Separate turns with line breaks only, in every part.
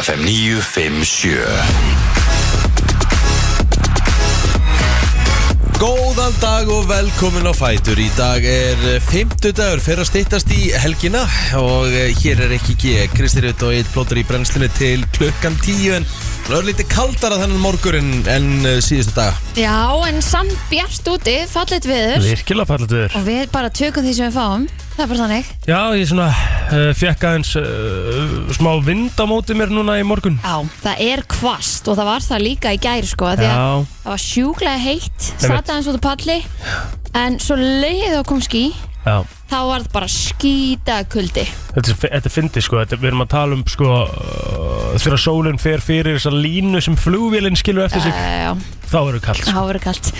FM 957
Góðan dag og velkomin á Fætur Í dag er fymtudagur fyrir að stýttast í helgina og eh, hér er ekki ekki Kristi Rutt og eitt plótur í brennslinu til klukkan tíu en það er lítið kaldara þennan morgurinn en eh, síðustu dag
Já, en samt bjart úti, fallit viður
Virkilega fallit viður
og við bara tökum því sem við fáum það er bara þannig
Já, ég svona uh, fekk aðeins uh, smá vind á móti mér núna í morgun
Já, það er kvast og það var það líka í gæri sko af því að
Já,
það var sjúklega heitt
Einmitt.
satt aðeins út á palli en svo leiðið á kom ský
já
þá var það bara skýta kuldi
Þetta, er- þetta fyndi sko, þetta, við erum að tala um sko uh, þegar sólinn fer fyrir þessa línu sem flugvélinn skilur eftir sig
Eh, Já,
þá eru kallt sko.
það var verið kalt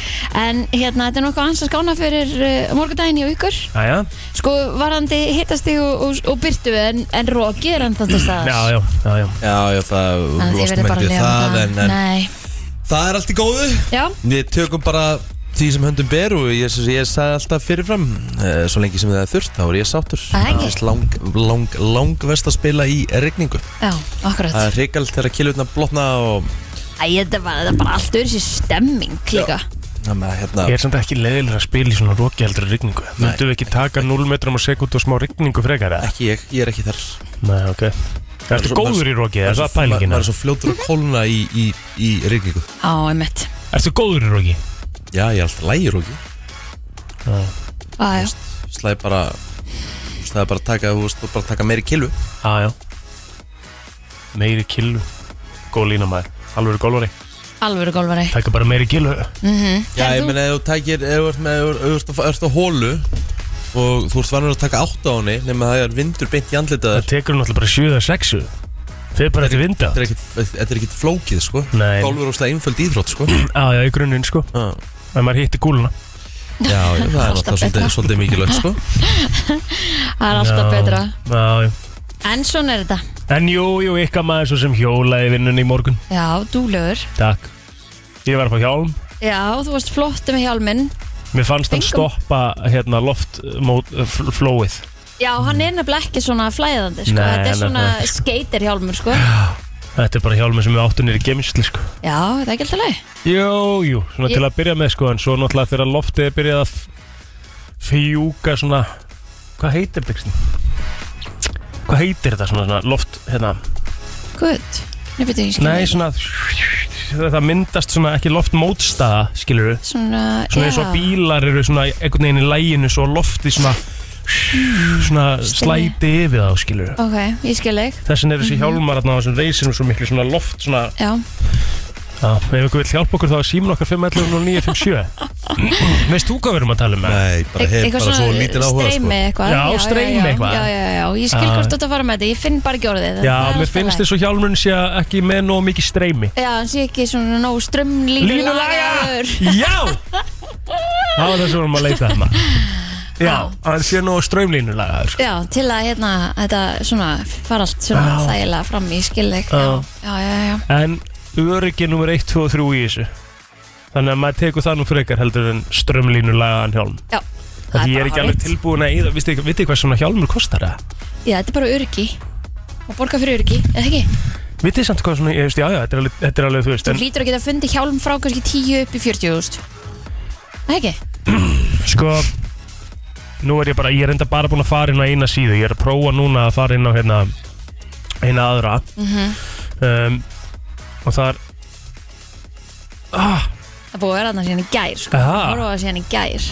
En hérna, þetta er nokkuð hans að skána fyrir uh, morgundaginn í vikur
Jæja,
Sko, varandi hittast þig og, og, og byrtu en, en roki er hann þannig að staðar
já, já, já, já
Já, já, það
Þannig að þið verðið
lostum
bara
ekki
að
við
lifa með
það en, en
Nei,
það er allt í góðu
já
Við tökum bara því sem höndum ber og ég, ég sagði alltaf fyrirfram eh, svo lengi sem það er þurft, þá er ég sáttur
Það er ekki.
er lang, lang, lang vest að spila í regningu
Já, akkurat
Það er reykjald þegar kilurna blotna og
Æ, þetta var, þetta var bara allt öðru sér stemming líka.
Það með hérna
Ég er samt ekki leiðilega að spila í svona rokiheldri rigningu Möndum við ekki taka 0 metrum á sekund og smá rigningu frekar eða?
Ekki ég, ég er ekki þar
Nei, ok Ertu
svo-
góður í rokið, er
Maður
það pælingin?
Maður er svo fljótur að kólna í, í, í regningu
Á, einmitt.
Ertu góður í rokið?
Já, ég er alltaf lægir og ekki
Á, já.
Slæði bara þú veist, Það er bara að taka, þú veist, þú bara að taka meiri kilu
Já, já Meiri killu Góð lína maður Alvöru golvari
Alvöru golfari.
Takka bara meiri killu
Já, ég
þú-
meina, ef þú takir, ef þú ert með, ef þú ert- ef þú ert á hólu Og þú ert vanur að taka átt á henni nema það er vindur beint í andlitaðar
Það tekur hún alltaf bara 7 eða 6 Þeir bara ekki vinda
Þetta er ekkit, þetta er ekkit flókið, sko
Nei.
Golf er óslega einföld íþrótt, sko
Já, já, í grunninn sko
Já,
En maður hitti gúluna
já, já, það er
Alltaf
alltaf svolítið,
betra.
svolítið mikilvægt, sko
Það er alltaf
Já,
betra.
Já, já
En svona er þetta.
En jú, jú, ykkar maður svo sem hjólaði vinnunni í morgun
Já, dúlegur.
Takk Ég var upp á hjálm
Já, þú varst flott með hjálminn.
Mér fannst hann
Fengum-
stoppa hérna loftflóið
Já, hann er nefnilega ekki svona flæðandi, sko.
Nei,
þetta er svona
nefnilega ekki, sko.
skeitirhjálmur, sko.
Þetta er bara hjálmur sem við áttum nýri gemisli sko
Já, þetta er ekki alltaf leið.
Jú, jú, svona
Ég-
til að byrja með sko en svo náttúrulega þegar loftið er byrjað að f- fjúka svona hvað heitir þetta Kristín? Hvað heitir þetta svona, svona loft hérna?
Gutt. Nei, betur ég skil.
Nei, svona það myndast svona ekki loftmótstaða skilur við,
Svona,
svona eins og bílar eru svona einhvern veginn í læginu svo loftið svona svona
Stemmi.
slæti yfir þá skilur við
Ok, ég skil þig.
þessin er þessi hjálmar þarna á þessum reysinum svo miklu svona loft svona,
Já,
já, ef ykkur vill hjálpa okkur þá er símin okkar 511 og 957 veist þú hvað við erum að tala um? eða?
Nei, bara hef
eitthvað
bara svo lítinn áhuga, sko
streymi eitthvað
Já, streymi
já,
eitthvað.
já, já, já, já, ég skil
Já.
hvort þú ert að fara með þetta, ég finn bara ekki orðið
Já, mér finnst þess að hjálmurinn sé ekki með nóg mikið streymi
Já, hann sé ekki svona nóg strömmlínulaga
Já! Það var það sem við varum að leita þarna Já,
Já.
hann sé nóg strömlínulagaður sko.
Já, til að hérna, þetta svona fara allt svona
Já.
þægilega fram í skilleg já.
Já.
já, já, já, já,
En öryggi nummer 1, 2 og 3 í þessu Þannig að maður tekur það nú frekar heldur en strömlínulagaðan hjálm
já
Það því ég er ekki alveg tilbúin að íða Vitið þið hvað svona hjálmur kostar það?
Já, þetta er bara öryggi og borga fyrir öryggi, eða ekki?
Vitið þið samt hvað svona, ég veist, já, já, þetta er alveg, þetta er alveg þú veist
Þú
En
hlýtur að geta fundið hjálm frá kannski 10 upp í 40.000 Það ekki?
sko, nú er ég bara, ég er enda bara búin að fara inn á eina síðu Ég er að prófa núna að fara inn á hérna, eina aðra
Mhm.
um, og þar ah,
Það er búið að vera þarna síðan í gær, sko
Aha.
Það voru að síðan í gær,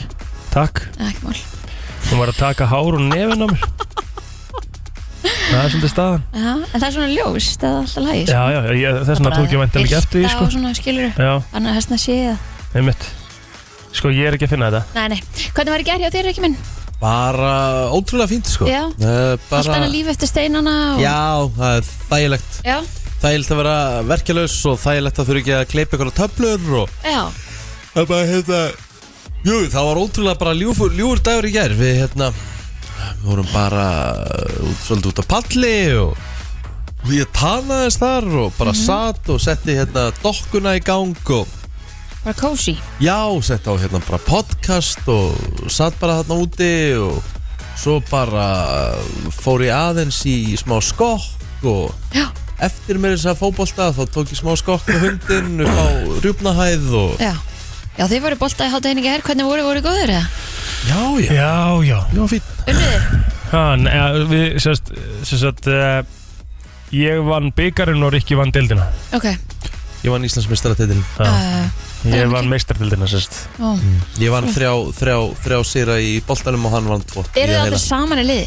takk,
ekki mál
hún var að taka hár og nefin á mér það er svolítið staðan
Já, en það er svona ljós, það er alltaf sko. lægi
já, já, ég, þess vegna tók ég vantilega ekki eftir því
Það
sko.
svona skilur
já,
Þannig að þessna sé það
einmitt sko, ég er ekki að finna þetta
Nei, nei, hvernig var í gerð hjá þér ekki minn?
Bara ótrúlega fínt sko
Já.
Eh,
Allt
bara,
annað líf eftir steinana og...
Já, það er þægilegt
Já,
Þægilegt að vera verkjalaus og þægilegt að þurfa ekki að kleipa ykkur á töflur og
já,
það er bara hérna Jú, það var ótrúlega bara ljúfur, ljúfur dagur í gær Við hérna Við vorum bara uh, út, svolítið út á palli og og ég talaðist þar og bara
Mhm.
satt og setti hérna dokkuna í gang og
bara kósi
Já, sett á hérna bara podcast og satt bara þarna úti og uh, svo bara fór ég aðeins í smá skokk og
Já,
eftir mér þess að fótbolta þá tók ég smá skokk með hundin upp á rjúpnahæð og
Já, já þið voru bolta í hátæðningi hér, hvernig voru, voru góður eða?
já, já,
Já, já
já, fín
Unniðir?
ha, neða, við, sérst, sérst, uh, Ég vann byggarinn og Rikki vann deildina
Ok,
ég vann Íslandsmeistaratitil
Já,
uh,
Ég
það er
vann
mikið.
meistardildina sérst
ó.
ég vann þrjá, þrjá, þrjá sýra í boltanum og hann vann tvo
Eru
Í
þið
að
allir
heila.
saman í liði?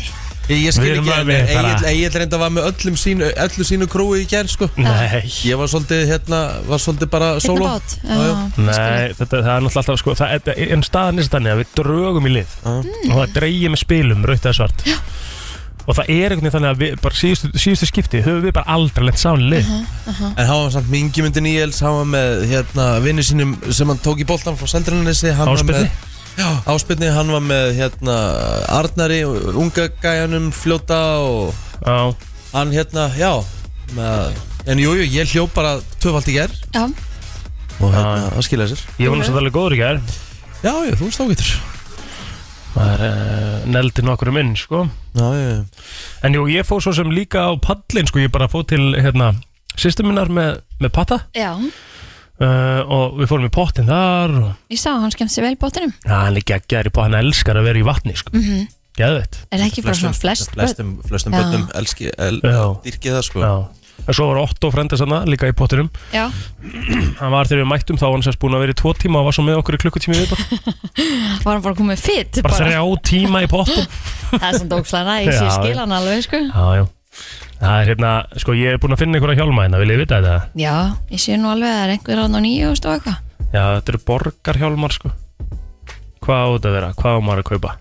ég, ég
Við
skil
erum
ekki, en
alveg bara-
Egil- Egil reynda var með öllum sínu, öllu sínu krúi í gerð
Ah.
sko
Nei
Ég var svolítið, hérna, var svolítið bara
Solo?
sóló
Bát?
Já, já.
Nei, þetta, það er náttúrulega alltaf sko, það, er- En staðan er þannig að við drögum í lið
Já.
Og það dreigir með spilum, raut eða svart Já. Og það er einhvern veginn þannig að við, bara síðustu, síðustu skipti höfum við bara aldrei lent saman í lið
En hann var samt með Ingemyndi Níels, hann var með hérna vinnu sínum sem hann tók í boltan frá Seldrannesi
Ásbirni?
Áspilni, hann var með hérna Arnari, unga gæjanum fljóta og
Já,
hann hérna, já með, En jújú, jú, ég hljóp bara tvöfald í ger
Já,
og
Já,
hérna, það skilja sér
ég var náttúrulega alveg góður í gær
Já, já, þú veist ágættur
Maður uh, neldi nokkru minn, sko
Já, já, já
En jú, ég fóð svo sem líka á pallin, sko Ég bara fóð til, hérna, systur minnar með, með patta
já,
uh, Og við fórum í pottin þar og,
ég sá að hann skemmt sér vel í bátunum
Já, hann er geggjaður í pottin, hann elskar að vera í vatni, sko mm -hmm. Geðveitt
Er það ekki bara svona flest börn?
Flestum, flestum
Já.
bönnum elski, el,
Já.
dyrkið það sko
Já, en svo var Otto frendið sann líka í pottinum
Já,
Hann var þegar við mættum þá var hann sérst búin að vera í tvo tíma og var svo með okkur í klukkutími við bara,
var hann bara komið fit
bara
bara.
þrjá tíma í pottum
Það er svona dókslega næs, ég
Já,
skil
já.
hann alveg sko
Já, já Það er hérna, sko ég er búin að finna einhverja hjálma hérna, vil ég vita þetta?
Já, ég sé nú alveg að það er einhver rann á nýju og eitthvað
Já, þetta eru borgarhjálmar sko Hvað á þetta að vera? Hvað á maður að kaupa?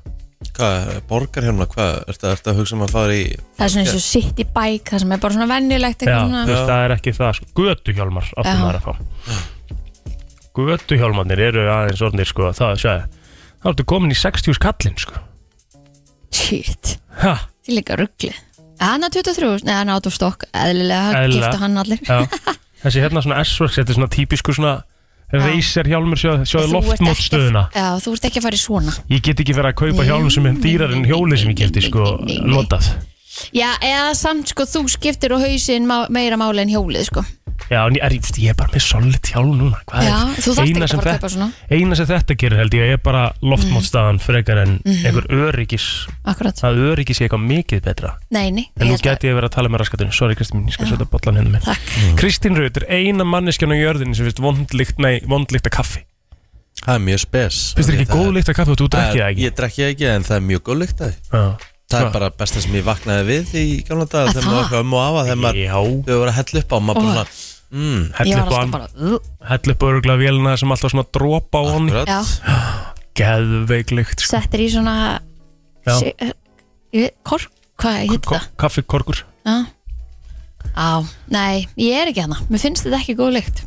Hvað, borgar hérna, hvað, ertu ertu að hugsa um að fara í
Það er svona eins og sitt í bæk, það sem er bara svona venjulegt
Já,
eitthvað
þú
svona
veist, það er ekki það sko Götuhjálmar áttum
Já.
maður að fá Götuhjálmarnir eru aðeins orðnir sko Það, sjáðu, þá ertu komin í 60 skallin sko
Shit,
Ha,
það er líka ruggli Hann á 23, neða hann át úr stokk Eðlilega, hann
Eðlilega.
gifta hann allir
já Þessi hérna svona S-Works, þetta er svona típiskur svona Reysir hjálmur, sjáðu, sjáðu
Þú ert
loftmótstöðuna
ekki- Já, þú ert ekki að fara í svona
Ég get ekki verið að kaupa hjálm sem er dýrar en hjóli sem ég geti sko notað
Já, eða samt sko, þú skiptir og hausinn má, meira máli en hjólið sko
Já, en ég er, ég er bara með solid hjálm núna Hvað
Já,
er
þú þarft ekki
Eina
að fara
sem
að
þetta-
kaupa svona. Mhm.
Eina sem þetta gerir held ég er bara loftmótstaðan frekar en einhver öryggis
Akkurat,
Það öryggis ég eitthvað mikið betra
nei, nei
En
ég
nú
held að-
geti ég verið að tala með raskatunni Sorry Kristín mín, ég skal setja bollan henni minn
Takk,
Kristín Rut er eina manneskjan á jörðinni sem finnst vondlíkt, nei, vondlíkt að kaffi
Það er mjög spes
Finnst þér
Af því
ekki
það-
góð líkt að kaffi og þú
Það
drekkið
er-
það ekki?
Eh, Ég drekki það ekki en það er mjög góð lykt að því
Já.
Það er
Hva?
bara besta sem ég vaknaði við í gamla daga
Að
þegar maður
það?
var eitthvað um og afa þegar maður
Já,
þau voru að hella upp á maður
Ó.
bara svona mm,
ég
hell
var
upp á
alltaf
hann
bara "Ugh."
Hell upp öruglega vélina sem alltaf svona dropa á hann
akkurat
Já,
Geðveiklugt sko.
settir í svona
Já.
sí- eh, ég veit- Kork, hvað heit
Ko-
það?
Kaffikorkur
Já, Á, nei, ég er ekki hana Mér finnst þetta ekki góð lykt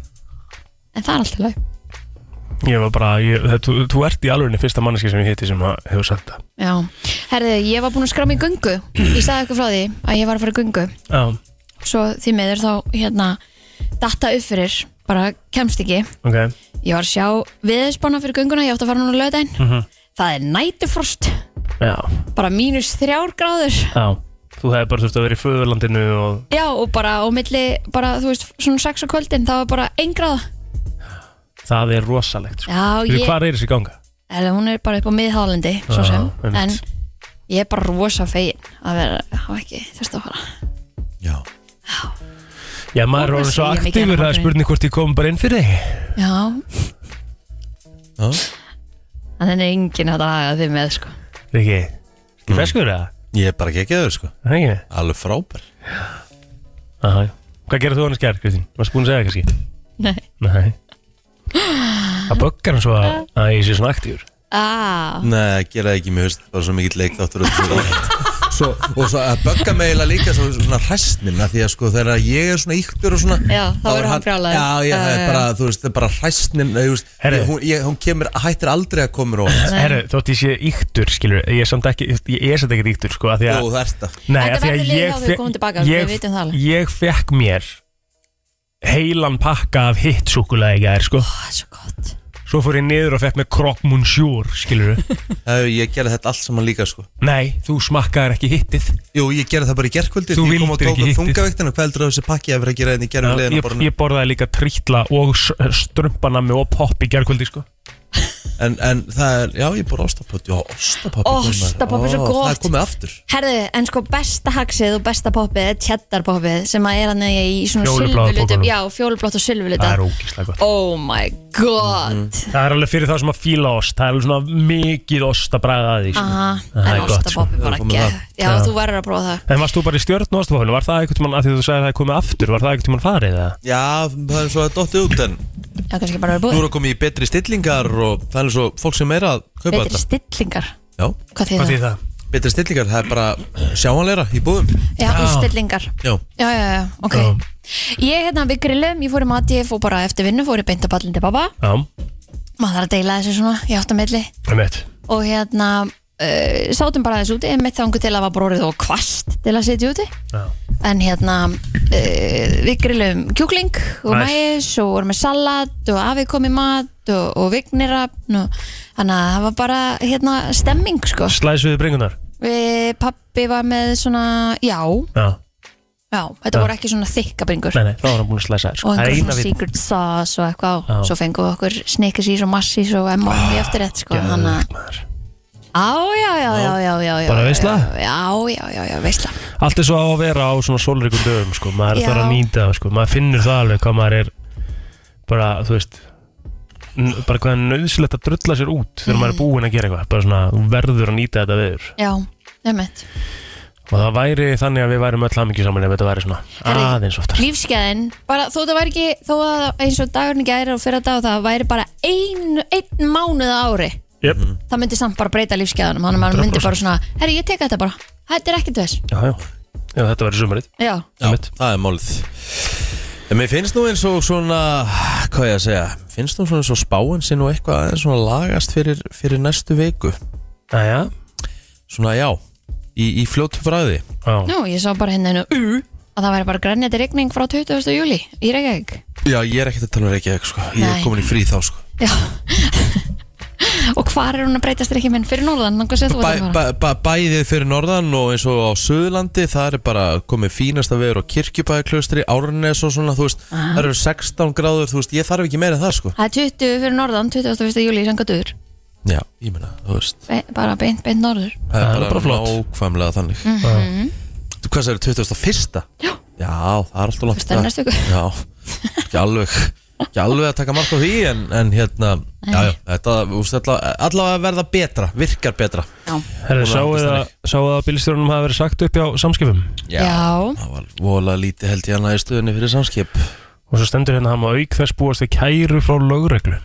En það er alltaf leið
Ég var bara, ég, það, þú, þú ert í alvegni fyrsta manneski sem ég hitti sem að hefur sagt það
Já, herðu, ég var búin að skrá mig í göngu Ég sagði ykkur frá því að ég var að fara í göngu
Já,
Svo því meður þá, hérna, datta upp fyrir Bara kemst ekki
ok
Ég var að sjá viðspána fyrir gönguna Ég átti að fara núna löðdæn mm
Mhm.
Það er nætufrost,
Já,
bara mínus þrjár gráður
já Þú hefði bara þurft að vera í föðurlandinu og
Já, og bara á milli, bara, þú veist, svona sex og kvöldin Það var bara ein gráða
það er rosalegt sko.
Já,
Þú veit,
ég,
Hvar er þessi ganga?
eða hún er bara upp á miðhálendi Svo
Já,
sem, en
einmitt.
ég er bara rosa fegin Að vera, hafa ekki, þurfti að fara
Já,
Já, maður er orðinn svo
Ég er mikið
aktífur
á
Það er
morguninn.
spurning hvort ég kom bara inn fyrir þig
Já,
já,
En henni er enginn að daga þig með sko
Riki, ekki feskur það?
ég er bara ekki ekki sko
Það er ekki
Alveg frábær
Aha. Hvað gerði þú hann að skjær, Kristín? Varst búin að segja það kannski?
Nei
Nei Það böggar hann svo að, að ég sé svona aktífur
ah,
Nei, ég gera það ekki, mér finnst bara svo mikill leikt áttur svo, Og svo að bögga mig eiginlega líka svo, svona hræstnin af Því að sko þegar ég er svona íktur og svona
Já, þá
þá
er hann brjálaður.
Já, ég, það
Já,
er
já,
bara, þú veist, það er bara hræstnin þú veist,
Herri.
ég, hún, ég, hún kemur, hættir aldrei að koma rót
Herru, þótt ég sé íktur, skilur Ég er samt ekki, ég er samt ekki íktur, sko af því að-
Jú, það er það
Nei,
Þetta
af því að
verður liðið
ég
á þau
fe-
komum tilbaka,
ég-
við vitum það alveg.
Ég fekk mér heilan pakka af hitt súkulega í gær, sko
það er svo gott
Svo fór ég niður og fekk með Croque Monsieur, skilur
Æ, Ég gerði þetta allt saman líka sko
Nei, þú smakkaðir ekki hittið
Jú, ég gerði það bara í gerkvöldi
Þú
Ég kom og
vildir
tók
ekki
um
hittið.
þungavektina Hvað heldur að þessi pakki að vera að gera þetta í gerðum
ég,
leðina borðinu
ég borðaði líka trítla og s- strumpanammi og popp í gerkvöldi, sko
en, en það er, já, ég borði ostapoppi Já, ostapoppi góður maður.
Ostapopp er svo
Ó, Það
gott.
er komið aftur
Herðu, en sko besta haxið og besta poppið er cheddar poppið sem að er hann í svona
Fjólubláa
silfurlitum
pokanum.
Já, fjólublátt og
Það
silfurlita
er ógislega gott
Oh my god
Mhm.
Það er alveg fyrir það sem að fíla ost Það er alveg svona mikið ost að bræða að því sko.
Aha,
Það
en
er gott, sko.
ostapoppið bara
Við erum komin
ekki
þar.
Já,
Já.
þú verður að prófa það
En varst þú bara í stjórn og ostapopinu? Var það einhvern tímann, að því þú sagði að það er komið aftur Var það einhvern tímann farið eða?
Já, það er svo að dotti út en
Já, kannski bara verður
Nú
búið
er að koma í betri stillingar og það er svo fólk sem er að kaupa
Betri
þetta
stillingar
Já,
Hvað þýðir
Hvað
það?
þýðir það?
betri stillingar, það er bara sjáanleira í búðum
Já,
Já.
stillingar
Já,
Já, já, já, ok
Já.
Ég hérna við grillum, ég fór í mati, ég fór bara eftir vinnu Fór í beintapallin til pappa
Já,
Maður þarf að deila þessu svona, ég átt að milli
einmitt
Og hérna, uh, sátum bara þessu úti Einmitt þangu til að var brórið og kvast Til að sitja úti
Já,
En hérna, uh, við grillum kjúkling og
Nice.
mæs og vorum með salat og afi kom í mat og, og vignirafn og þannig að það var bara hérna stemming sko.
Slæs við bringunar
Við pappi var með svona, já,
Já,
já, þetta voru ekki svona þykka bringur
nei, nei, þá var hann búin að slæsa þér sko.
og
Það er
einhver
eina
svona
við
secret sauce og eitthvað á.
Já. Ah,
svo fengum við okkur snikkisís og massís og M&M í eftir rétt sko þannig að
maður.
á já já já já já já
Bara
já,
veisla?
já já já já veisla
Allt er svo á að vera á svona sólrikum dögum sko. Maður
Já.
þarf að nýta það sko. Maður finnur það alveg hvað maður er Bara, þú veist n- Bara hvað er nöðsilegt að drulla sér út Þegar
Mm.
maður er búinn að gera eitthvað Bara svona, þú verður að nýta þetta veður
já nefnt
Og það væri þannig að við værum öll hamingi saman ef þetta væri svona
Herri.
aðeins oftar.
lífskeðin bara þó það væri ekki þó að eins og dagurinn gæri og fyrir dag það væri bara ein, einn mánuð á ári
Yep.
það myndi samt bara breyta lífskeðanum þannig að maður myndi
100%.
bara svona herri ég teka þetta bara þetta er ekkert þess
Já, já. Já, þetta verður sumarið.
já
já
Einmitt.
það er málið En mér finnst nú eins og svona Hvað ég að segja, finnst nú svona eins og spáin sé nú eitthvað aðeins svona lagast fyrir, fyrir næstu viku
Æja.
Svona já, í, í fljótu bræði
Já.
nú ég sá bara hérna einu uh, að það væri bara grænjandi rigning frá 20. júli í Reykjavík
Já, ég er ekkert að tala um Reykjavík sko Ég
Nei.
er komin í frí þá sko
Já Og hvar er hún að breytast ekki minn fyrir norðan? Þannig sem þú
bæ,
ert að fara
bæ, bæ, Bæðið fyrir norðan og eins og á Suðurlandi Það er bara komið fínasta veður á kirkjubæðiklaustri Árnes og svona, þú veist Það eru 16 gráður, þú veist, ég þarf ekki meira en það sko
Það er 20 fyrir norðan, 21. júli í Sangadur
Já, ég meina, þú veist
Be Bara beint, beint norður
Það er
Það er
bara,
bara flott.
nákvæmlega þannig Þú hvað segir, 21.
Mhm. Já.
Já, það er alltaf langt
Fyrsta er
að-
næstu viku.
Já, ekki alveg Ekki alveg að taka mark á því En, en hérna, já, já, þetta þú veist, allavega- Allavega að verða betra, virkar betra
Já,
Herri,
Hún er
sáu
alltaf
það sáu það að bílstjórnum hafi verið sagt upp hjá samskipum
Já.
Það var vola lítið held ég hana í stöðunni fyrir samskip
og svo stendur hérna hann að auk þess búast við kæru frá lögreglu.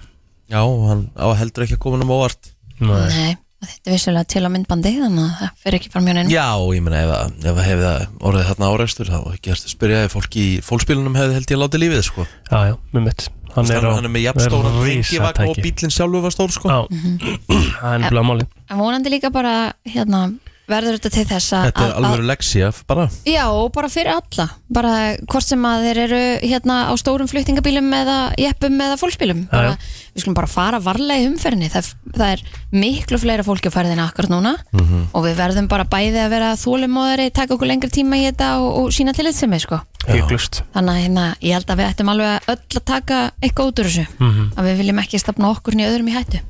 Já, hann á heldur ekki að koma um óvart
Nei.
nei Þetta er vissulega til á myndbandi Þannig að það fyrir ekki fram hjá neinu
Já, ég meina ef, að- ef að hefði það orðið þarna árekstur þá ekki hægt að spyrja ef fólk í fólkspílunum hefði held ég látið lífið sko
Já, já, með mitt. Hann
Þannig
er á
að hann er með jafnstóran
er
rengivagn og
risatæki.
bílinn sjálfur var stór sko
Já, það er nefnilega máli.
En vonandi líka bara, hérna Verður þetta til þess að
Þetta er
að-
alveg leksja bara
Já, og bara fyrir alla Bara hvort sem að þeir eru hérna á stórum fluttingabílum eða jeppum eða fólksbílum bara,
já.
Við skulum bara fara varlega í umferðinni það, það er miklu fleira fólki á ferðinni akkurat núna og við verðum bara bæði að vera þólumóðari taka okkur lengri tíma í þetta og, og sína til þetta sko.
Hygglust.
Þannig að hérna, ég held að við ættum alveg að öll að taka eitthvað út úr þessu að við viljum ekki stafna okkur niður öðrum í hættu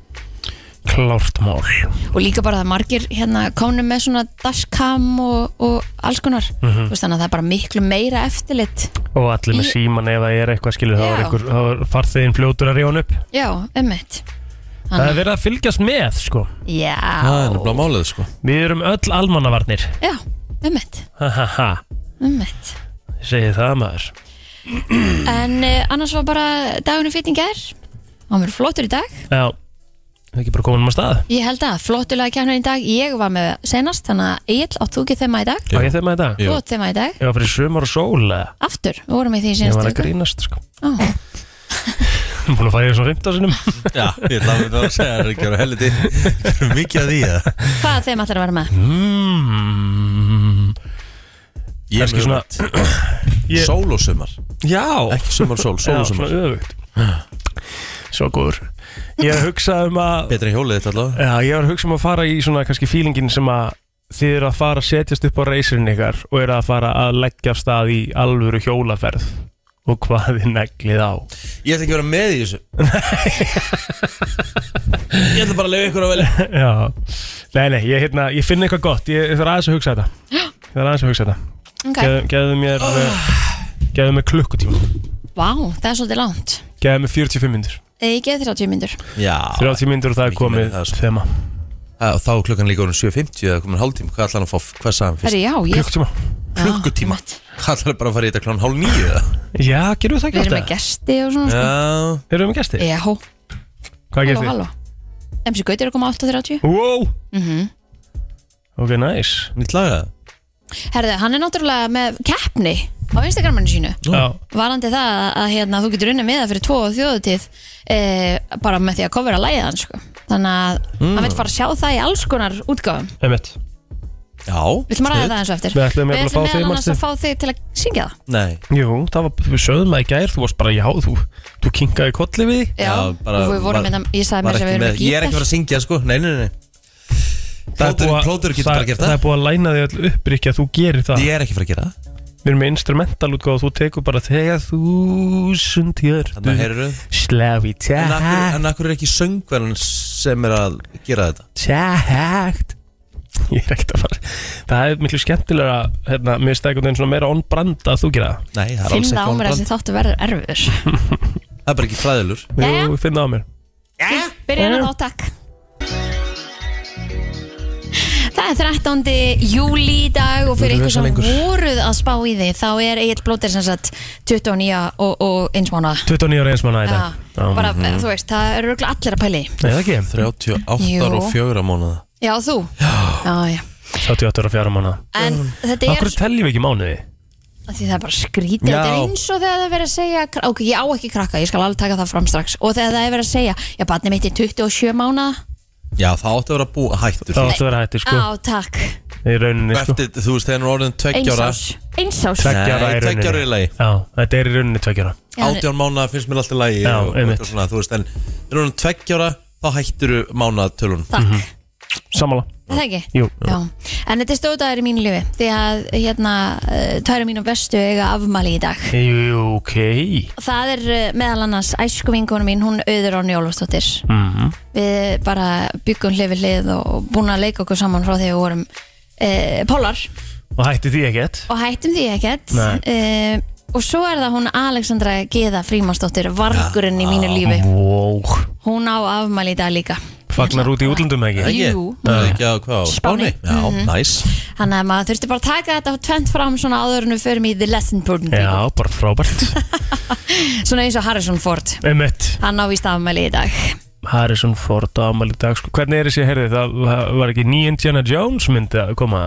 Klárt mál.
og líka bara það margir hérna komnum með svona dashcam og, og alls konar
Mhm.
Þú veist, þannig að það er bara miklu meira eftirlit
Og allir með síman ef það er eitthvað skilur, þá er
Já.
einhver, þá er farþeginn fljótur að ríða hann upp.
Já, um ummitt
Það er verið að fylgjast með, sko.
Já
Það er nefnilega málið sko
Við erum öll almannavarnir.
Já, um ummitt,
Ha, ha, ha.
ummitt
Ég segi það maður.
En uh, annars var bara dagurinn fyrting gær Hann verið flottur í dag
Já, það er ekki bara komin um að stað
Ég held að flottulega kemur í dag Ég var með senast, þannig að Egil átt þú ekki þema í dag
Á ég þeim að þetta?
Jú.
Þú átt þema í dag
Ég var fyrir sumar og sól eða?
Aftur, við vorum í því
Ég
síðan
var að grínast sko
Ó,
Búin að fara í þessum 15 sinum
Já, ég ætlaði að segja það ekki á helviti Mikið að því það
Hvað þeim ætlar að vera með?
Hmm.
mm,
Ég er
Kannski
mjög
svona-
rætt Sól og sumar,
Já
ekki sumar og sól, sól
Já,
og sumar
svona öfugt Svo góður Ég er að hugsa um að
Betra en hjólið þetta allavega
Já, ég var að hugsa um að fara í svona kannski fílingin sem að þið eru að fara að setjast upp á reysurinn ykkar og eru að fara að leggja af stað í alvöru hjólaferð og hvað þið neglið á
Ég ætla ekki að vera með í þessu Ég ætla bara að leiða ykkur að velja
Já, nei, nei, ég, hérna, ég finn eitthvað gott ég, ég þarf aðeins að hugsa þetta Ég þarf aðeins að hugsa þetta
Ok, Ah.
okay. Geðu mér oh. Geðu mér klukkutíma
vá, það er svolítið langt Eh,
Geðu mér 45 minnur
Ég geði 30 myndur
Já,
30 minnur og það
Mikið meira
er
en
komið
það, sko.
þema
og þá er klukkan líka orðin 7.50 eða komin hálftíma, hvað ætla hann að fá, hvað sagði hann fyrst?
Herri, já, ég
Klukkutíma
Klukkutíma,
Já,
hvað ætla hann bara að fara í þetta klán hálf nýju eða?
Já, gerum við það
Við
ekki
erum með
alltaf
gesti og svona sko.
Já,
Erum við með gesti?
Já, halló,
Hvað gerði þið?
halló MC Gauti er að koma 8.30
Wow
mm
Ok, nice
nýtt laga
Herði, hann er náttúrulega með keppni á Instagraminu sínu
Já,
varandi það að, að hérna, þú getur unnið með það fyrir tvo og þjóðutíð e, bara með því að kofra lægið hann sko. þannig að
Hmm.
hann vil fara að sjá það í alls konar útgáfum
einmitt
Já,
Við ætlum að ræða það eins og eftir
Við ætlum
Við
jafnvel að fá
ætlum
þig,
meðal annars
manstu?
að fá þig til að syngja það
Nei,
Jú, það var, við sögðum það í gær, þú varst bara já, þú, þú kinkaði kolli við því.
Já,
Já, bara-
og við vorum
var-
með ég sagði
var
mér
ekki
sem við erum
með,
með
ég er ekki að
gítar
fara að syngja sko, nei, nei, nei, nei
Það er
Plótur,
búið að-
plótur getur
það-
bara að gera
Það
það
er búið að læna þig öll upp, Rikki, að þú gerir það.
Ég er ekki að fara að gera það,
Við erum með instrumental útgáð og þú tekur bara þegar þúsund
þannig að
hjörtu
heyrðu
slafi
En af hverju-
tækt,
en akkur er ekki söngverðan sem er að gera þetta?
tækt. Ég er ekkert að fara. Það er miklu skemmtilega, hérna, mér stækur þeim svona meira on brand að þú gera það.
Nei, það er alls
Finn
ekki
það á
on
mér að
brand.
þessi þáttu verður erfiður
Það er bara ekki fræðilur
Jæja.
Jú, finn það á mér.
Eh? Byrjar að þá, takk Það er 13. júli í dag og fyrir
Þú erum
ykkur sem
rosalengur.
voruð að spá í því þá er Egil Blóter sem sagt 29 og, og eins mánuða
29 ára eins manna í
Já,
dag. Já.
bara, þú veist, það eru örugglega allir að pæli
Nei, það ekki.
38 og
Jú.
4 mánuða
Já, þú Já, já
38 ára fjara manna.
En þetta er,
Akkur teljum við ekki mánuði?
af því það er bara skrítið Þetta er
Já.
eins og þegar það er verið að segja Ok, ég á ekki krakka, ég skal alveg taka það fram strax Og þegar það er verið að segja, já, barnið mitt er 27 mánu
Já, það átti að vera bú, hættur
Það áttu að vera hætti, sko.
Á, takk,
Í rauninni, sko.
Eftir, þú veist, þegar hann er orðin 20 ára
einsás Einsás
Tveggja ára
Nei,
í rauninni.
tveggja ára í lagi.
Já, þetta er í rauninni tveggjara
Já, en-
18 mánuða finnst mér alltaf lægi
Já, einmitt.
svona, Þú veist, en þegar hann er 20 ára þá hættur mánuða tölun
Takk,
Sammála
Er það ekki?
Jú.
Já, en þetta er stóðdagur í mínu lífi Því að, hérna, tæra mínu bestu eiga afmæli í dag
Jú, ok
Það er eh, meðal annars æsku vinkonu mín, hún auður Árni Ólafsdóttir
mm
Við bara byggum hlið við hlið og búin að leika okkur saman frá því við vorum e, Pólar
Og hætti því ekkert
og hættum því ekkert
Nei.
e, Og svo er það hún Alexandra Geða Frímansdóttir, vargurinn í mínu lífi
Wow
Hún á afmæli í dag líka
Fagnar út í útlundum eða ekki?
Jú.
Það er ekki að hvað á
Spáni. Mhm.
Já, næs
Þannig að maður þurfti bara að taka þetta tvent fram svona áður en við förum í The Lesson Burden
Já, bara frábært
Svona eins og Harrison Ford
Emmett
Hann á víst afmæli í dag
Harrison Ford á afmæli í dag sko. Hvernig er þessi, heyrði, það það var ekki ný Indiana Jones myndi að koma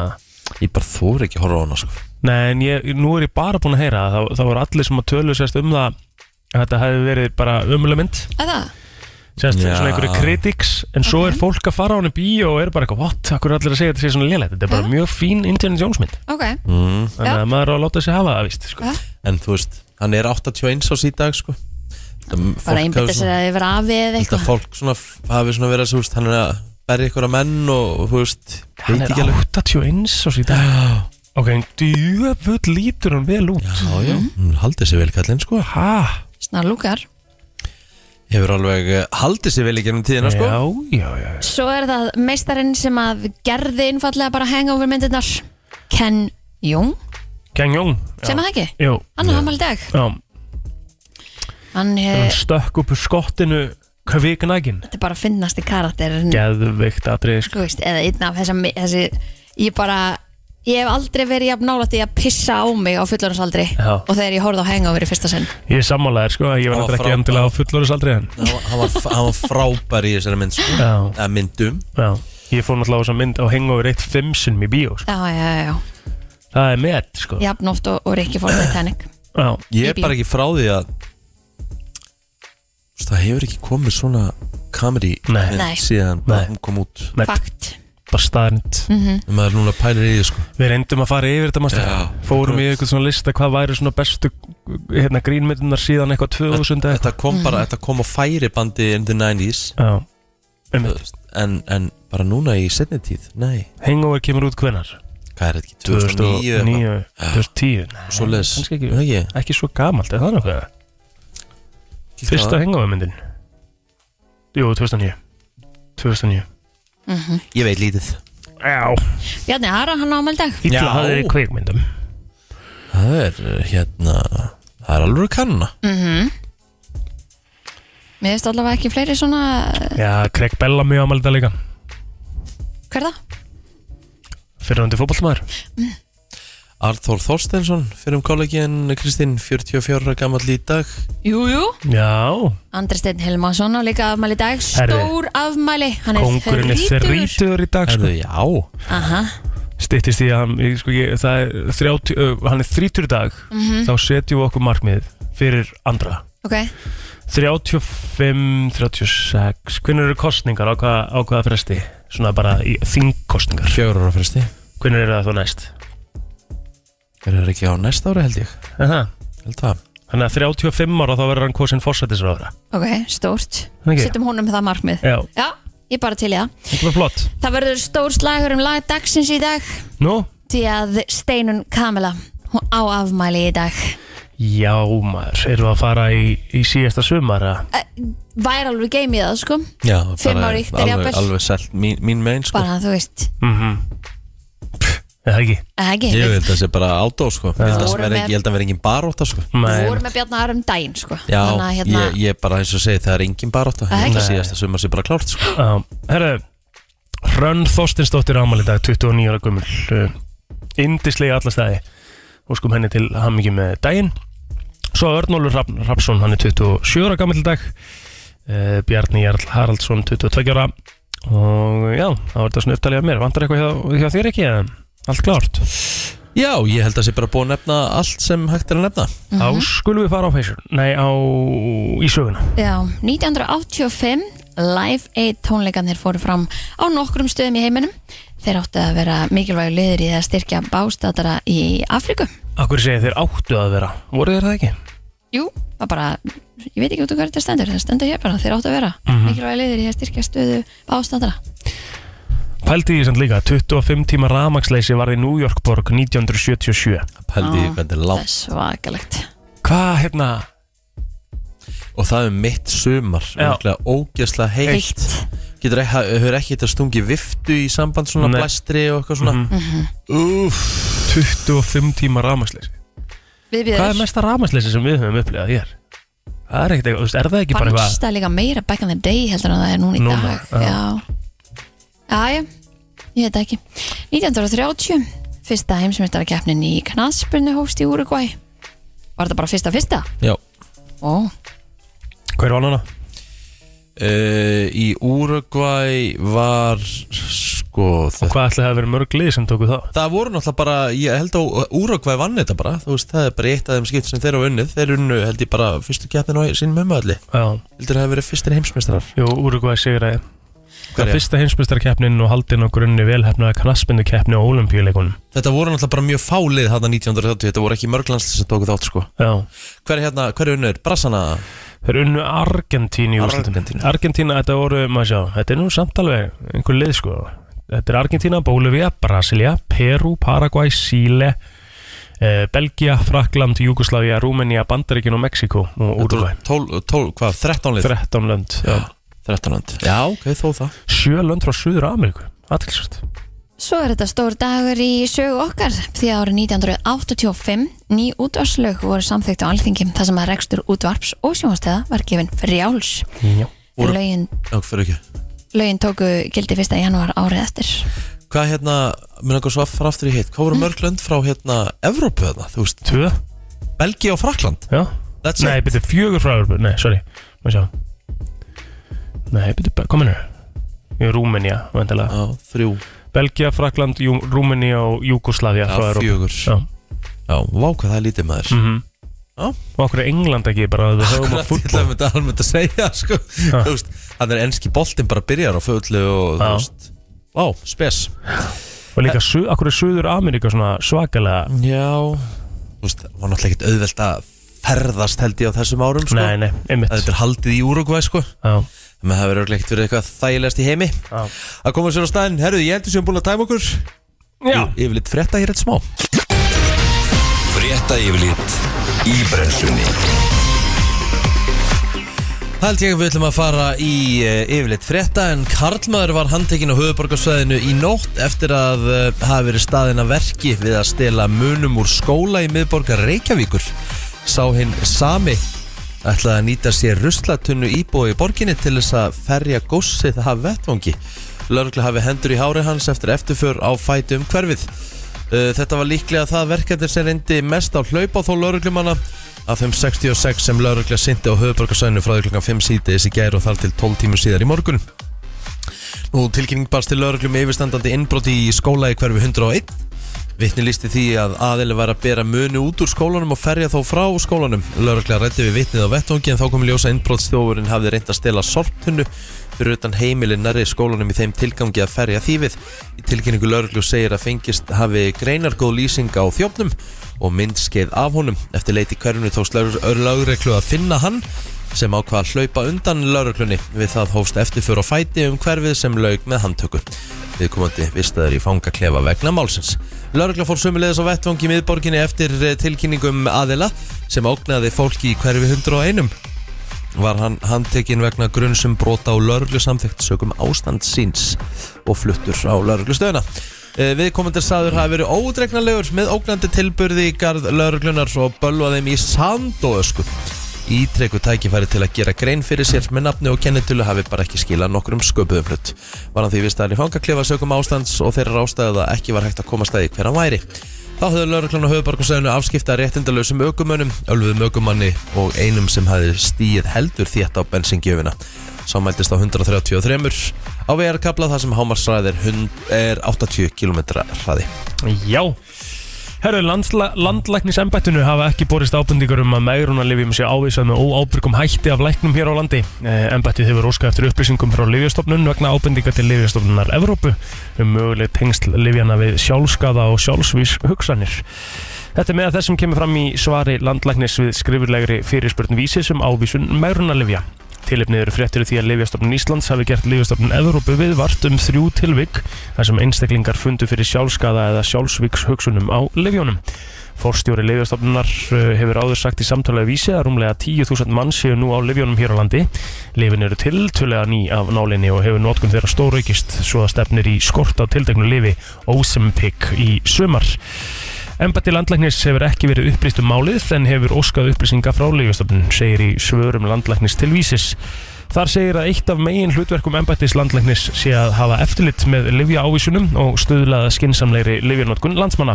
Ég bara þóri ekki að horfa á hana sko.
Nei, en ég, nú er ég bara búin að heyra það Það, það voru allir sem að tölu sérst um það að Þetta hefði verið bara ömuleg mynd
Er það?
Sérst,
Já.
svona einhverju critics En svo er fólk að fara á henni bíó og er bara eitthvað What, akkur er allir að segja þetta sé svona lélegt Þetta er bara mjög fín Indiana Jones mynd
Ok,
Þannig að maður á að láta sig hafa það, víst sko.
Já.
En þú veist, hann er 81 ás í dag sko.
bara einbytta sér að yfir afi eða
Þetta
eitthvað
fólk svona, f- hafi svona verið að þú veist, hann er að berja ykkur að menn og þú veist,
Hann
veit
er
ekki alveg
81 og síðan Ok, en djöfull lítur hann vel út
Já, já, hún haldið sér vel kallinn sko
Hæ?
Svona lúkar
Hefur alveg eh, haldið sér vel í gennum tíðina sko
Já, já, já já.
Svo er það meistarinn sem að gerði innfallega bara hangover myndirnar Ken Jung,
Kang Jong
sem að það ekki
Jú,
Hann er afmæli í dag Eh,
já
Hann
Hann
hefur,
stökk upp úr skottinu Kviknægin
þetta er bara finnast í karakterin
Geðveikt atrið sko.
Þú veist, eða einn af þessa, þessi Ég bara, ég hef aldrei verið jafn nálætt í að pissa á mig á fullorðansaldri
Já.
Og þegar ég horfði á hangover í fyrsta sinn
Ég er sammálaðir sko Ég var
Hann var
náttúrulega ekki
frábær.
endilega á fullorðisaldri en
Hann var- hann var, f- hann var frábær í þessari mynd sko
Já.
Eða myndum
Já Ég fór náttúrulega á þessa mynd á hengover eitt fimm sinnum í bíó sko.
Já, já, já, já,
Það er með sko
jafn oft og, og Rikki fór Titanic
Já,
Ég
Í
er
bíó.
bara ekki frá því að Þú veist, Það hefur ekki komið svona kameri
Nei.
Nei.
síðan
Nei.
hún kom út
Nei.
Fakt
bara staðrind
Mhm.
maður núna pælir í því sko
Við reyndum að fara yfir þetta maður
Já,
Fórum í eitthvað svona lista hvað væri svona bestu hérna, grínmyndunar síðan eitthvað 2000 eða
Þetta kom bara, þetta kom á færibandi in the 90s
eitthvað Já,
þú
einmitt.
veist, en, en bara núna í setni tíð, nei
Hangover kemur út hvenar?
Hvað er þetta ekki, 2009
2009, 2010 Nei,
Svo les,
kannski ekki.
ekki
Ekki svo gamalt, er það náttúrulega? Fyrsta Hangover myndin Jú, 2009 2009
Ég veit lítið
Já,
Bjarni Hara, hann á ámældag
illa
Já.
það er í kveikmyndum
Það er hérna Það er alveg kanna
Mér veist allavega ekki fleiri svona
Já, Craig Bella mjög amalita líka
Hver er það?
Fyrir hundi fótballmaður
Arþór Þorsteinsson, fyrir um kollegin Kristín, 44 ára gamall í dag
Jú, jú
Já,
Andri Steinn Hilmarsson á líka afmæli í dag
Herri.
Stór afmæli Hann er
kongurinn er þrítur í dag sko.
Erðu, já
Aha,
Stittist í að hann, ég, sko, ég, það er 30, uh, hann er þrítur í dag
Mhm.
Þá setjum við okkur markmið fyrir andra
ok
35, 36 Hvernig eru kostningar á hvaða, á hvaða fresti? Svona bara í þingkostningar
Fjögur ára fyrsti
Hvernig eru það þá næst?
Er það ekki á næsta ára held ég
Er það?
Held það
Þannig að 35 ára þá verður hann kosin fórsættisráðara
Ok, stórt
Ok.
Settum honum með það markmið
Já,
Já, ég bara til í það
þetta var flott
Það verður stór slagur um lag dagsins í dag
Nú?
Því að Steinun Kamila Hún á afmæli í dag
Já maður, erum við að fara í, í síðasta sumar að
Eh, Væri alveg game í það sko
Já,
Fimm
bara
ár í yttir,
Alveg,
jafnvel.
alveg selt mín, mín megin sko
Bara þú veist
mm Er það ekki?
eh, ekki,
Ég
Við
held að það sé bara ádó sko Ég held að það
Vorum
vera
með-
ekki- ég held að vera engin baróta sko
vorum með Bjarni Arum daginn sko
Já,
Þannig að hérna
ég, ég bara eins og segi það er engin baróta Ég held að
Nei.
síðasta sumar sé bara klárt sko
Já, herru Hrönn Þorstinsdóttir ámali dag 29 ára eh, gummul Indislega allastæði Óskum henni til hammingi með daginn Svo Örnólfur Hrafn- Hrafnsson Hann er 27 ára gammal dag uh, Bjarni Jarl Haraldsson 22 ára Og já, það var þetta svona upptalið af mér Vandar eitthvað hjá, hjá þér ekki? eða? Allt klárt
Já, ég held að sé bara búið að nefna allt sem hægt er að nefna
Þá skulum við fara á feysur Nei, á í söguna
Já, 1985 Live Aid tónleikarnir fóru fram á nokkrum stöðum í heiminum Þeir áttu að vera mikilvægur liður í að styrkja bástatara í Afríku
Akkur segja þeir áttu að vera Voru þeir það ekki?
Jú, það bara, ég veit ekki út um hvað þetta stendur það stendur hér bara, þeir áttu að vera
Mhm.
mikilvægur liður í að styrkja stöðu bástatara
Pældi því samt líka 25 tíma ramagsleysi var í New York borg 1977
Pældi ég hvernig er
Það
langt
er svakalegt
Hvað hérna
og það er mitt sumar
Já.
Örugglega ógeðslega heitt
Heitt.
getur ekki, hefur ekki þetta stungi viftu í samband svona
Nei. Mhm.
blæstri og eitthvað svona
Mhm.
Úff,
25 tíma ramagsleysi Hvað er
Viðbjöður,
mesta ramagsleysi sem við höfum upplegað hér? Það er ekkert eitthvað, þú veist, er það ekki bara
fannst
eitthvað
það líka meira back in the day heldur en það er núna í
Núna,
dag Já, já, já ég veit það ekki 1930, fyrsta heimsmyndarakeppnin í Knaspurnu hófst í Uruguay Var þetta bara fyrsta fyrsta?
já
Ó,
Hver var núna?
uh, í Uruguay var sko
Og
þetta
hvað ætlaði að vera mörg lið sem tóku þá?
Það voru náttúrulega bara, ég held að Úrugvæ vann þetta bara, þú veist, það er bara eitt af þeim skipt sem þeir hafa unnið, þeir unnu held ég bara fyrstu keppin á sínum umöðli,
Já,
heldur það hafa verið fyrstir heimsmeistrar
jú, Úrugvæði sigraði Það
Hverja?
fyrsta heimsbyrstarkeppnin og haldin á grunni velhæfnaða knassbindukeppni og ólimpíuleikunum
Þetta voru náttúrulega bara mjög fálið þarna 1930, þetta voru ekki mörglandsli sem tóku þátt sko
Já,
Hver er hérna, hver er unnur? Brassana?
þeir unnu Argentínu í úrslitum
Argentínu.
Argentína, þetta voru, maður sjá, þetta er nú samt alveg einhver lið sko Þetta er Argentína, Bolivia, Brasilia, Peru, Paraguay, Síle eh, Belgia, Frakland, Júgoslavia, Rúmenía, Bandaríkin og Mexiko og Úrugvæ
12, 12, hvað, 13 lið?
13 lönd,
Já, 13 land Já, ok, þó það
7 lönd frá Suður Ameríku Aðtilsvært
Svo er þetta stór dagur í sögu okkar því að árið 1985 ný útvarslög voru samþykkt á alþingi þar sem að rekstur útvarps og sjónastæða var gefin frjáls.
Já
Voru-
Lögin,
Já, fyrir ekki
lögin tóku gildi 1. janúar árið eftir.
Hvað hérna, minn okkur svo að fara aftur í hitt Hvað voru mörg lönd frá hérna Evrópu þarna, þú veist,
2,
Belgi og Frakland
já
That's
Nei,
it
byrju, fjögur frá Evrópu, nei, sorry Maður sjá Nei, byrju, komin hér Rúmenía, vandilega
Já, þrjú
Belgia, Frakland, Jú, Rúmenía og Júgoslavia
Já,
frá Evrópu.
fjögur Já,
Já,
vá, hvað það er lítið maður
mhm
Já.
Og okkur er England ekki bara að við höfum að
Akkurat, ég
fútbol
ætlaði að almennt að segja, sko
Já.
Þú veist, hann er enski boltinn bara byrjar á fullu og þú
Já.
veist Vá, spes
Og líka, su, akkur er Suður Ameríka svona svakalega
Já Þú veist, það var náttúrulega ekkert auðvelt að ferðast held ég á þessum árum sko.
Nei, nei,
Að
einmitt
Þetta er haldið í Uruguay sko
Já,
Þannig að það verður örugglega ekkert verið eitthvað þægilegast í heimi
já.
Að koma sér á staðinn, herruðu, ég heldur sem búin að tæma okkur
já.
Ég vil eitt frétta hér eitt smá
Frétta yfirlit í brennslunni
Það held ég að við ætlum að fara í uh, yfirleitt frétta en Karlmaður var handtekinn á höfuborgarsvæðinu í nótt eftir að uh, hafa verið staðin að verki við að stela munum úr skóla í miðborgar Reykjavíkur sá hinn sami ætlaði að nýta sér ruslatunnu íbúi í borginni til þess að ferja góssið af vettvangi Lörgla hafi hendur í hári hans eftir eftirför á fæti um hverfið Uh, Þetta var líklega það verkefni sem reyndi mest á hlaupa þó lauruglumanna af þeim 66 sem laurugla sinti á höfuborgarsvæðinu frá því klukkan 5 síðdeis í gær og þar til 12 tímur síðar í morgun. Nú tilkynning barst til lauruglum yfirstandandi innbroti í skóla í hverfi 101. Vittni lísti því að aðili var að bera muni út úr skólanum og ferja þó frá skólanum. Lörglega rætti við vitnið á vettungi en þá kom í ljósa innbrotstjófurinn hafði reynd að stela sorptunnu fyrir utan heimilin nærri skólanum í þeim tilgangi að ferja þýfið. Í tilkynningu lörglu segir að fengist hafi greinargóð lýsing á þjófnum og myndskeið af honum. Eftir leiti hverjunu tókst lörglu að finna hann sem ákvað að hlaupa undan lauruglunni við það hófst eftirför og fæti um hverfið sem laug með handtöku. Viðkomandi vistaður í fangaklefa vegna málsins. Laurugla fór sömulegðis á vettvangi í miðborginni eftir eh, tilkynningum aðila sem ágnaði fólki í hverfi 101 var hann handtekinn vegna grunnsum brota á lauruglu samþygt sögum ástand síns og fluttur á lauruglu stöðuna. Viðkomendur saður hafi verið ódregnalegur með ógnandi tilburði í garð lauruglunar og bölva þeim í sand og ösku. Ítreku tækifæri til að gera grein fyrir sér með nafni og kennitölu hafi bara ekki skilað nokkrum sköpuðum hlut. Var hann því vistaðan í fangaklefa sögum ástands og þeirra ástæðu að ekki var hægt að komast að því hver hann væri. Þá höfðu lauruglan á höfubarkasæðinu afskipta réttindalösum ökumönnum, ölfuðum ökumanni og einum sem hafði stíið heldur þétt á bensingjöfina. Sá mæltist á 133 á vegarkabla þar sem hámarsræð er, hund- er 80 km hraði.
Já Herru, landsla, landlæknisembættinu hafa ekki borist ábendingar um að megrunarlifjum sé ávísað með óábyrgum hætti af læknum hér á landi. Eh, Embættið hefur óskað eftir upplýsingum frá Livjastofnun vegna ábendingar til Livjastofnunar Evrópu um möguleg tengsl Livjana við sjálfskaða og sjálfsvís hugsanir. Þetta er meða þess sem kemur fram í svari landlæknis við skrifurlegri fyrirspurn vísis um ávísun megrunarlifja. Tilefnið eru fréttir af því að Livjastofnun Íslands hafi gert Livjastofnun Evrópu viðvart um þrjú tilvik þar sem einstaklingar fundu fyrir sjálfskaða eða sjálfsvíks hugsunum á Livjónum. Forstjóri Livjastofnunar hefur áður sagt í samtalið vísi að rúmlega 10.000 mann séu nú á Livjónum hér á landi. Livin eru tiltölega ný af nálinni og hefur nótkunn þeirra stóraukist svo að stefnir í skort á tildegnu Livi Ozempic í sumar. Embætti landlæknis hefur ekki verið upplýst um málið en hefur óskað upplýsinga frá Lífjastofnun, segir í svörum landlæknis til vísis. Þar segir að eitt af megin hlutverkum embættis landlæknis sé að hafa eftirlit með livja ávísunum og stuðlaða skinsamlegri livjarnotkun landsmanna.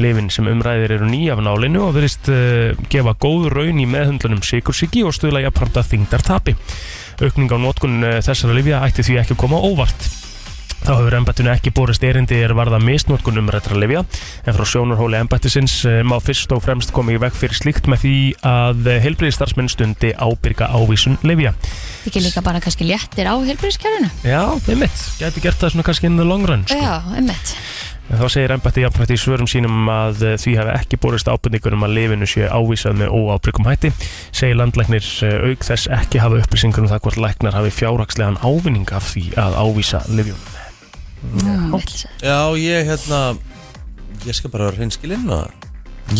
Livin sem umræðir eru nýja af nálinu og verist uh, gefa góð raun í meðhundlunum sikursiki og stuðla jafnframt að þingdartapi. Aukning á notkun eh, þessara livja ætti því ekki að koma á óvart. Þá hefur embættinu ekki borist erindi er varða misnótkun umrættra lifja en frá sjónarhóli embættisins eh, má fyrst og fremst koma í veg fyrir slíkt með því að helbriðstarfsmenn stundi ábyrga ávísun lifja.
Ekki líka bara kannski léttir á helbriðskjörinu
Já, einmitt, gæti gert það svona kannski in the long run sko.
Já, einmitt
En þá segir embætti jafnfrætt í svörum sínum að eh, því hafi ekki borist ábendingur um að lifinu sé ávísað með óábyrgum hætti. Segir landlæknir eh, auk þess ekki hafa upplýsingur um það hvort læknar hafi fjárhagslegan ávinning af því að ávísa lifjum.
mm, vitleysa.
Já, ég hérna, ég skal bara vera hreinskilinn og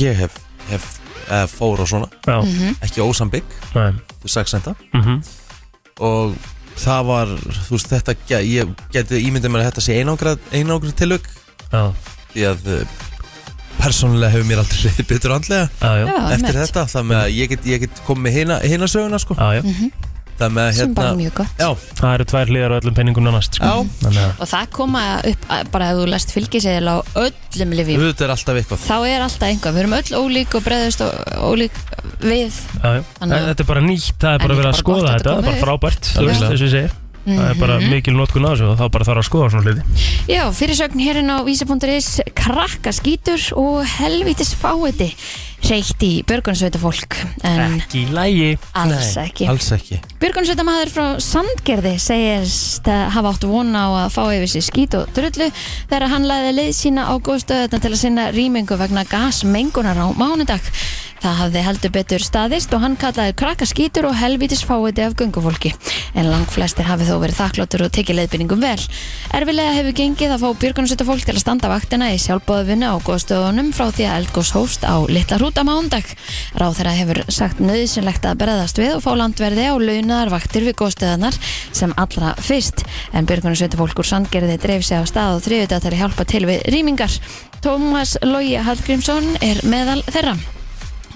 ég hef, hef eða fór og svona,
Já,
Mhm.
ekki ósambygg
næ,
til 6 centa
mhm,
og það var, þú veist, þetta, ge- ég geti ímyndið mér að þetta sé einangrað, einangrað tilug
já,
því að eh, persónulega hefur mér aldrei reyðið betur andlega
já, já.
Já,
eftir
einmitt.
þetta, það með að ég get, ég get komið með hina, hina söguna sko
Já, já,
það með að
Sem bara
hérna
mjög gott
já,
það eru tvær hliðar á öllum penningunum annast sko.
Já.
Þannig að,
Og það koma upp að- bara ef þú lest fylgiseðil á öllum lifjum
auðvitað er alltaf eitthvað
Þá er alltaf einhvað, við erum öll ólík og bregðust og ólík við
já, já.
Þannig að-
Þetta er bara nýtt, það er
En
bara verið að
bara
skoða
gott að
þetta,
þetta
það er bara
komi
frábært
Já.
þú veist, þess að ég segir
Mhm.
Það er bara mikil notkun á þessu og þá bara þarf að skoða svona hluti
Já, fyrirsögn hérinn á vísa.is krakka skítur og helvítis fáiði reykt í björgunsveita fólk en
Ekki í lægi
alls ekki
Eh, Alls ekki
Björgunsveitamaður frá Sandgerði segist að hafa átt vona á að fá yfir sér skít og drullu þegar hann laði leið sína á góðstöðutan til að sinna rýmingu vegna gasmengunar á mánudag. Það hafði heldur betur staðist og hann kallaði krakka skítur og helvítis fáiði af göngufólki. En langflestir hafi þó verið þakkláttur og tekið leiðbynningum vel. Erfilega hefur gengið að fá björgunsveita fólk til að standa vaktina í sjálfbóðvinni á góðstöðunum frá því að eldgós hófst á litla hrúta mándag. Ráðherra hefur sagt nöðsynlegt að breðast við og fá landverði á launaðar vaktir við góðstöðunar sem allra fyrst. En björgunarsveita fólk úr Sandgerði dreif sig á stað og þriðut að þeirri hjálpa til við rýmingar. Tómas Lógi Hallgrímsson er meðal þeirra.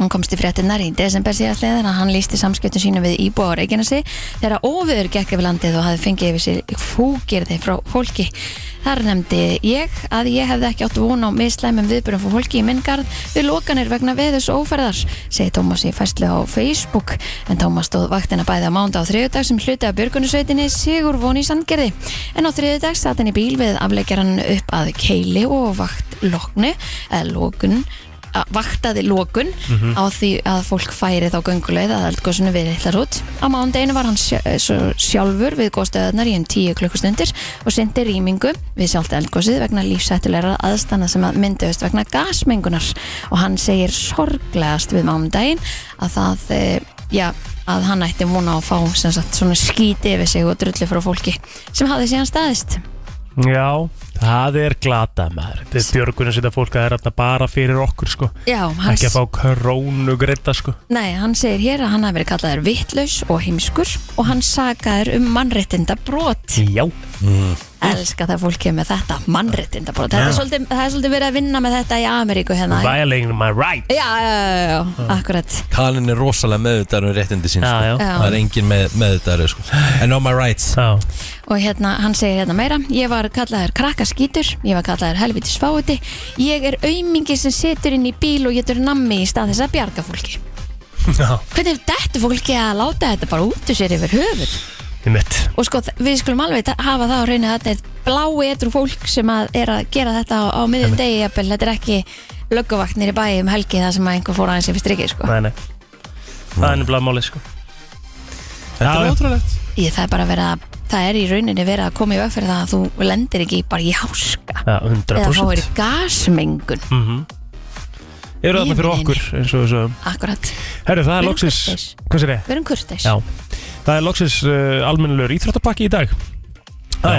Hún komst í fréttinnar í desember síðastliðin að hann lísti samskiptum sínum við íbúa á Reykjanesi þegar óviður gekk yfir landið og hafði fengið yfir sér fúgirði frá fólki. Þar nefndi ég að ég hefði ekki átt von á mislæmum viðbyrjum frá fólki í minn garð við lokanir vegna veðus og óferðar, segi Tómas í fæslu á Facebook, en Tómas stóð vaktina bæði á mánda á þriðudag sem hluti af björgunusveitinni Sigur von í Sandgerði. En á þriðudag satt hann í bíl við afleggjaran upp að keili og vakt loknu, eða lokun, að- vaktaði lokun
Mhm.
á því að fólk færi þá gönguleið að eldgóðsunu við Lillarút. Á mándeginu var hann sjö- eh, svo sjálfur við góðstöðunar í um tíu klukkustundir og syndi rýmingu við sjálft eldgóðsið vegna lífsættulegra aðstana sem að mynduðust vegna gasmengunar og hann segir sorglegast við mándegin að það, eh, já, að hann ætti múna að fá sem sagt svona skíti yfir sig og drullu frá fólki sem hafði síðan staðist.
Já, það er glata maður Þetta er björgunin sem þetta fólk það er þarna bara fyrir okkur sko
Já, hann
Ekki að fá krónu greita sko
Nei, hann segir hér að hann hafi verið kallaður vittlaus og heimskur og hann sakaður um mannréttinda brot.
Já
Elska það fólk kemur með þetta, mannréttinda brot. Það er svolítið, það er svolítið verið að vinna með þetta í Ameríku hérna.
Violating my right
Já, já, já, já, já, akkurat.
Kalin er rosalega meðvitaður um réttindi sín
Já,
sko.
já
Já.
Það er engin með, meðvitaður sko. And on my rights
Já,
Og hérna, hann segir hérna meira, ég var kallaður krakkaskítur, ég var kallaður helvitis fáuti, ég er aumingi sem setur inn í bíl og getur nammi í stað þess að bjarga fólki.
já,
Hvernig dettur fólki að láta þetta bara út úr sér yfir höfuð?
þið mitt
og sko þ- við skulum alveg ta- hafa það á reynu að þetta er blái etru fólk sem að er að gera þetta á, á miðjum degi jafnvel, þetta er ekki lögguvaknir í bæi um helgi þar sem að einhver fór aðeins yfir strikið sko.
Nei, nei Það er nefnilega málið sko
Þetta
Já, já.
er ótrúlegt
ég, það er bara verið að það er í rauninni verið að koma í veg fyrir það að þú lendir ekki bara í háska
Já,
eða fáir
100%
í gasmengun
mm Eru þarna fyrir
Lífið
okkur eins og þessu
akkurat,
Herru, það er
Fyrir
loksins
kurteis.
Hvað sér ég?
við erum kurteis
Já Það er loksins uh, almennilegur íþróttapakki í dag Það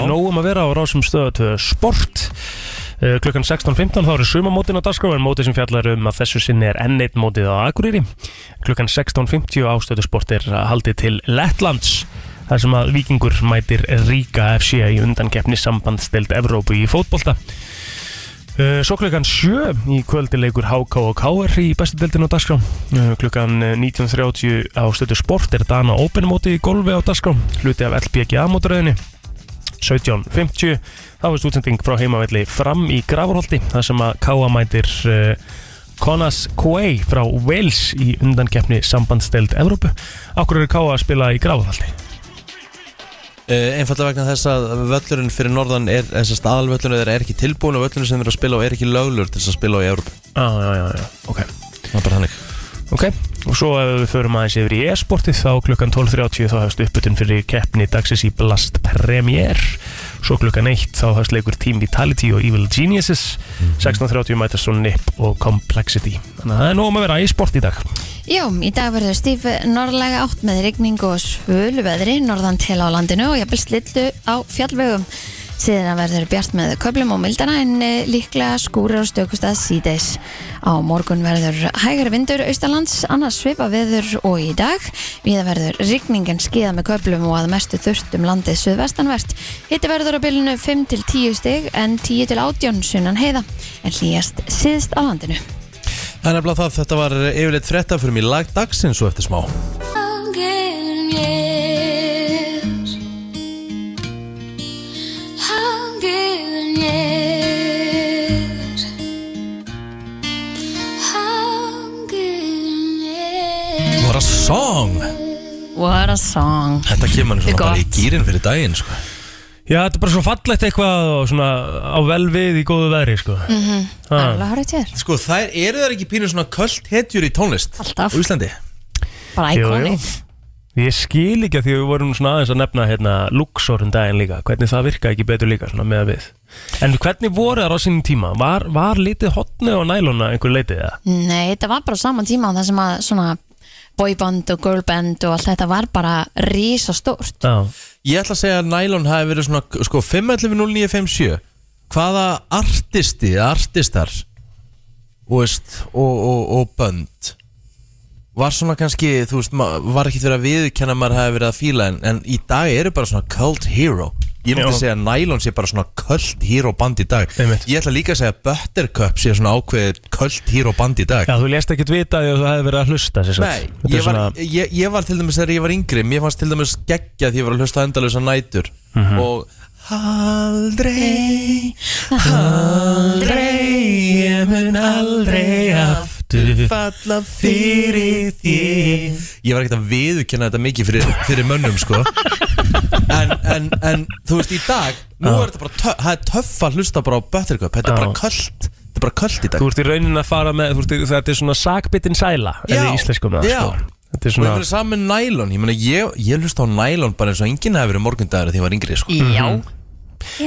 Já.
er nóg um að vera á rásum stöðu til sport uh, Klukkan 16.15 þá eru sumamótin á dagskrá En mótið sem fjallar um að þessu sinni er N1 mótið á Akureyri Klukkan 16.50 ástöðu sport er haldið til Lettlands þar sem að vikingur mætir Ríka FC í undankeppni sambandsdelt Evrópu í fótbolta Uh, Svo klukkan 7 í kvöldi leikur HK og KR í bestu deildin á dagskrá Uh, Klukkan uh, 19.30 á stöðu sport er Dana Open móti í golfi á dagskrá Hluti af LPGA mótröðinni 17.50 Þá er stúdsending frá heimavelli fram í Gravarholti þar sem að KA mætir uh, Conas Quay frá Wales í undankeppni sambandsdeild Evrópu Akkur eru KA að spila í Gravarholti
Uh, einfallega vegna þess að völlurinn fyrir norðan er, þessast aðalvöllurinn þeirra er ekki tilbúin og völlurinn sem þeir eru að spila á er ekki löglur til þess að spila á í Európa
Já, Ah, já, já, já, ok
það er bara þannig
Ok, og svo ef við förum aðeins yfir í e-sportið þá klukkan 12.30 þá hefst uppbytun fyrir keppni dagsins í Blast Premier svo klukkan 1 þá hefst leikur Team Vitality og Evil Geniuses 16.30 mætast svo Nip og Complexity þannig að það er nóg um að vera e-sport í dag
Já, í dag verður stíf norðlega átt með rigning og svöluveðri norðan til á landinu og jafnvel slillu á fjallvegum. Síðan verður bjart með köflum og mildana en eh, líklega skúrir og stökustað síðdeis. Á morgun verður hægari vindur austalands, annars svipa veður og í dag. Viða verður rigningin skíða með köflum og að mestu þurft um landið suðvestanvert. Hitti verður á bylunu 5 til 10 stig en 10 til 18 sunnan heiða en hlýjast síðst á landinu.
Það er nefnilega það, þetta var yfirleitt frétta fyrir mig lag dagsins og eftir smá What a song!
What a song!
Þetta kemur hann
Þetta
svona
er
bara í
gott.
gýrin fyrir daginn sko.
Já, þetta er bara svo fallegt eitthvað og svona á vel við í góðu veðri, sko. Mm
Alveg horrið til þér
Sko, þær eru þær ekki pínu svona kvöld hetjur í tónlist
Alltaf.
Á Íslandi
Bara
Jú,
íkóni
Ég skil ekki að því að við vorum svona aðeins að nefna hérna Luxor um daginn líka, hvernig það virka ekki betur líka svona með að við. En hvernig voru það á sínum tíma? Var, var litið hotni og næluna einhver leitið það?
Nei, þetta var bara á saman tíma Það sem að svona boyband og girlband og allt þetta var bara risastórt
Já.
Ég ætla að segja að nælon hafi verið svona sko, 511-0957 Hvaða artisti, artistar þú veist, og, og, og bönd var svona kannski, þú veist, ma- var ekkert verið að viðkenna maður hafi verið að fíla en, en í dag eru bara svona cult hero Ég myndi
Já.
segja að nælon sé bara svona cult hero band í dag
Einmitt.
Ég ætla líka að segja að Buttercup sé svona ákveðið cult hero band í dag
Já, þú lést ekkert vita því að þú hefði verið að hlusta sér
Nei, ég var, ég, ég var til dæmis þegar ég var yngri Mér fannst til dæmis geggja því ég var að hlusta endalösa nætur Og Aldrei, aldrei Ég mun aldrei aftur falla fyrir því Ég var ekkert að viðkynna þetta mikið fyrir, fyrir mönnum sko en, en, en þú veist í dag Nú er þetta bara töff, það er töff að hlusta bara á Buttercup Þetta er bara
Já.
köld Þetta er bara köld í dag
Þú ert í raunin að fara með, þú ert, í- þetta er svona sakbittin sæla,
Já.
eða í íslenskum það,
Já.
sko. Þetta
Og
er
ég
svona,
verið saman með nælon Ég meina, ég, ég hlusta á nælon bara eins og enginn hafi verið morgundagur þegar ég var yngri, sko
Já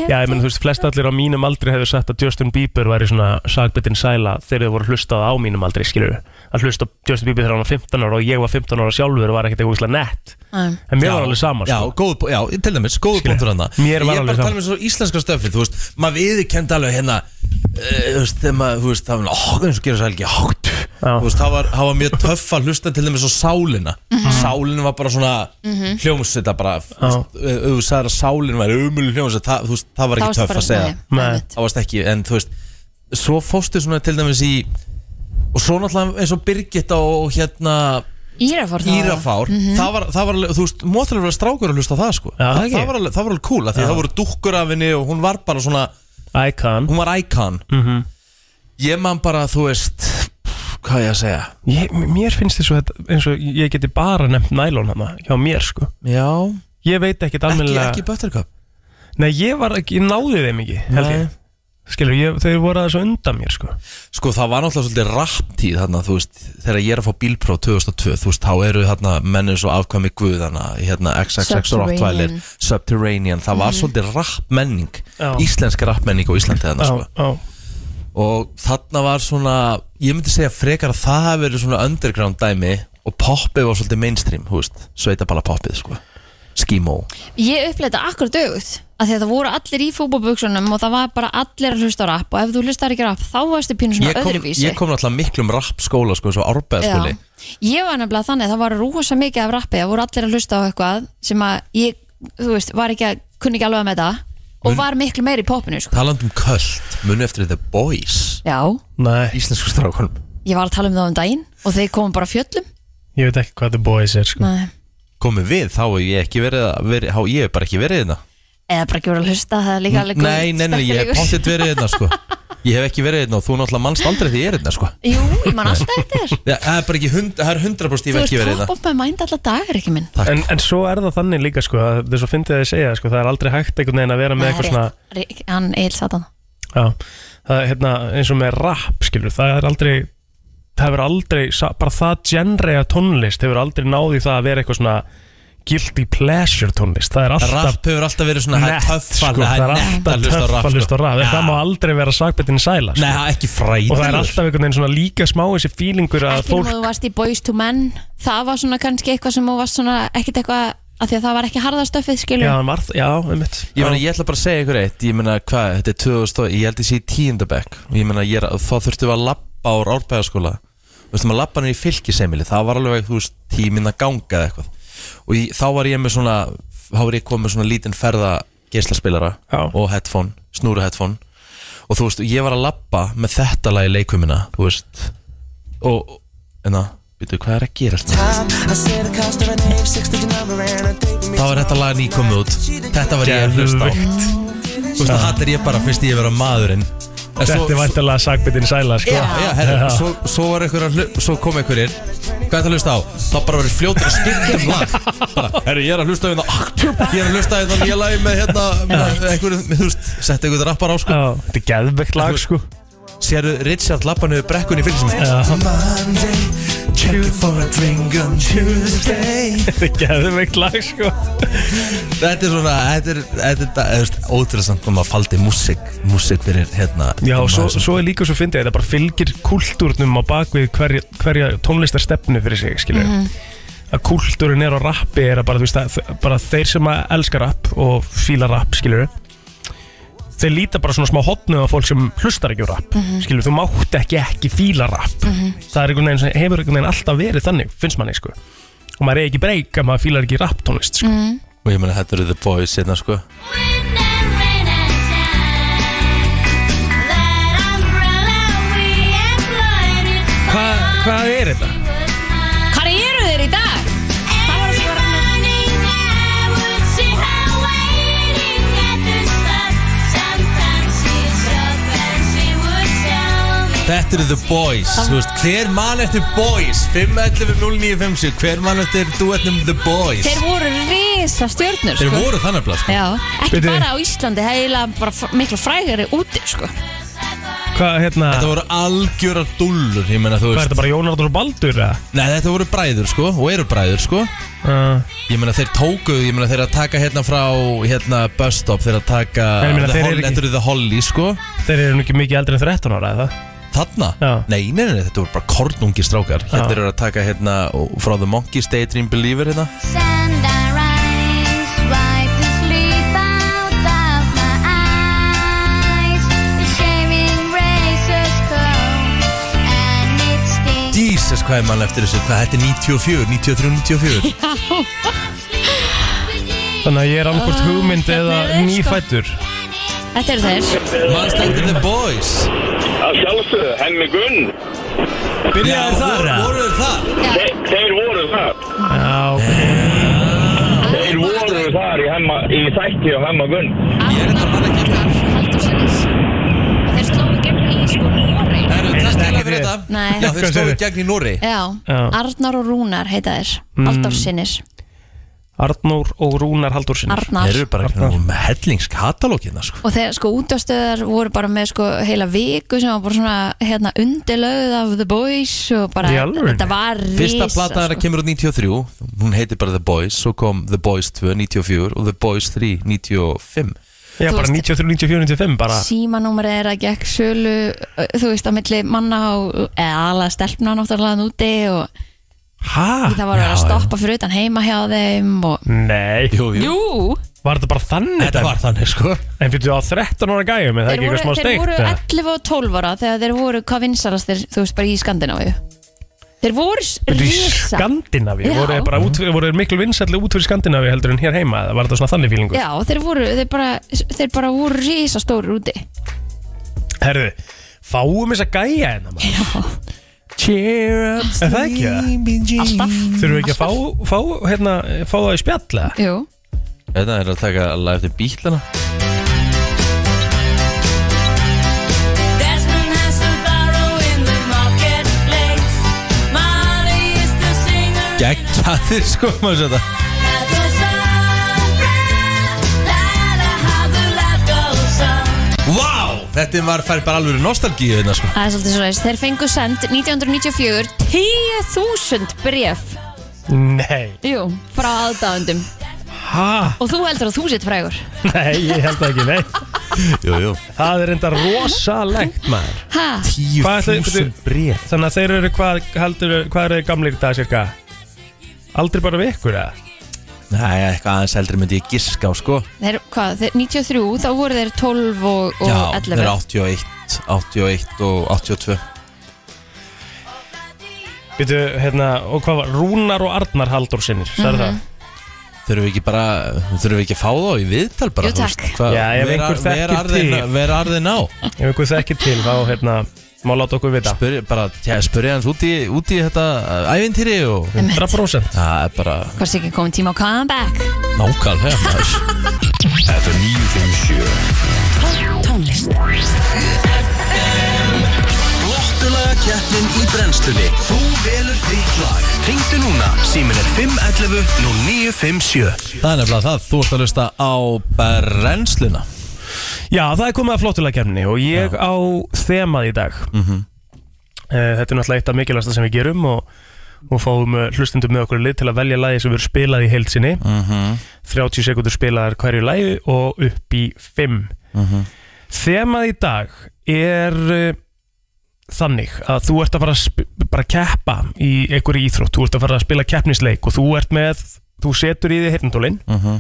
já, ég menn, þú veist, flest allir á mínum aldri hefur sagt að Justin Bieber væri svona sakbittin sæla þegar þau voru hlustað á mínum aldri, skilur Að hlusta á Justin Bieber þegar hann var 15 ára og ég var 15 ára sjálfur var ekkert eitthvað úslega nett.
Æ.
En mér var alveg sama,
Já,
sko.
góð, po- já til dæmis, góð punktur hann
Mér var
Ég er
alveg
bara að
sama.
tala með svo íslenska stöfið, þú veist Maður viðkend alveg hérna eh, Þú veist, þegar maður, þú veist, það var Ó, eins og gera sæl ekki, hátt
Já.
Þú veist, það var, það var mjög töff að hlusta til dæmis á sálina
Mhm.
Sálin var bara svona mm -hmm. Hljómsveita bara þú veist, eh, Ef þú sagðir að sálin væri umul hljómsveit það, þú veist, það var
Þá
ekki
varstu
töff
bara
að segja
nei,
Nei.
einmitt.
það varst ekki en þú veist, svo fóstu svona til dæmis í og svo náttúrulega eins og Birgitta og hérna
Írafór þá
Írafár, það, var, það var alveg, þú veist, mótilega verið strákur að hlusta á það sko
Mhm. Já,
það,
ekki.
það, var alveg, það var alveg cool, af því það voru dúkkur af henni og hún var bara svona,
Icon.
hún var icon
Mhm.
ég man bara, þú veist hvað á ég að segja
Ég, mér finnst þess að eins og ég geti bara nefnt nælón hana hjá mér sko
já,
Ég veit ekkert
ekki,
almennilega
ekki Buttercup
Nei, ég var ekki, ég náði þeim ekki, held
Nei.
ég Skilur, ég, þeir voru aðeins að undan mér sko
sko það var náttúrulega svolítið rapptíð þarna, þú veist, þegar ég er að fá bílpróf 2002, þú veist, þá eru þarna mennir svo afkvæmi guð þarna, hérna XXX og Rottweiler,
Subterranean. Mm.
Subterranean það var svolítið rappmenning
Já.
íslensk rappmenning á Íslandi þarna, sko.
á
og þarna var svona ég myndi segja frekar að það hafi verið svona underground dæmi og poppið var svolítið mainstream, þú veist, sveitabala poppið sko, skímó
Ég uppleita akkur dögut að því að það voru allir í fútbolbuksunum og það var bara allir að hlusta á rap og ef þú hlustar ekki á rap þá varstu pínu svona
ég kom,
öðruvísi
ég kom náttúrulega miklum rapp skóla sko, eins og árbeða
Já. Ég var nefnilega þannig að það var rosa mikið af rappi það voru allir að hlusta á eitthvað sem að ég, þú veist, var ekki að kunni ekki alveg að með það og var miklu meiri í popinu sko.
taland um köld, munu eftir The Boys
Já,
Nei,
íslensku strákunum
ég var að tala um það um daginn og þeir komum bara af fjöllum
ég veit ekki hvað The Boys er sko
Mm.
Nei.
komið við, þá hef ég ekki verið, að- verið þá ég hef bara ekki verið hérna
eða bara ekki voru að hlusta það er líka alveg góð
nei, nei, nei, ég hef
stelpuleikur.
pottitt verið hérna sko ég hef ekki verið hérna og þú náttúrulega mannst aldrei því ég er hérna sko
Jú, ég man alltaf eftir þér.
Já, það er bara ekki hund, það er 100% ég
Þú
hef ekki verið
ert
hérna
topp of my mind alla dagar ekki minn
en, en svo er það þannig líka sko að það er svo fyndið að ég segja sko, það er aldrei hægt einhvern veginn að vera með
Nei,
eitthvað svona
rétt. Rik- Hann eil satan
Já, það er hérna eins og með rap skilur, það er aldrei það hefur aldrei, sa- bara það genre af tónlist hefur aldrei náði það að vera eitthvað svona guilty pleasure tónlist það er alltaf
Rapp hefur alltaf verið svona það er
nett
töff
sko,
alveg,
það er
nett
alltaf
að hlusta á
töff
rapp,
að hlusta á
sko.
rap en
Já.
það má aldrei vera sakbettin sæla
Nei,
sko.
það er ekki fræð
og það er alltaf einhvern veginn svona líka smá þessi fílingur að
Ekki
fólk
fólk... þú varst í Boys to Men Það var svona kannski eitthvað sem þú varst svona ekkit eitthvað að því að það var ekki harðastöfið skilur
já, var, já, einmitt
Ég, meina, ég ætla bara að segja ykkur eitt Ég meina, hvað, þetta er 2000 og- Ég held ég sé í tíundabæk Ég meina, ég er, þá þurftum við að lappa á árbæðaskóla Þú veistum að lappa niður í fylkisemili Það var alveg, þú veist, tíminn að ganga eða eitthvað Og ég, þá var ég með svona Þá var ég komið með svona lítinn ferða Geislaspilara
Já.
og headphone Snúru headphone Og þú veist, ég var að lappa með þetta lag í leikumina Þú veist Og, en það, veitu, hvað er að gera Það var þetta lag nýkomið út Þetta var ég að hlusta á
Geðveikt.
Þú veist að hatt er ég bara fyrst ég vera maðurinn
Þetta er væntalega sagbyttin sæla sko.
Já, já, herru, svo, svo var einhver að hlu- svo kom einhverjir Hvað er það að hlusta á? Það bara verið fljótur að skipta um lag bara, Herru, ég er að hlusta á hérna Ég er að hlusta á hérna nýja lagi með hérna með einhverju, með, þú veist, sett einhverju rappar á sko
Já, Þetta er geðveikt lag sko.
Sérðu Richard lappa niður brekkun í fylgisum
Já.
Monday, check you for a drink on Tuesday
Þetta er geðveikt lag sko.
Þetta er svona, þetta er, þetta er, þetta er, þetta er ótrúlega samt hvað maður faldi músik, músik fyrir hérna
Já, og svo,
maður sem-
svo er líka svo fyndið að Þetta bara fylgir kultúrnum á bakvið hverja, hverja tónlistarstefnu fyrir sig skilur Að kultúrin er á rappi er að bara, þú veist, að, bara þeir sem að elska rapp og fíla rapp skilur Þeir líta bara svona smá hotnuð á fólk sem hlustar ekki á rapp Skilur, þú mátt ekki ekki fíla rapp Það er einhvern veginn sem hefur einhvern veginn alltaf verið þannig, finnst manni sko Og maður er ekki breyk að maður fílar ekki rapp tónlist sko.
Og ég meina, þetta eru The Boys hérna sko
Hva, Hvað er þetta?
Hvar eru þeir í dag?
Þetta eru The Boys, þú veist, hver mann eftir Boys? 5.11.09.50, hver mann eftir duetnum The Boys?
Þeir voru risa stjörnur
Þeir
sko.
voru þannig að sko.
Já, ekki
Bíddu.
bara á Íslandi, það er eiginlega bara fr- miklu frægari úti sko.
Hvað, hérna,
Þetta voru algjörar dullur, ég meina, þú
hvað er
veist.
þetta bara Jónardur og Baldur? eða?
Nei, þetta voru bræður, sko, og eru bræður, sko.
Uh,
Ég meina, þeir tóku, ég meina, þeir að taka hérna frá, hérna, Bus Stop, þeir að taka...
Nei, ég meina,
The
þeir eru
Holly-
ekki-
Þetta eru The Holly, sko.
Þeir eru nú ekki mikið eldri en 13 ára eða?
Þarna?
Já.
Nei, nei, nei, þetta voru bara kornungi strákar.
Já.
Hérna eru að taka, hérna, og- frá The Monkeys, Daydream Believer, hérna. Jesus, hvað er mann eftir þessu? Hvað, þetta er 94, 93, 94?
Þannig að ég er annarkvort
Ah,
hugmynd
hérna
eða
er þeir, sko.
nýfættur
Þetta eru þeir
Manst eftir The Boys?
Að sjálfsögðu, Hemmi Gunn,
Byrjaði þar
voru,
eða?
voru þeir þar?
Þe, þeir voru þar.
Já, ok.
Þeir voru þar í, hemma, í þætti á Hemma Gunn.
Ég er þetta mann Hérna, ekki
Arnar Halldórssonis Og þeir slóðu gegn í sko Nóri
Herru, takk hérna fyrir þetta
Nei.
Já, þeir
Hvað
stóðu
segirðu?
gegn í Nóri
Já,
Já. Mm.
Arnar og Rúnar heita þeir Halldórssonis,
Arnór og Rúnar Halldórsson
Arnar
bara ekki nú með hellingskatalóginna sko.
Og þegar sko útastöðar voru bara með sko heila viku sem var bara svona hérna undirlöð af The Boys og bara
Í alvörunni?
þetta var risa sko,
Fyrsta plata hennar kemur út 93 Hún heitir bara The Boys Svo kom The Boys 2 94 og The Boys 3 95
Já,
Þú
bara
veist-
93, 94, 95 bara
símanúmerið er að gekk sölu uh, þú veist, á milli manna og eða alveg stelpna náttúrulega þarna úti og
Hæ?
það var að vera að stoppa fyrir utan heima hjá þeim og
Nei,
Jú, jú
Jú,
var þetta bara þannig? dæmi?
þannig sko
En fyrir þú á 13 ára gæjum, er það
þeir
ekki
voru,
eitthvað smá
þeir
steikt?
voru
eða?
11 og 12 ára þegar þeir voru hvað vinsalastir, þú veist, bara í Skandinavíu Þeir voru s-
Þetta í
risa
Skandinavi,
Já.
voru þeir bara út, voru þeir miklu vinsætli út fyrir Skandinavi heldur en hér heima, eða var þetta svona þannig fílingu?
Já, þeir voru, þeir bara, þeir bara voru risa stóri úti
Herðu, fáum þess að gæja hérna maður.
Já,
Cheer up, er það ekki það?
alltaf
Þurfum við ekki að fá, fá, hérna, fá það í spjalla?
Jú,
Þetta er að taka lag eftir bílana Gekkjaðir sko maður sér þetta. Vá, þetta var fær bara alveg nostalgíu hérna sko
það er svolítið svo Þeir fengu send 1994 10.000 bref
Nei,
Jú, frá aðdáðundum
hæ?
Og þú heldur að þú sitt frægur
Nei, ég held það ekki, nei
Jú, jú
Það er enda rosalegt maður
Ha?
Hvað ætlaði-
bref
Þannig að þeir eru hvað, heldur, hvað eru þeir gamlir í dag cirka? Aldrei bara við ykkur eða?
Nei, eitthvað aðeins eldri myndi ég giska á sko
Þeir, hvað, þeir, 93, þá voru þeir 12 og, og
Já, þeir
11
eru 81, 81 og 82
Býtu, hérna, og hvað var, Rúnar og Arnar Halldórsinnir, sagði það?
Þurfum við ekki bara, þurfum við ekki að fá þá í viðtal bara
Jú, takk.
hvað,
Já, ef einhver þekkir til.
Ver arðin á
Ef ykkur þekkir til, þá hérna, má láta okkur vita
Spurja, bara, já, spurja hans út í, út í þetta uh, ævintýri og
100%
Það er bara
Hvort sé ekki komin tíma á comeback
nákvæmlega maður.
FM 957
Tónlist
brennslunni Þú velur þitt lag Ringdu núna, símin er 511 0957
Það er nefnilega það, þú ert að hlusta á brennsluna
Já, það er komið að flottulega kemni og ég á þemað í dag Eh, Þetta er náttúrulega eitt af mikilvægsta sem við gerum og, og fáum eh, hlustendum með okkur í lið til að velja lagi sem verður spilað í heild sinni 30 sekundur spilaðar hverju lagi og upp í 5 Þemað í dag er eh, þannig að þú ert að fara að sp- bara að keppa í einhverju íþrótt, þú ert að fara að spila keppnisleik og þú ert með, þú setur í því hirndólin
Mhm,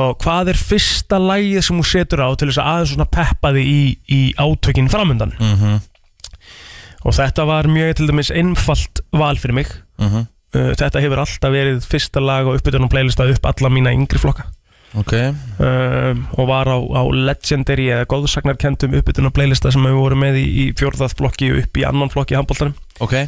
og hvað er fyrsta lægið sem hún setur á til þess að aðeins svona peppa þig í, í átökin framöndan
mhm,
og þetta var mjög til dæmis einfalt val fyrir mig
mhm.
uh, þetta hefur alltaf verið fyrsta lag og uppbytun og playlista upp alla mína yngri flokka
Ok,
um, og var á, á legendary eða góðsagnarkendum uppbytun og playlista sem við vorum með í, í fjórðað flokki og upp í annan flokki í handbóltanum
ok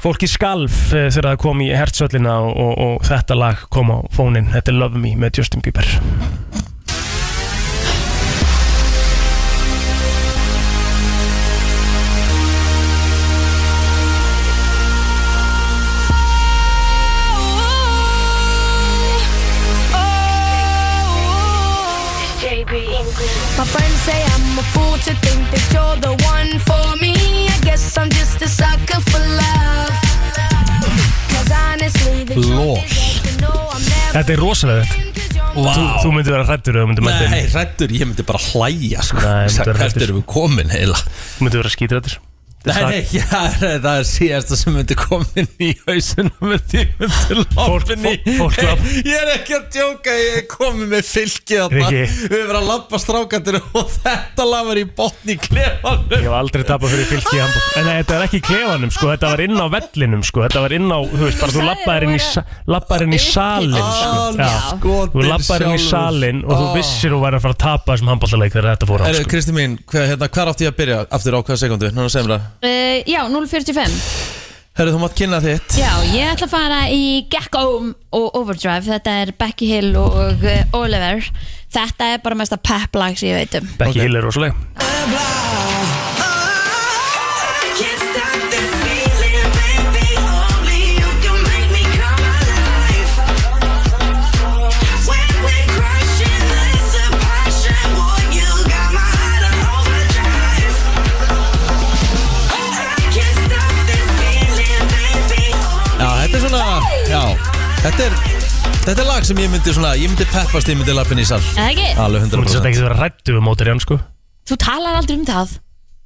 Fólki skalf eh, þegar það kom í hertsöllina og, og, og þetta lag kom á fónin Þetta er Love Me með Justin Bieber
My friends say I'm a fool to think that you're the one for me. I guess I'm just a sucker for love. 'Cause honestly, the truth is that you know I'm never
Þetta er rosalega þetta
in 'cause you're
Þú, þú myndir vera hrættur eða myndir mæta
Nei,
inn
hrættur, ég myndi bara hlæja sko.
Nei, ég myndi vera
Hvert
hræddur.
erum við komin heila
Þú myndir vera skítrættur
Nei, nei, já, það er síðasta sem myndi komin í hausinu með því myndi lopin í
fólk- fólk lapp.
Ég er ekki að djóka, ég er komin með fylki þarna
Riki.
Við erum að lappa strákandir og þetta lafar í botn í klefanum
Ég hef aldrei tapað fyrir fylki í handbók En nei, þetta var ekki í klefanum sko, þetta var inn á vellinum sko Þetta var inn á, þú veist, bara þú lappaðir inn í, sa labbaðir inn í salin sko. Já. Þú lappaðir inn í salin og þú vissir þú væri að fara að tapa þessum handbóltaleik þegar þetta fór á
Erðu,
sko.
Kristi mín, hvað, hérna, hvað átti ég að byrja aftur á hvaða sekundu? Núna sem það
Uh, já, 045
Herðu, þú mátt kynna þitt
Já, ég ætla að fara í Gecko og Overdrive Þetta er Becky Hill og eh, Oliver Þetta er bara mesta pep-lag sem ég veit um
Becky Hill er rosaleg
Já, þetta er svona, já, þetta er, þetta er lag sem ég myndi svona, ég myndi peppast, ég myndi lappin í sal
Eða ekki?
Alveg
Þú myndir þetta
100%
ekki vera hrættur um mótir hann sko
Þú talar aldrei um það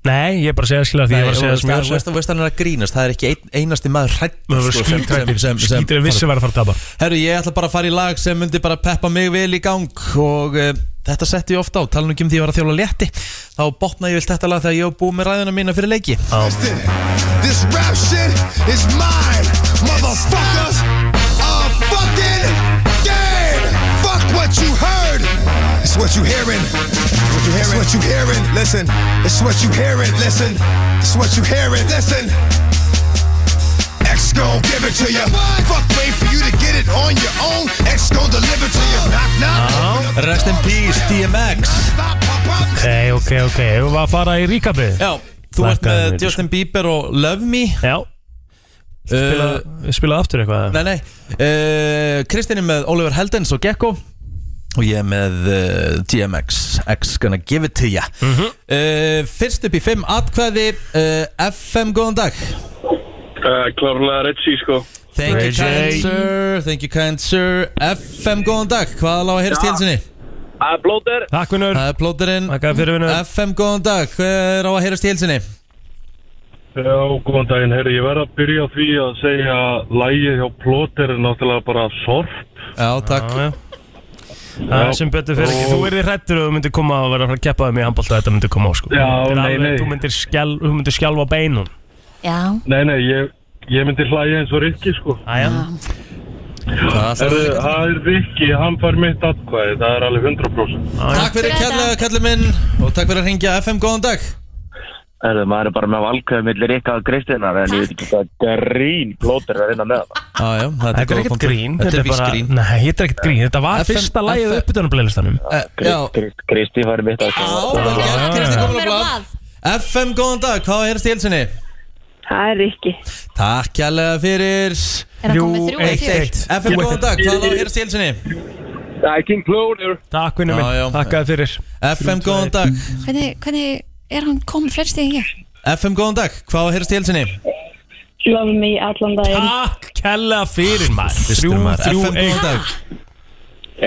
Nei, ég er bara að segja skilja því ég var að segja það sem ég var að segja
Þú veist hann er að grínast, það er ekki ein, einasti maður sko,
Maður
hrætt
verður skítrættur, skítrættur vissi að vera að fara að tapa
Herru, ég ætla bara að fara í lag sem myndi bara peppa mig vel í gang og uh, þetta setti ég ofta á, tala nú ekki um því ég var að þjóla létti þá botna ég vilt þetta lag þegar ég var búið með ræðuna mína fyrir leiki
Ah.
This rap shit is mine, motherfuckers. A fucking game. Fuck what you heard. It's what you hearing. It's what you hearing. Listen. It's what you hearing. Listen. It's what you hearing. Listen. X gon' give it to you. Fuck wait for you to get it on your own. X gon' deliver to you. Knock knock.
Rest in peace, DMX
Pop pop pop.
Ok, ok, ok, við varum að fara í ríkabið
Já, þú ert
Þakkaði
með
mér,
Justin Bieber og Love Me
Já, spila,
uh,
spila aftur eitthvað
Nei, nei uh, Kristinn er með Oliver Heldens og Gekko Og ég er með uh, DMX X gonna give it to ya
Mhm.
uh, Fyrst upp í 5 atkvæði uh, FM, góðan dag
Uh, Klárlega Reggie, sko.
Thank you
Ray J.
kind sir Thank you kind sir FM, góðan dag Hvað lág að heyrst
Já.
til sinni?
Það er blóter.
Takk vinnur,
Það er plóterinn
takk að fyrir vinnur
FM, góðan dag Hvað er á að heyrst til sinni?
Já, góðan daginn, herri. Ég verð að byrja á því að segja að lægið hjá blóter er náttúrulega bara sorp.
Já, takk
Já, já. Það er sem betur fyrir ekki, þú erði hrættur og þú myndir koma að vera að fara að keppa um í handbólta Þetta myndir koma á sko
Já,
Þetta er
nei,
alveg-
nei.
Þú myndir, skjál, þú myndir skjálfa beinum
Já,
Nei, nei, ég, ég myndi hlæja eins og Rikki, sko.
Æja,
Herri, það er Rikki, hann fær mitt atkvæði. Það er alveg 100%.
Takk fyrir
fyrir
kjallega, kallið minn Og takk fyrir að hringja FM, góðan dag
Herðu, maður er bara með valkvæðum millir ykkar og Kristinar en ég veit ekki hvað grín blótur er innan með það.
Já, já, þetta
þetta er
góð
ekkert
punktur.
grín
Þetta er víst
bara-
grín
Nei, þetta er ekkert grín, þetta var
FM
fyrsta lagið uppbytunarbleilistanum
Eh, Já,
Krist- Kristi fær mitt að
Já, vel gert, Kristi komin á
Komin á
blad FM, góðan dag, hvað er stílsinni?
Það er ekki.
Takk kjærlega fyrir
Er hann komið þrjú eða fjögur?
FM, góðan dag, hvað lág að heyrast í helsinni?
Það er King Cloner
Takk vinnu
Já, já.
minn, takkaði fyrir
FM, góðan dag
Hvernig, hvernig er hann komið flerst en ég?
FM, góðan dag, hvað á að heyrast í helsinni?
Love me allan daginn.
Takk kella fyrir maður
Þrjú,
Þrjú, þrjú,
FM,
eitt
góðan dag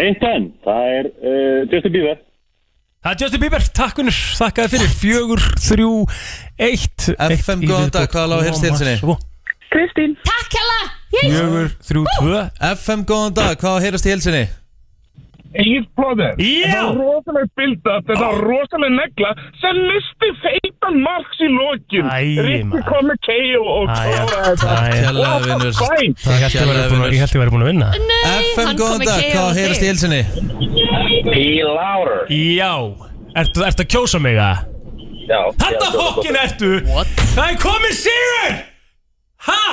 Eitt enn, það er uh, Justin Bieber
Það er Justin Bieber, takk vinnur, þakkaði fyrir Fjögur, þrjú, eitt
FM, góðan dag, hvað lág að heyrast í helsinni?
Kristín.
Takk hella!
Fjögur, þrjú, tvö
FM, góðan dag, hvað á að heyrast í helsinni?
Egil Plóter
Já,
rosaleg bilda, þetta oh. rosaleg negla sem misti feitan marks í lokin
Æi, Rikki maður. kom
með KO og
Æja, æja
Kjærlega vinnur
Ég
Takk
held ég
kjærlega
væri búin- ég
vinnur
held ég væri búin að vinna
FM,
hann kom
góðan
með
dag,
KO
hvað á
og
að heyrast í
þig.
helsinni?
P. Lauder
Já, ertu ertu að kjósa mig að?
Já
Þetta fokkin ertu Það er komin sigur Ha?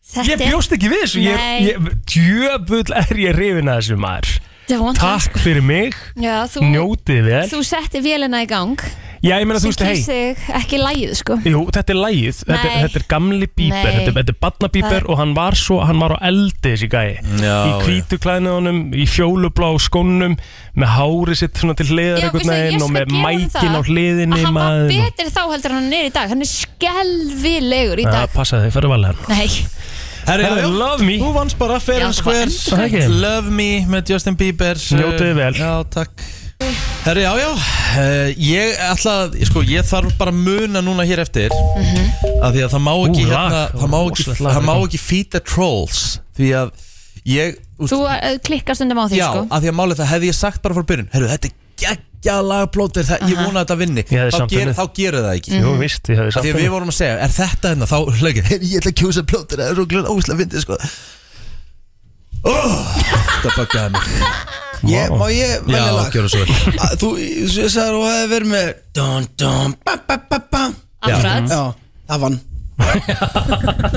Þetta
Ég bjóst ekki við þessu ég,
Nei.
ég, Djöfull er ég rifin að þessu maður
er vond
Takk fyrir mig
Já, þú,
Njótið vel
þú setti vélina í gang
Já, ég meina þú veist, hei
sig ekki lægið sko
Jú, þetta er lægið, þetta er,
Nei.
þetta er gamli bíber,
Nei.
þetta er, þetta er
Það
barnabíber
er-
og hann var svo, hann var á eldi þessi gæi
Já,
Í hvítu klæðinunum, í fjólublá skónum, með hári sitt svona til hliðar
Já,
einhvern
veistu, ég
veginn og
skal
með
gefa honum
mækin á
það
hliðinni
að hann var
maður.
betur þá heldur en hann er í dag hann er skelvilegur í
Já,
dag
passa þig, farðu valega
Nei,
Herri,
Herru,
já,
love me
Þú vannst bara fair
Já,
and
það var
square
endurkvæmt.
Takk. Love me með Justin Bieber
Njótið vel.
Já, takk Herri, já, já eh, Ég ætla að, sko, ég þarf bara að muna núna hér eftir mm
Mhm.
að Því að það má ekki,
Ú, lag.
hérna, það má ekki,
Rosalegt lag. sko.
það má ekki feed the trolls Því að ég, úst,
þú eh, klikkar stundum á því
já,
sko
að því að málið það hefði ég sagt bara frá byrjun Herru, þetta er geggja lagplótir, það, ég vona að þetta vinni
Ég hefði
Þá
samt
ger-
unnið.
Þá gerðu það
Mhm.
ekki
Jú, víst, ég
Af
hefði
Því
sagt
að við
það
vorum að segja, er þetta hérna, þá hlögin Ég ætla að kjósa plótur, það er rúglega óslega fyndið, sko oh, Þetta buggaði mig
Vá.
ég velja lag? Já, gjöra svo vel
Að Þú ég sagði að þú hefði verið með Dun dun ba ba ba ba
Akkurat,
Já, það vann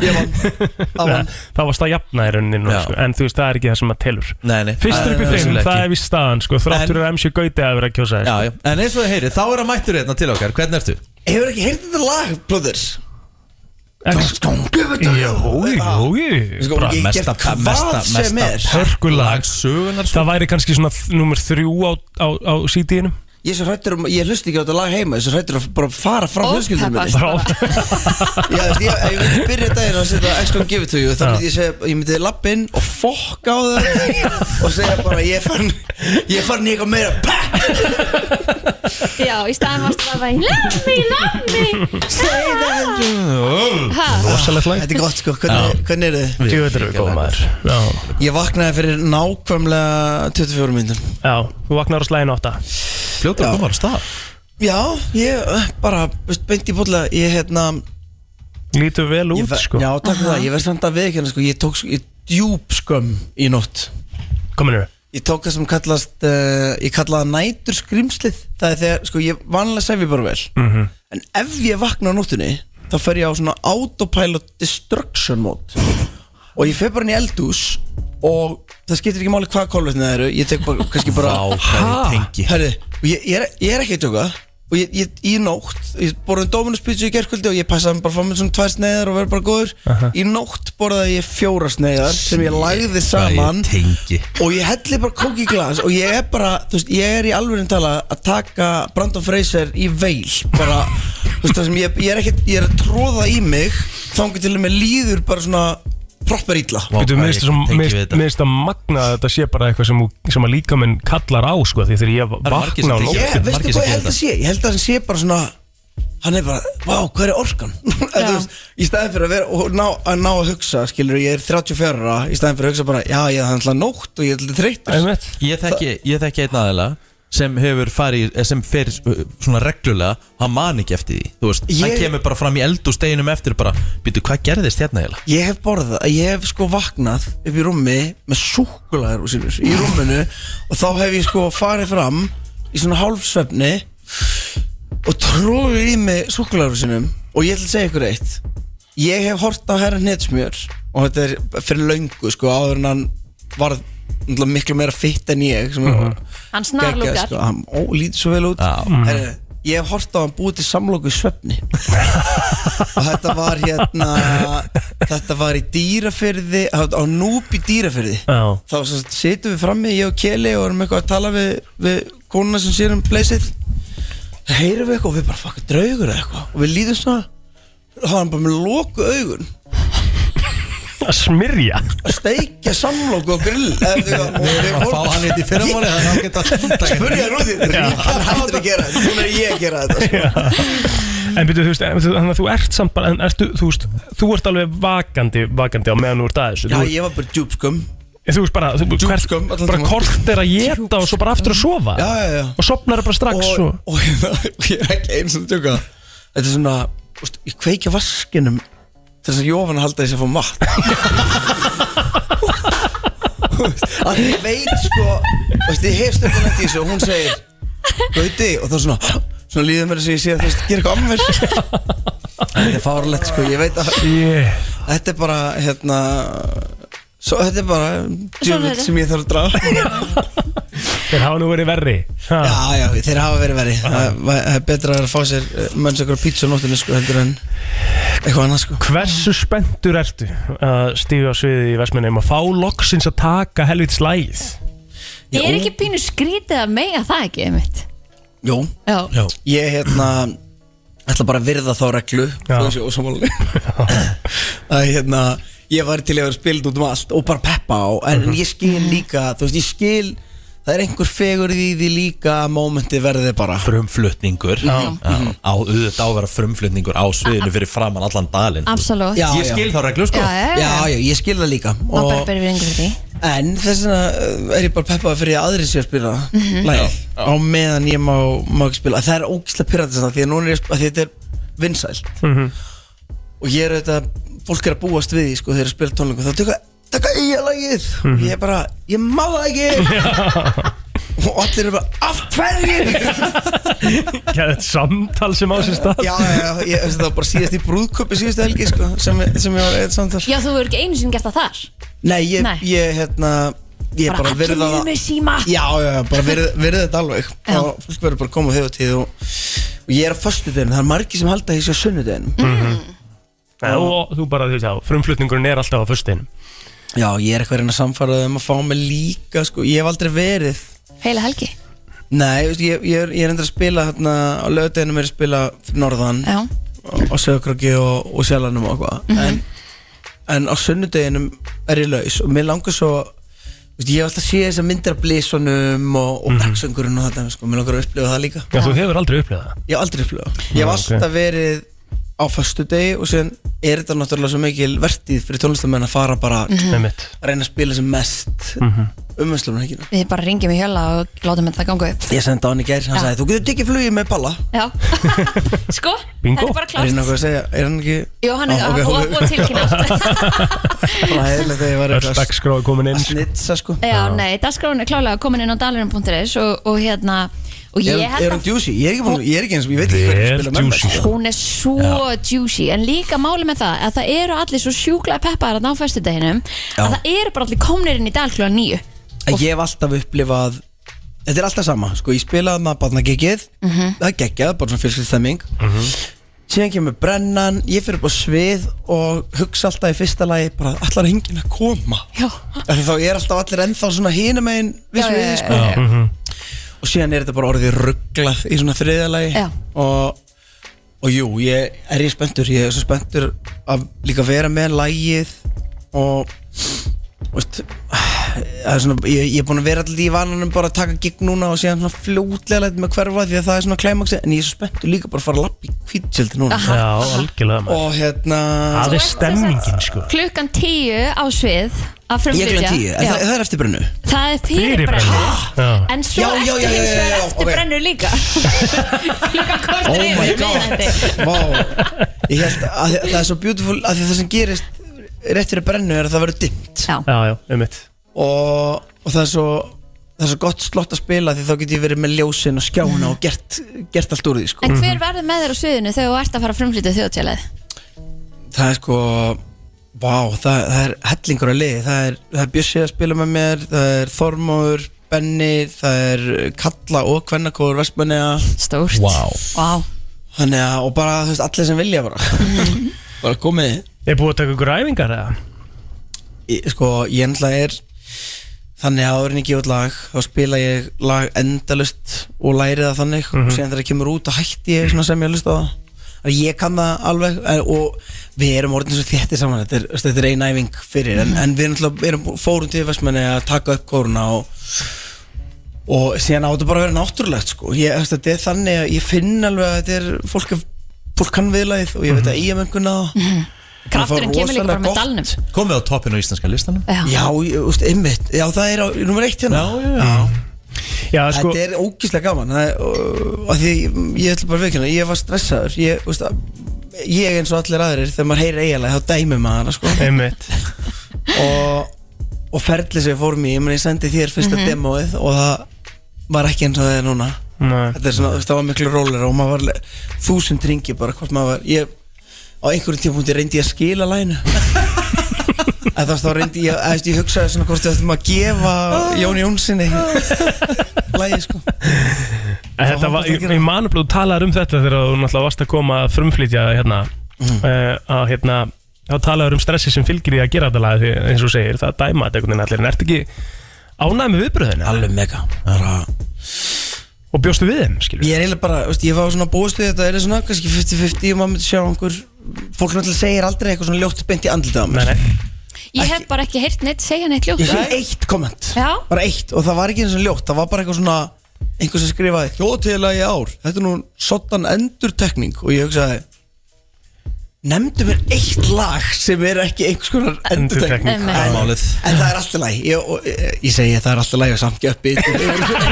Ég vann Það vann
Það varst að jafna í rauninni núna,
Já.
sko, En þú veist, það er ekki það sem að telur
Nei, nei
Fyrstur upp í
Það er
þeim,
vissulega
það
ekki.
er vist staðan sko, Þráttur
En-
er MC Gauti að vera að kjósa
Já,
þess
já, en eins og þið heyrið, þá er hann mættur hérna til okkar, hvernig ertu?
Hefur ekki heyrt þetta lag, blóðir?
Ex- Jó, jó, jó
Bara mesta, mesta, mesta
Hörkulag
sögunar
Það væri kannski svona nummer þrjú á, á, á sítíðinu
Ég er svo hrættur um, ég hlusti ekki á þetta lag heima Ég er svo hrættur að bara fara frá fjölskyldum minni
ópeppast
Frá
bara.
Já, þú veist, ég, ef ég myndi byrja daginn að setja X come give it to you Þá myndi ég segja, ég myndi lappa inn og fokka á það Og segja bara, ég er fann Ég er fann í eitthvað meira Pah!
Já, í staðan varst það bara Lammi, lammi
Say that you-
Rosalegt lag
Þetta er gott sko, hvernig, hvernig er þið?
Jú, þetta eru góð maður Já,
Ég vaknaði fyrir nákvæmlega 24 myndum
já þú vaknar á slæðin átta
Fljótur að koma á stað
Já, ég eh, bara, veist, beint í bóla Ég hérna
Lítur vel
ég,
út
ver-
sko
Já, takk fyrir það, ég verð samt að við ekki sko, Ég tók sko, ég, djúb skömm í nótt
Kominu
Ég tók það sem kallast uh, Ég kallaði það nætur skrimslið Það er þegar, sko, ég vanlega sef ég bara vel
Mhm.
-hmm. En ef ég vakna á nóttunni Þá fer ég á svona autopilot destruction mode Og ég fer bara inn í eldús Og það skiptir ekki máli hvað kólvetni það eru Ég tek bara, kannski bara
Ákveði tengi
Herri, ég, ég, er, ég er ekki að tjóka Og ég, ég, í nótt Ég borðið Dominus-pítsu í gerkvöldi Og ég passaði bara að fá mér svona tvær sneiðar og verði bara góður Í nótt borðaði ég fjóra sneiðar Sem ég lagði saman
Tengi
og ég helli bara kók í glas og ég er bara, þú veist, ég er í alvegum tala að taka Brandon Fraser í veil bara, þú veist, það sem ég, ég er ekki ég er að tróða í mig þangur til að mér líður bara svona proper ítla
Vá,
Býtu,
hvað
minnst
ég tengi við þetta.
að magna að þetta sé bara eitthvað sem, þú- sem að líka minn kallar á sko Því þegar ég
eru margir sem tengja
vakna á nótt
við
ég,
þetta.
veistu
margir sem
hvað
gera
ég held að sé ég held að hann sé bara svona hann er bara, vá, hvað er orkan Eða, þú veist, í staðin fyrir að vera og ná að, ná að hugsa, skilur, ég er 34 ára, í staðin fyrir að hugsa bara, já, ég er alltaf nótt og ég er alltaf þreytur
Einmitt.
Ég þekki, ég þekki einn aðeila sem hefur farið, eh, sem fer eh, svona reglulega, hann man ekki eftir því þú veist, hann
Ég-
kemur bara fram í eld og steginum eftir bara, býtu, hvað gerðist hérna eiginlega?
Ég hef borðað, ég hef sko vaknað upp í rúmi með súkulæður og sínus í rúminu og þá hef ég sko farið fram í svona hálfsvefni og tróður í mig súkulæður og sínum og ég ætla að segja ykkur eitt ég hef hort á herra hnetsmjör og þetta er fyrir löngu sko áður en hann varð náttúrulega miklu meira fitt en ég sem mm -hmm.
Hann snarlúkar.
sko, hann ó, lítið svo vel út
Já.
Herri, Ég hef hort á hann búið til samlóku í svefni Og þetta var hérna Þetta var í dýrafyrði Á núb í dýrafyrði
Já.
Þá sem sagt situm við frammi, ég og Keli Og erum eitthvað að tala við, við konuna sem sér um pleysið Það heyrum við eitthvað og við bara fucking draugur eða eitthvað Og við líðum svona Það var hann bara með loku augun
Að smyrja
Að steikja samlóku á grill eða þú veist, og
Við erum að fá hann hérna í fyrramáli, þannig að hérna. hann geta handtakið.
Spurja Rúði, hann hættir að gera þetta Núna er ég að gera þetta sko.
En byrju, þú veist, en þú- þannig að þú ert samt bara en ertu, þú, veist, þú ert alveg vakandi vakandi á meðan þú ert aðeins
Já, ég var bara djúpskum
Þú veist bara, þú,
Djúpskum,
hvert,
allan
bara
tímann.
kort er að geta og svo bara aftur að sofa
Já, já, já
Og sopnar bara strax
og,
svo
og, hérna, ég er ekki eins og tjóka Þetta er svona, úst, ég kveikja vaskinum til þess að Jóhann halda þess að fá mat að ég veit sko veist, ég hef stöðan eftir þessu og hún segir Gauti og þá svona svona líður mér þess að ég sé að þú veist gera eitthvað ammur þetta er fárlegt sko ég veit að
yeah.
þetta er bara hérna svo, þetta er bara
er þetta.
djúvill sem ég þarf að draga
Þeir hafa nú verið verri ha.
Já, já, þeir hafa verið verið Það var- það er betra að fá sér eh, mönns ekkur pizza á nóttinu sko heldur en eitthvað annað sko
Hversu spenntur ertu að stíga á sviði í Vestmennum að fá loksins að taka helvit slæð
Ég er ekki pínu skrítið að mega það ekki einmitt.
Jú,
Já,
Já
ég hérna ætla bara að virða þá reglu
Já.
þó þessi ósammáli að hérna ég var til að vera spild út um allt og bara peppa á en
Mhm.
ég skil líka, þú veist, ég skil það er einhver fegur í því líka að mómenti verði bara
Frumflutningur Já. Á auðvitað á að vera frumflutningur á sviðinu fyrir framann allan dalinn
absolutt
Já,
Ég skil þá reglu sko
Já, já, já.
Já, já, ég skil það líka
Má
Og-
bara berið við yngur því
En þess vegna uh, er ég bara peppaði fyrir að aðri sé að spila mm lagið á meðan ég má, má ekki spila Það er ógislega pyrrandi þess að því að núna er ég að því að þetta er vinsælt
Mhm.
og ég er auðvitað fólk er að búast við því sko þegar ég spila tónleikum þá tökka taka eiga lagið
Mhm.
og ég er bara ég má það ekki og allir eru bara af hverju
Já, þetta samtal sem á sér stað
Já, já, já, ég, þessi, það var bara síðast í brúðköpi síðustu helgi sko sem, sem ég var eitt samtal
Já, þú hefur ekki einu sinni gert það þar
Nei, ég,
Nei.
ég hérna ég bara, bara
allir
verða
niður með síma
Já, já, já, bara verið, verið þetta alveg
Já.
og fólk verður bara að koma á þjóðtíð og, og ég er á föstudeginu, það er margir sem halda að ég sé á sunnudeginum
Mm.
Og þú bara, þú veist, já, frumflutningurinn er alltaf á föstinum
Já, ég er eitthvað að reyna að samfara þeim að fá mig líka sko, ég hef aldrei verið
Heila helgi
Nei, veist, ég, ég, er, ég er endur að spila hérna, á lögudeginum er ég að spila fyrir norðan
Já, Mhm.
á Söðakröki og, og Sjalanum og eitthvað en, en á sunnudeginum er ég laus og mér langar svo veist, ég hef alltaf séð þess að myndir af blísunum og, og
Mhm.
mm og þetta sko, mér langar að upplifa það líka
Já, þú hefur aldrei upplifað það
ég hef aldrei upplifað það. ég hef
Já, Ah, ok.
alltaf verið á föstudegi og síðan er þetta náttúrulega svo mikil vertíð fyrir tónlistamenn að fara bara
Mhm.
Með
að reyna að spila sem mest mm
Mhm.
-hmm. umvænslumhækina
við bara ringjum í hjöla og látum þetta ganga upp
ég sendi á hann í gær, hann sagði þú getur tekið flugið með Palla
Já, sko,
Bingo.
þetta er bara
er hann
klárt
eitthvað að segja, er hann ekki
Jó, hann er
Ah, ok,
okay,
ok.
og, og tilkynna allt
bara heðilegt að ég var
Öll
eitthvað
dagskráði komin
að
inn sko.
snitsa sko
Já, nei, dagskráin er klálega komin inn á dalurinn.is og, og hérna og
Er
ég
hún- er
held
hún
að
juicy? Ég er ekki, búin, ég er ekki eins og ég veit ekki hvernig
Er
spila með mér
juicy.
sko.
hún er svo juicy en líka máli með það að það eru allir svo sjúkla peppaðar að ná fæstudeginum
Já.
að það eru bara allir komnir inn í dal klúan nýju
En Ég hef alltaf upplifað Þetta er alltaf sama, sko, ég spilaði maður barna gekkið
Mhm.
Það geggjað, bara svona fyrskilt stemming Síðan kemur brennan Ég fyrir upp á svið og hugsa alltaf í fyrsta lagi, bara allar hengin að koma
Já,
Af því Þá er alltaf allir ennþá svona hinum einn við
Já,
sviði,
já,
sko
já, já.
Og síðan er þetta bara orðið rugglað í svona þriðja lagi
Já.
og, og jú, ég er ég spenntur Ég er svo spenntur að líka vera með lagið og veist, það er svona, ég, ég er búin að vera alltaf í vananum bara að taka gig núna og síðan svona fljótlega lætt með hverfa því að það er svona klæmaksi en ég er svo spenntur líka bara að fara að lappa í kvítseldi núna
Aha.
Já, algjörlega maður
og hérna
Það
Þú
er
ert sem
stemningin sko
klukkan tíu á svið að
ég er
frumflytja
glenn tíu, en það,
Já.
það er eftir brennu
það er
Fyrir
fyrirbrennu
Já.
en svo
Já, já, já,
ertu
já,
hins
já,
vegar
já,
eftir
ok.
brennu líka klukkan kortur
Oh my
yfir
god.
miðnætti.
Vá, ég held að það er svo beautiful að því að það sem gerist rétt fyrir brennu er að það verður dimmt
Já.
Já, já, um mitt
og, og það er svo það er svo gott slott að spila því þá get ég verið með ljósin og skjána og gert, gert allt úr því sko.
en hver verður með þér á sviðinu þegar þú ert að fara að frumflytja þjóðtjálið
það er sko Vá, það, það er hellingur að liði Það er, það er Bjössi að spila með mér Það er Þormóður, Benni, það er Kalla og Kvennakóður Vestmanniða
Stórt
wow.
wow.
Þannig að, og bara, þú veist, allir sem vilja bara Bara komið
Er búið að taka ykkur æfingar eða?
Ég- Sko, ég náttúrulega er Þannig að áður en ég gefa út lag Þá spila ég lag endalust Og læri það þannig
Mhm.
Og síðan þegar það kemur út að hætti ég svona sem ég að lusta á það Þannig að ég kann það alveg en- Og við erum orðin svo þétti saman Þetta er, þú veist, þetta er ein æfing fyrir En, en við náttúrulega erum bú- fórum til Vestmanni að taka upp kóruna Og, og síðan áttu bara að vera náttúrulegt sko. ég, þú veist, Þetta er þannig að ég finn alveg að þetta er Fólk, er- fólk kann viðlagið Og ég veit að ég menguna það
Krafturinn kemur líka bara með dalnum
Komið á toppin á íslenska listanum
Já.
Já, ég- þú veist, einmitt Já, það er á nummer eitt hérna Já, já,
já
sko... Þetta er ógíslega gaman það er, og, og því, ég ætla bara að veikina Ég var stressaður Ég, þú veist, að- ég eins og allir aðrir Þegar maður heyrir eiginlega, þá dæmir maður hana, sko.
Einmitt
Og, og ferli sem ég fór mér Ég meni, ég sendi þér fyrsta
Mhm.
demóið Og það var ekki eins og það er núna
Nei.
Þetta er svona, þú veist, það var miklu rólar Og maður var le- þúsund ringi bara Hvort maður var, ég Á einhverjum tímapunkti reyndi ég að skila læginu Eða þú veist, þá reyndi ég, eða þú veist, ég hugsaði svona hvort við ættum að gefa Jón Jónssoni Lægi, sko
En Þetta var, ég, ég man að þú talaðir um þetta þegar þú náttúrulega varst að koma að frumflytja hérna, mm. að hérna þá talaður um stressi sem fylgir í að gera þetta lag því eins og þú segir, það dæma þetta einhvern veginn allir en ertu ekki ánæmi viðbröðinu?
Alveg mega
Og bjóstu við þeim, skilur?
Ég er eiginlega bara, veist, ég var svona búist við þetta, er svona kannski 50-50 og maður myndi sjá einhver, fólk náttúrulega segir aldrei eitthvað svona ljótt beint í andlitið á mér.
Nei, nei.
Ég hef bara ekki heyrt neitt segja neitt ljótt
Ég sé eitt komment,
Já.
bara eitt, og það var ekki eins og ljótt, það var bara eitthvað svona, einhver sem skrifaði, þjóðtíðlega í ár, þetta er nú sottan endurtekning og ég hugsaði, nefndu mér eitt lag sem er ekki einhvers konar endurtekning.
Endurtekning. Einmitt.
En,
Málið.
en það er alltaf læg, ég, og, eh, ég, ég segi það er alltaf læg og samt gjöppi,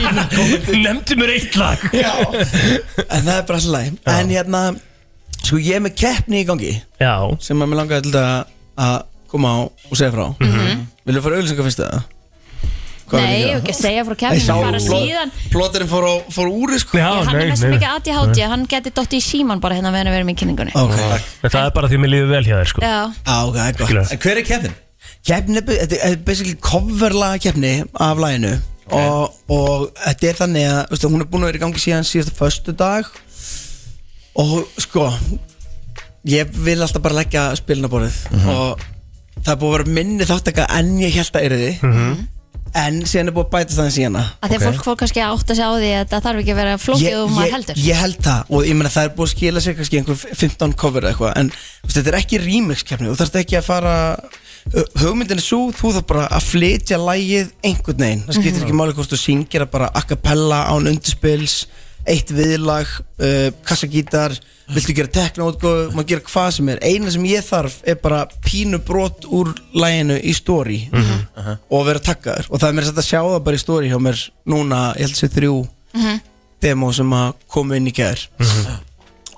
Nemndu mér eitt lag
Já En það er bara alltaf læg En hérna Sko ég er með keppni í gangi
Já
Sem að mér langaði til þetta að koma á og segja frá mm -hmm. Vilju fara auðlýsingar fyrst eða? Hvað
Nei,
vil
ég
ég
hef
gera?
ekki að segja frá
Nei, sá-
kefninu bara
plot-
síðan
Plotterinn fór, á- fór úr sko
Já,
Hann er
nei,
með svo
nei.
mikið ADHD Hann geti dotti í síman bara hérna meðan við erum í kynningunni
okay.
En Það er bara því mér líður vel hjá þér sko
Já,
Á, ok, það er gott
Skilur.
En hver er keppnin? Ah, Keppnin er, bu- þetta er basically coverlaga keppni af laginu og, og þetta er þannig að veistu, hún er búin að vera í gangi síðan síðasta föstu dag og sko ég vil alltaf bara leggja spilnaborðið og það er búin að vera minni þáttaka en ég held að yrði en síðan er búin að bæta þannig síðan
að því að fólk fór kannski að átta sig á því að það þarf ekki að vera flókið og maður heldur
ég, ég held það og ég meina það er búið að skila sér kannski einhver 15 cover eða eitthvað en þú veist, þetta er ekki remix kefni þú þarft ekki að fara Ö, hugmyndin er svo, þú þarf bara að flytja lægið einhvern veginn, það
Mhm.
skiptir ekki máli hvort þú syngir að bara a cappella án undirspils eitt viðlag uh, kassagítar, viltu gera teknóutgóð maður gera hvað sem er, eina sem ég þarf er bara pínu brot úr læginu í story og vera takkaður og það er mér satt að sjá það bara í story hjá mér núna, ég held sér þrjú demo sem að koma inn í gær
Mhm.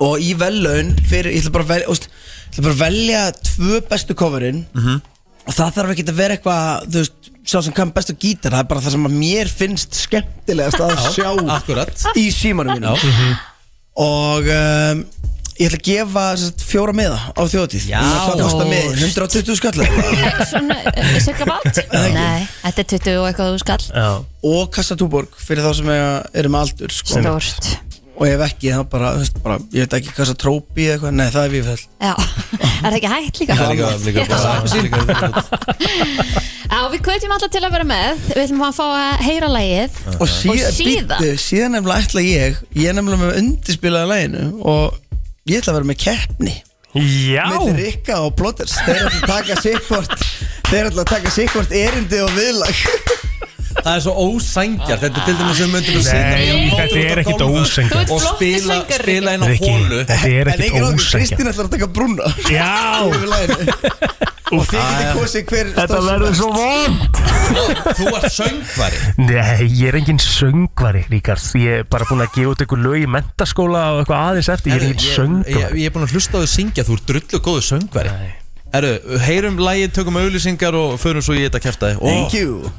og í vellaun fyrir, ég ætla bara að velja, úst, ég ætla bara að velja tvö bestu coverin
Mhm.
og það þarf ekki að vera eitthvað þú veist, sá sem kann bestu gítar það er bara það sem að mér finnst skemmtilegast að
Já, Mhm.
sjá
akkurat.
í símanum mínum og um, ég ætla að gefa sem sagt, fjóra meða á þjóðtíð
Já.
hvað kostar meðin, 120 skallar
Svona, eh, cirka bát Nei, þetta er 20 og eitthvað þú skall
og kassa túborg fyrir þá sem eiga- eru með aldur sko.
Stórt
og ef ekki þá bara, þú veist, bara ég veit ekki hvað það trópi eða eitthvað, nei það er viðfell
Já, er það ekki hægt líka?
Það er líka- líka
Já.
bara-
Já, við kveitjum alla til að vera með Við ætlum að fá að heyra lagið
og síðan,
síðan
býttu, síðan nefnilega ætla ég ég er nefnilega með undirspilaða læginu og ég ætla að vera með keppni
Já
með Rikka og Plotters þeir ætla að taka sikkvort þeir ætla að taka sikkvort erindi og viðlag
Það er svo ósængjar Þetta er til dæmis sem myndum við
Nei, þetta er ekkit ósanngjarnt.
Og spila, spila inn á
Rikki,
hólu
þetta er
en
ekkit
engin áður,
ósangjart
Kristín ætla að taka brúna
Já
yfir læginu og þið getið kosið hver
Þetta
stórsmest.
verður svo von
Þú ert söngvari
Nei, ég er engin söngvari, Ríkard Ég er bara búin að gefa út einhver lög í mentaskóla og eitthvað aðeins eftir Ég er
Herru,
engin söngvari
ég, ég er búin að hlusta á þau syngja Þú ert drullu góðu söngvari Herru, heyrum lægið, tökum auðlýsingar og förum svo í þetta kæftæði
thank you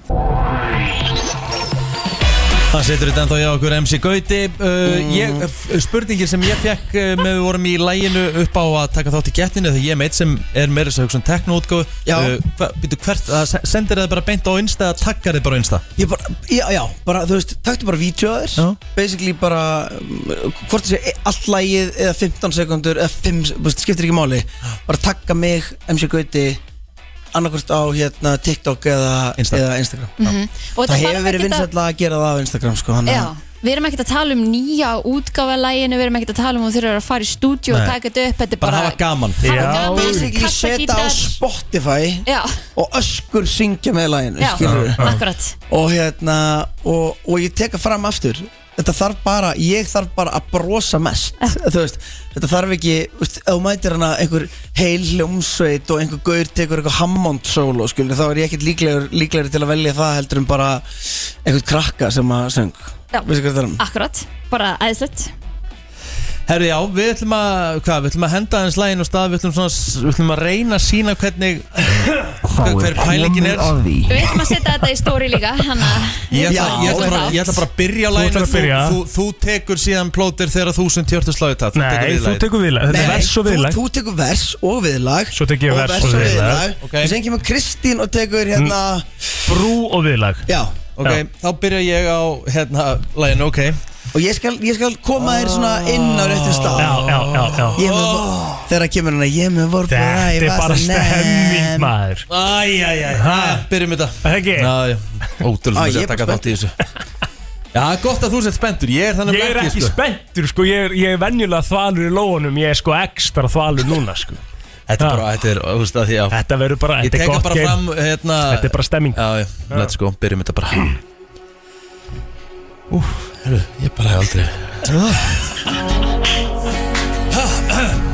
Það setur þetta ennþá hjá okkur MC Gauti uh,
Mm.
ég, Spurningin sem ég fekk uh, með við vorum í læginu upp á að taka þátt í getinu þegar ég er meitt sem er meira þess að hugsa um teknóutgóð uh, hva, býtu, hvert, að se- Sendir það bara beint á Insta eða takkar þið bara á Insta
Ég bara, já, já, bara, þú veist, taktu bara vídjóðir Basically bara, um, hvort þessi allt lagið eða 15 sekundur eða 5, þú veist, skiptir ekki máli Bara takka mig, MC Gauti, annarkvort á hérna TikTok eða, eða Instagram
Mhm. Og þetta
Það
þarf
hefur verið
ekkert að-
vinsætla að gera það á Instagram, sko, hann
Já, við erum ekkert að tala um nýja útgáfalæginu, við erum ekkert að tala um að þú þurfur að fara í stúdíu og
Nei.
taka þetta upp, þetta er bara,
gaman
Hafa
Já,
gaman,
basically
kasta
setja á
gítar.
Spotify
Já.
og öskur syngja með læginu,
Já,
skilurðu.
akkurat.
og hérna, og, og ég teka fram aftur þetta þarf bara, ég þarf bara að brosa mest þú veist, þetta þarf ekki þú veist, ef þú mætir hana einhver heil hljómsveit og einhver gaur tekur einhver Hammond solo, skilur, þá er ég ekkert líklegur, líklegur til að velja það heldur en bara einhvern krakka sem að söng
Já.
veistu hvað það er um?
akkurat, bara aðeinslegt.
Herri já, við ætlum að, hvað, við ætlum að henda hans lægin og stað, við ætlum, svona, við ætlum að reyna að sína hvernig hver, hver pælingin er
Við ætlum að setja þetta í stóri líka, hann að...
Ég
Já,
ætla, ég, ætla bara, ég ætla bara að byrja
Þú
læginu
ætlar að byrja.
þú, þú tekur síðan plótir þegar þú sem tjörtu slagið það
Nei, þú tekur viðlag. Þetta er vers og viðlag.
þú, þú tekur vers og viðlag
Svo tek ég vers og viðlag. Mm.
okay. og sen kemur Kristín og tekur hérna
Brú og viðlag
já,
Ok, þá byrja ég á hérna læginu, ok
og ég skal, ég skal koma þér svona inn á réttum stað
Já, já, já, já
Ég með vor- Þegar kemur hann að ég með voru
Þetta er bara stemming, maður.
Æjæjæ, byrjum þetta
Það ekki?
Næ, ótrúlega
Á, Ah,
sem
ég er
sé að taka
bara
þátt í þessu Já, gott að þú sett spendur, ég er þannig
Ég er ekki spenntur sko, ég er, ég er venjulega þvalur í lóunum, ég er sko ekstra þvalur núna sko
Þetta er bara, þetta er, þú veist að því að
Þetta verður bara,
Ég
þetta er
teka
gott
bara
game.
fram, hérna
Þetta er bara stemming
Já, já, let's go, byrjum þetta bara Úf, herru, ég bara hef aldrei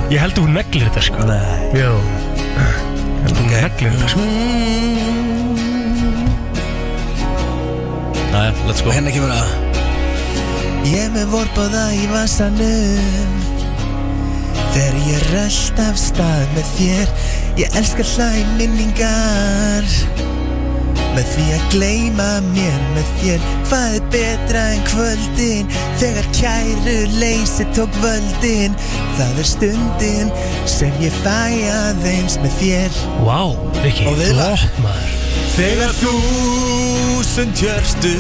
Ég held að hún neglir þetta sko Nei Jó Ég held að hún neglir þetta sko
Mm,
Næja, let's go
hérna
Henni kemur að Ég með vorbáða í vasanum Þegar ég rölt af stað með þér Ég elska hlæ minningar Með því að gleyma mér með þér Hvað er betra en kvöldin Þegar kæru leysi tók völdin Það er stundin sem ég fæ aðeins með þér
Vá, wow, Rikki,
Og viðlag.
flott maður
Þegar þúsund hjörstu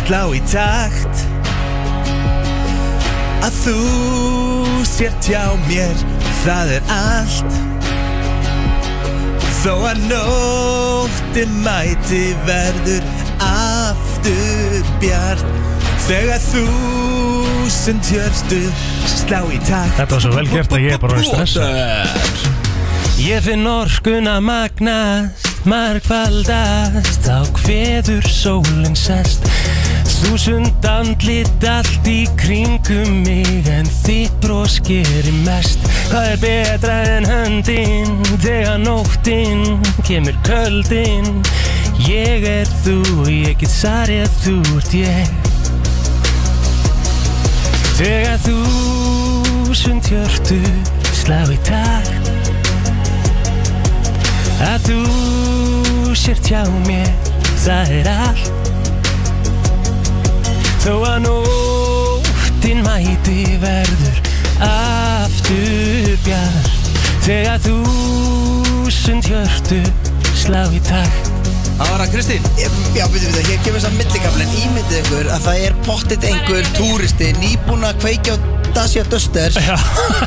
slá í takt Að þú sért hjá mér, það er allt Þó að nótti mæti verður aftur bjart Þegar þúsund hjörstu slá í takt
Þetta var svo vel gert að ég er bara orðinn stressað. Ég finn orkuna magnast, margfaldast, á hveður sólinn sest. Þúsund andlit allt í kringum mig, en þitt bros gerir mest. Það er betra en höndin, þegar nóttin kemur köldin. Ég er þú, ég get sarið að þú ert ég. Þegar þúsund hjörtu slá í takt Að þú sért hjá mér, það er allt Þó að nóttin mæti verður aftur bjart Þegar þúsund hjörtu slá í takt
Það var að Kristín
Já, veitum við það, hér kemur þess að millikaflin Ímyndið ykkur að það er pottitt einhver túristi Nýbúin að kveikja á Dacia Duster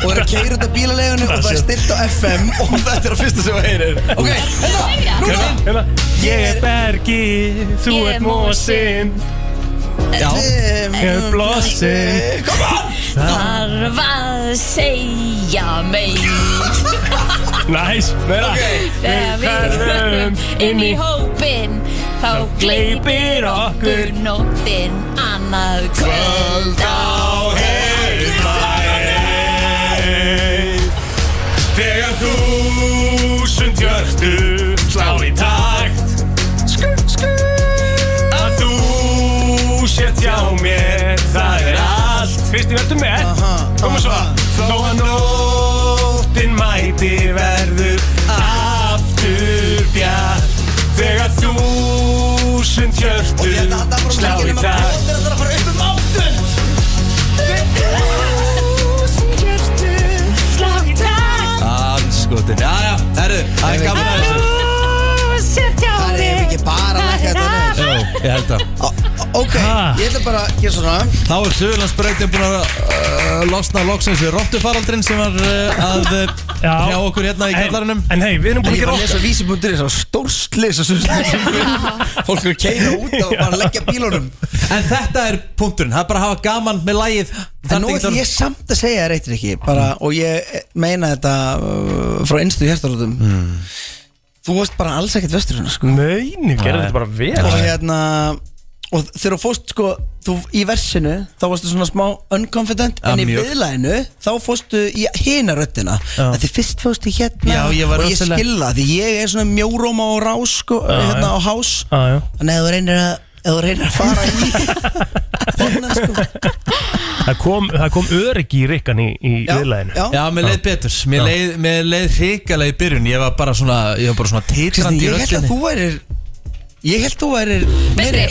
Og er að keira út af bílalegunni Og það er stilt á FM Og þetta er að fyrsta sem þú heyrir Ok, hérna,
núna Ég er bergi, þú
Ég er
ert mósin
Já Ég
er blossin
Þar að segja mig
Næs, meira
Þegar við förum inn í hópin Þá gleipir okkur nóttin Annað kvöld á
heyrðvæg Þegar þúsund hjörtu slá í takt Að þú sért hjá mér, það er allt Kristi, verður með? Koma svo Þó að nóttin mæti verður aftur
hérna,
bjart Þegar þúsund hjörtu slá í takt
Þetta er að fara
Það er gaman að þessu
Það er ekki bara að leggja þetta niður
Jó, ég held að
Ok, ég ætla bara að gera svona
Þá er Suðurlandsbreytin búin að uh, losna loksins við rottufaraldrin sem var uh, að uh, hjá okkur hérna í kallarinnum
En hei, við erum búin að
Ég
gera
var að lesa
okkar
vísibundir eins og stórslis og svolítið Fólk eru að keina út og bara leggja bílunum
En þetta er punkturinn, það er bara að hafa gaman með lægið
En nú ætlum ég samt að segja þér eitt ekki bara,
Mm.
og ég meina þetta uh, frá einstu hjartarótum
Mm.
Þú varst bara alls ekkert vesturinn sko.
Nei, nú gerði þetta bara vel
og hérna og þegar þú fórst sko þú, í versinu þá varstu svona smá unconfident
Ja,
en í
mjög.
viðlæðinu þá fórstu í hina röddina
Já.
að því fyrst fórstu í hérna
Já, ég var
og ég
rosalega-
skilla því ég er svona mjóróma og rás sko, hérna á hás
Ah, Já, já.
þannig að þú reynir að ef þú reynir að fara í þennan sko
Það kom, það kom öryggi í rikkan í, í
Já,
viðlæðinu
já.
Já, mér leið betur, mér
Já.
leið, mér leið hrikalega í byrjun Ég var bara svona, ég var bara svona
Kristín,
titrandi í
ég held að
röllinni
þú værir ég held að þú værir meiri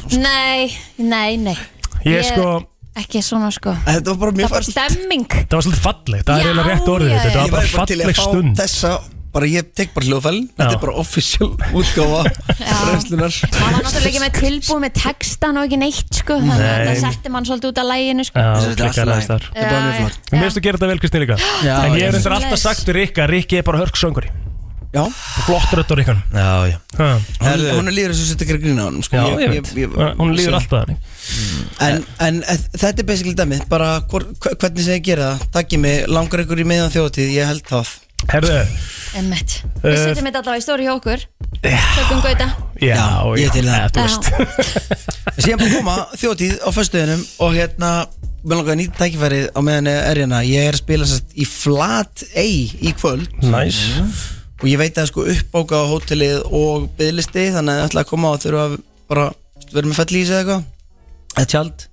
Mm.
sko.
Nei, nei, nei
Ég sko-
Ekki svona sko
Að þetta var bara
Það
mjög
var
fært
stemming
Það var svolítið falleg, það
Já,
er eiginlega rétt orðið
já,
Þetta
Ég
var bara
væri bara til að
falleg
fá
stund
þessa bara ég tek bara hljóðfælin þetta er bara official útgáfa reynslunar
Það var náttúrulega ekki með tilbúið með textan og ekki neitt sko Þannig að
Nei.
þetta setti mann svolítið út af læginu sko
Já,
Þetta er allt í
klikkar
lagi.
aðeins þar
Þetta er bara mjög
Já,
flott
Mér finnst þú gera þetta vel Kristi líka En ég
já.
er endur alltaf
Bless.
sagt við Rikka að Rikki er bara hörksöngari
Já,
Flott rödd á Rikkan
Já, já
hún,
Herðu.
hún líður þessu að gera grína á hann sko.
Já, ég veit Hún líður alltaf þannig
En, en eh, þetta er basically dæmið bara hvor, hve- hvernig sem ég gera það takkið mig langar ykkur í meðan þjóðtíð ég held það
Herðu
Emmett Við
Eh,
setjum þetta allavega í stóri hjá okkur Tökum gauta
Já,
Já, ég
já,
til það.
eh, þú veist
síðan bara koma þjóðtíð á föstuðinum og hérna mér langar að nýta tækifærið á meðan er hérna ég er að spila sérst í flat A í kvöld
Næs
Mm. og ég veit að sko uppbóka á hótelið og byðlisti þannig að ég ætla að koma og þurfa að bara vera með fellísi eða eitthvað eða tjald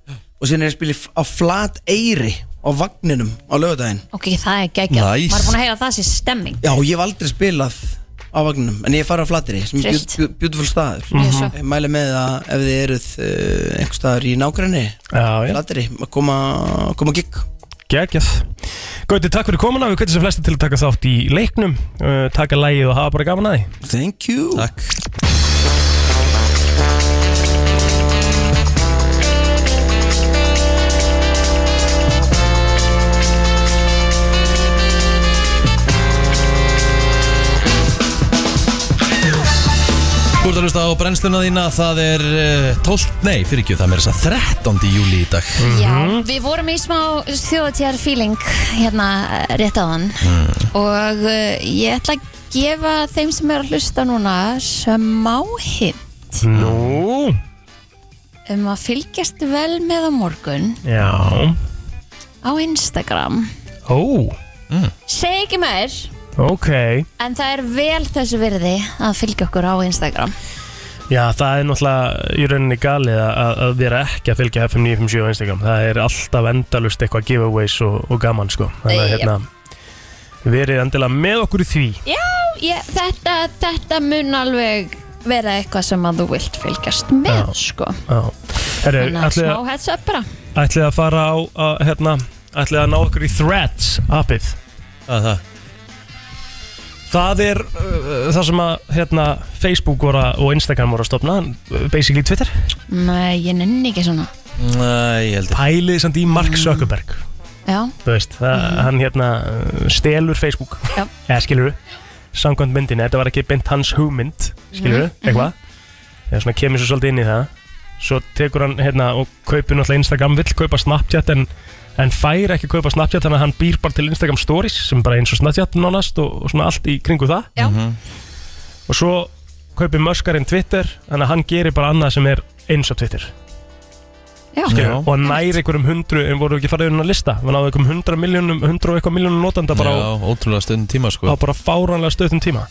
og síðan er ég að spila í- á flat eiri á vagninum á lögadaginn
Ok, það er geggjað
Nice.
Maður er búin að heyra að það sé stemming
já og ég hef aldrei spilað á vagninum en ég fara á flateri sem er
Trillt.
bjút- bjút- beautiful staður
Mjög svo.
ég mæli með að ef þið eruð uh, einhver staður í nágræni
Já, já
flateri að koma, koma að gigg
Gægjað Gauti, takk fyrir komuna Við kveitum sem flesti til að taka þátt í leiknum uh, Taka lægið og hafa bara gaman að því
thank you
Takk Þú ert að hlusta á brennsluna þína, það er eh, 12, nei fyrir ekki, það er þess að segja 13. júli í dag
Mm. Mhm.
Já, við vorum í smá þjóðatjar feeling hérna eh, rétt áðan
Mm.
og uh, ég ætla að gefa þeim sem eru að hlusta núna smá hint
Mm. Nú
um að fylgjast vel með á morgun
Já
á Instagram
Ó,
segi ekki meir
ok
en það er vel þessu virði að fylgja okkur á Instagram
Já, það er náttúrulega í rauninni galið að, að vera ekki að fylgja FM 957 á Instagram Það er alltaf endalust eitthvað giveaways og, og gaman sko Þannig að
Já.
hérna Verið endilega með okkur í því
Já, ég, þetta, þetta mun alveg vera eitthvað sem að þú vilt fylgjast með
Já.
sko
Já Herru,
Þannig að
ætlið
smá
að-
heads up bara
ætlið að fara á að, hérna Ætlið að ná okkur í Threads appið
Það er það
Það er uh, það sem að hérna, Facebook voru að- og Instagram voru að stopna uh, Basically Twitter
Nei, ég nenni ekki svona
Nei, ég held
Pælið samt í Mark Zuckerberg
Já,
Þú veist, það, hann hérna uh, stelur Facebook
Já.
Eða skilur við Samkvæmt myndinni, þetta var ekki beint hans hugmynd Skilur
Mhm,
við, eitthvað Eða svona kemur svo svolítið inn í það Svo tekur hann hérna og kaupir náttúrulega Instagram Vill kaupa Snapchat en, en fær ekki kaupa Snapchat Þannig að hann býr bara til Instagram Stories Sem er bara eins og Snapchat nánast og, og svona allt í kringu það
Já.
Og svo kaupir Muskarinn Twitter Þannig að hann gerir bara annað sem er eins og Twitter
já,
skilur, við, og nær einhverjum hundru en voru ekki farið inn á lista við náðum einhverjum hundra miljónum, hundra og eitthvað miljónum notanda bara á,
Já, ótrúlega stund
á
tíma sko
bara fáránlega stöðum tíma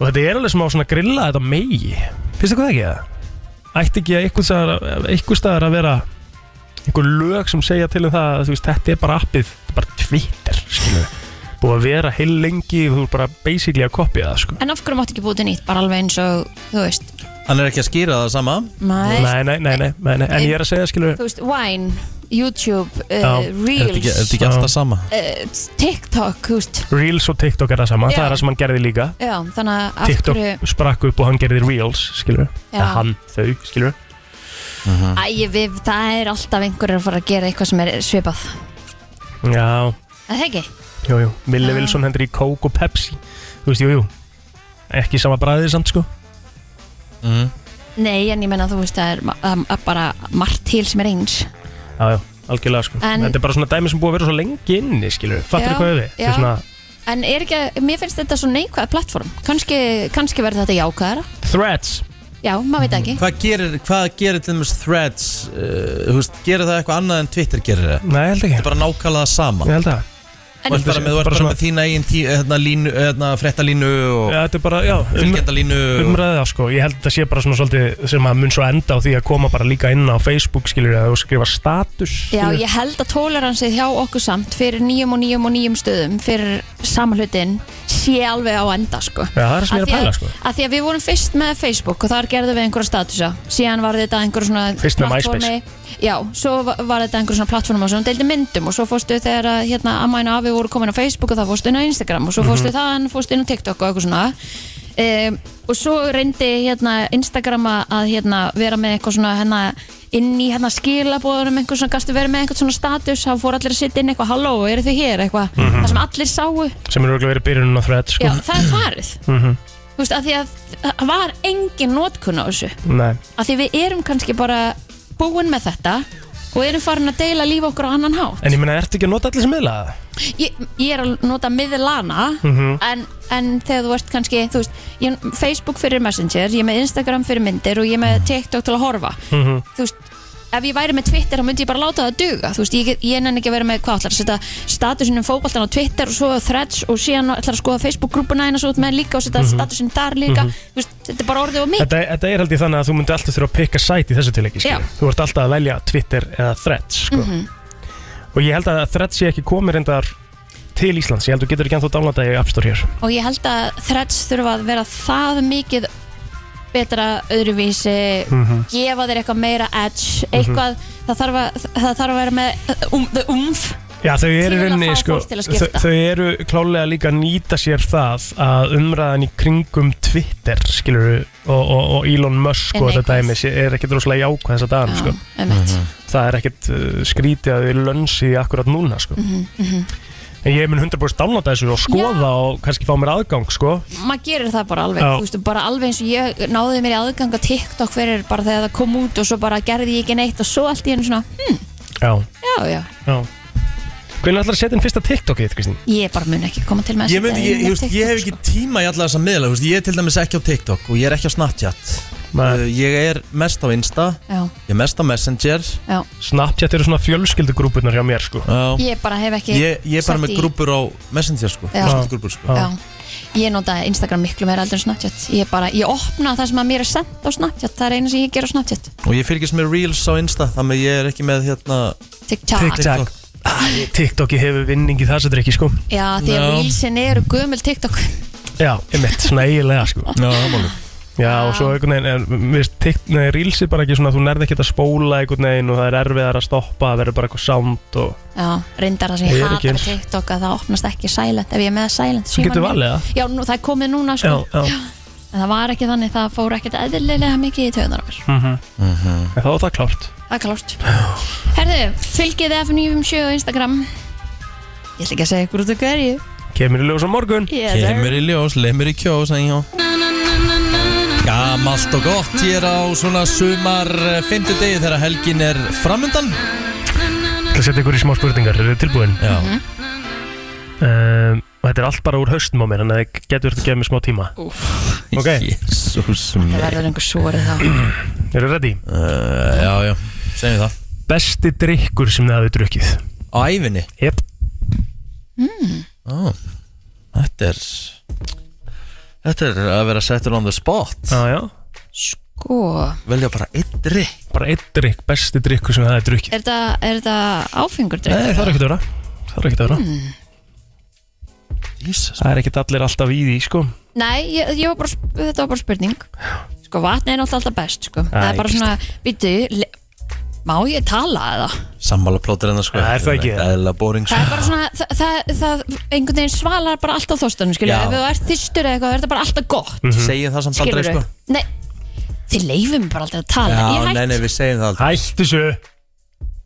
og þetta er alveg smá svona grilla þetta megi, finnst þið hvað ekki það? ætti ekki að einhver staðar, einhver staðar að vera einhver lög sem segja til um það að þú veist, þetta er bara appið, þetta er bara Twitter skilur, við. búið að vera heil lengi og þú er bara basically að kopja það sko.
En af hverju máttu ekki búið til nýtt, bara alveg eins og, þú veist,
Hann er ekki að skýra það sama
maður,
nei, nei, nei, nei, nei, nei, en ég er að segja skilur,
þú veist, wine, YouTube,
Já.
uh,
Er þetta
Reels
ekki- er þetta ekki alltaf sama?
Eh, TikTok, þú veist
Reels og TikTok er það sama,
Já.
það er það sem hann gerði líka
Já, þannig að af
TikTok
hverju-
sprakk upp og hann gerði Reels, skilur við
Já.
eða hann, þau, skilur við
Æ, við, það er alltaf einhverjur að fara að gera eitthvað sem er svipað
Já,
Er það ekki?
jú, jú, Milli
Já.
Wilson hendur í Coke og Pepsi Þú veist, jú, jú Ekki sama bræðið samt, sko mm.
Nei, en ég menna þú veist það er ma- að- að bara margt til sem er eins
Já, já, algjörlega, sko
En-
Þetta er bara svona dæmi sem búið að vera svo lengi inni, skilur við
Já,
Fattur hvað við? Þetta
já.
er svona
En er ekki, að- mér finnst þetta svo neikvæð plattform Kanski, kannski verður þetta jákvæðara
Threads
Já, maður veit ekki
Hvað gerir, hvað gerir til dæmis threads uh, húst, Gerir það eitthvað annað en Twitter gerir það?
Nei, held ekki
Þetta er bara nákvæmlega sama
Ég held það
Þú ert bara með, þú ert bara með þína eigin tí, hérna, línu, hérna, frettalínu og
Já, þetta er bara, já
Fylgjendalínu
umræða sko, ég held að það sé bara svona svolítið sem að mun svo enda á því að koma bara líka inn á Facebook skilur að þú skrifa status
Já,
skilurðu.
ég held að tóleransið hjá okkur samt fyrir nýjum og nýjum og nýjum stöðum fyrir sama hlutin sé alveg á enda sko.
Já, það er það sem ég er að
Af því
pæla, sko.
Af því að við vorum fyrst með Facebook og þar gerðum við einhverja statusa síðan var þetta einhverja svona
Fyrst með
plattformi-
MySpace.
Já, svo va- var þetta einhverja svona plattforma og svo hún deildi myndum og svo fórstu þegar að hérna amma og afi voru komin á Facebook og það fórstu inn á Instagram og svo
Mhm.
fórstu mm -hmm. þann, fórstu inn á TikTok og eitthvað svona um, og svo reyndi hérna Instagram að- að hérna vera með eitthvað svona hérna inn í hérna skilabóðunum einhver svona gastu verið með eitthvað svona status þá fór allir að sitja inn eitthvað halló, eru þið hér eitthvað
Mhm.
það sem allir sáu
sem eru örugglega verið byrjunum á thread sko.
Já, það er farið
Mhm.
Þú veist, af því að það var engin notkun á þessu
Nei,
af því við erum kannski bara búin með þetta og erum farin að deila líf okkur á annan hátt
en ég meina, ertu ekki að nota allir sem miðla?
ég, ég er að nota miðlana
Mhm.
en, en þegar þú ert kannski þú veist, ég, er Facebook fyrir Messenger ég er með Instagram fyrir myndir og ég er með TikTok til að horfa
Mhm.
þú veist ef ég væri með Twitter þá myndi ég bara láta það duga þú veist, ég, ég nenni ekki að vera með hvað ætlar að setja statusinn um fótboltan á Twitter og svo á threads og síðan ætlar að skoða Facebook-grúpuna eina svo út með líka og setja
Mhm.
statusinn þar líka
Mhm.
þú veist, þetta er bara orðið og mikið
Þetta, þetta er held ég þannig að þú myndi alltaf þurfa að pikka sæti í þessu tilegi
Já.
Þú ert alltaf að velja Twitter eða Threads sko.
Mhm.
og ég held að Threads sé ekki komið reyndar til Íslands, ég held að þú getur ekki ennþá downloadað í App Store hér
og ég held að threads þurfa að vera það mikið betra öðruvísi
Mhm.
gefa þér eitthvað meira
Mhm.
edge eitthvað, það, þarf að, það þarf að vera með um, the umf
Já, þau
Til
eru
að
rauninni,
fá
sko,
fólk til að
þau,
skipta.
þau eru klálega líka að nýta sér það að umræðan í kringum Twitter, skilur og, og, og Elon Musk
Er
og þetta
neikvæð.
dæmi sé- er ekkit rosalega jákvæð þess að dagana, sko.
einmitt.
Mhm.
Það er ekkit uh, skrítið að þau lönsi akkurat núna, sko.
Mhm, mhm.
En ég mun 100% dálnáta þessu og skoða og kannski fá mér aðgang, sko.
maður gerir það bara alveg
Já.
þú veist, bara alveg eins og ég náði mér í aðgang að TikTok fyrir bara þegar það kom út og svo bara gerði ég ekki neitt og svo allt í hennu svona hm,
Já,
já, já,
já. Hvernig ætlar að setja inn fyrsta TikTokið, Kristín?
ég bara mun ekki koma til með að
Ég,
setja
myndi,
inn
ég,
með
ég, veist, ég hef
sko.
ekki tíma í alla þessa miðla þú veist, Ég er til dæmis ekki á TikTok og ég er ekki á Snapchat
Eh,
uh, Ég er mest á Insta
Já.
Ég er mest á Messenger
Já.
Snapchat eru svona fjölskyldugrúpunar hjá mér, sko
Já.
Ég bara hef ekki
Ég, ég er bara
sett
með
í-
grúpur á Messenger sko,
Já.
fjölskyldugrúpur, sko.
Já. Ég nota Instagram miklu meira aldrei en Snapchat Ég bara, ég opna það sem að mér er sendt á Snapchat Það er eina sem ég ger á Snapchat
Og ég fylgist með Reels á Insta Þannig að ég er ekki með hérna
TikTok.
TikTok.
Æ, TikToki hefur vinning í þessu drikki, sko
Já, því að
Já.
reelsin eru gömul TikTok
Já, einmitt, svona eiginlega sko Já, máli Já, og svo einhvern veginn, er- mér veist, tikt- nei, reels er bara ekki svona, þú nærði ekki að spóla einhvern veginn og það er erfiðar að stoppa, það verður bara eitthvað sound og
Já, reyndar það sem
Ég
ég
er ekki
hatar
eins.
á TikTok að það opnast ekki silent Ef ég er með silent
Svo getur
símanum
valið
mínum.
það.
Já, nú, það er komið núna sko
Já, já.
En það var ekki þannig, það fór ekkert eðlilega mikið í töðunar mér
mm -hmm. En þá er það klárt
Það er klárt Herðu, fylgið F957 á Instagram Ég ætla ekki að segja ykkur út af hverju
Kemur í ljós á morgun
Yes, sir. Kemur
í ljós, lemur í kjós Gamalt og gott Ég er á svona sumar Fymtu degi þegar helgin er framundan
Það setja ykkur í smá spurningar, eru þið tilbúin?
Já
Mhm.
um, Og þetta er allt bara úr haustum á mér, þannig að það getur þetta að gefa mér smá tíma Úf Ok
Jésús mér
Það verður um. einhver svorið þá
Eru þið ready?
Uh, já, já, segjum það
Besti drikkur sem þið hafið drukkið
Á æfinni?
Jep
mm.
oh. Þetta er Þetta er að vera settur on the spot
Já, já
Sko
Velja bara einn drikk
Bara einn drikk, besti drikkur sem þið hafið drukkið
Er þetta- er þetta áfengur drikkur?
Nei, það er ekkert að vera Það er ekkert að vera
Mm.
Jesus.
Það er ekkert allir alltaf í því, sko
Nei, ég, ég var bara, sp- þetta var bara spurning Sko, vatni er náttúrulega alltaf best, sko Það
Æ,
er bara svona, býtu le- Má ég tala eða?
Sammála plótur
hérna,
hennar sko
Það er það ekki.
Eðla boring sko
Það er bara svona, það, það, það einhvern veginn svalar bara alltaf þóstunum, skilju
Já.
Ef þú ert þyrstur eða eitthvað, það er þetta bara alltaf gott
mm -hmm. Segjum það samt aldrei
Mhm. Skilurðu?
sko
Nei, þið leifum mér bara aldrei að tala Ég
Já,
hætti
nei, nei, við segjum það aldrei
Hættu svo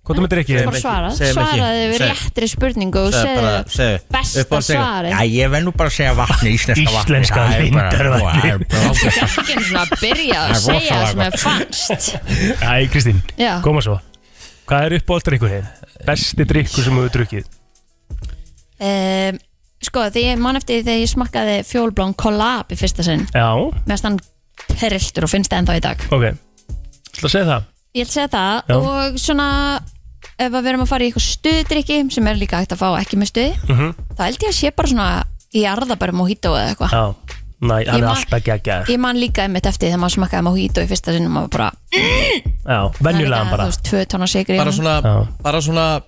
Hvað þú myndir ekki?
bara svarað Svaraði við réttri spurningu og segðu besta svarið.
Já, ég verð nú bara að segja vatni, íslenska vatni
Íslenska
Það er bara-
lindarvatni.
það er bara-
ekki einu svona að byrja að
Það er
segja það
rosalega
sem
gott.
er fannst
Æ, Kristín,
Já.
koma svo Hvað er uppáhalddrykkurinn? Besti drykkur sem þú hefur drukkið
um, Sko, því ég man eftir því þegar ég smakkaði fjólblón kollab í fyrsta sinn
Já,
Mér stann periltur og finnst það ennþá í dag
ok Þú ætla að segja það
Ég ætla að segja það
Já.
og svona ef að við erum að fara í eitthvað stuðdrykki sem er líka hægt að fá ekki með stuði
mm -hmm.
þá held ég að sé bara svona í arðabærum og hító eða eitthvað
Já, næ, hann er
man-
alltaf geggjaður
Ég man líka einmitt eftir þegar maður smakkaði mojito í fyrsta sinnum og bara
Já, venjulegan bara
Þú veist, tvö tónar sigri
bara svona, bara svona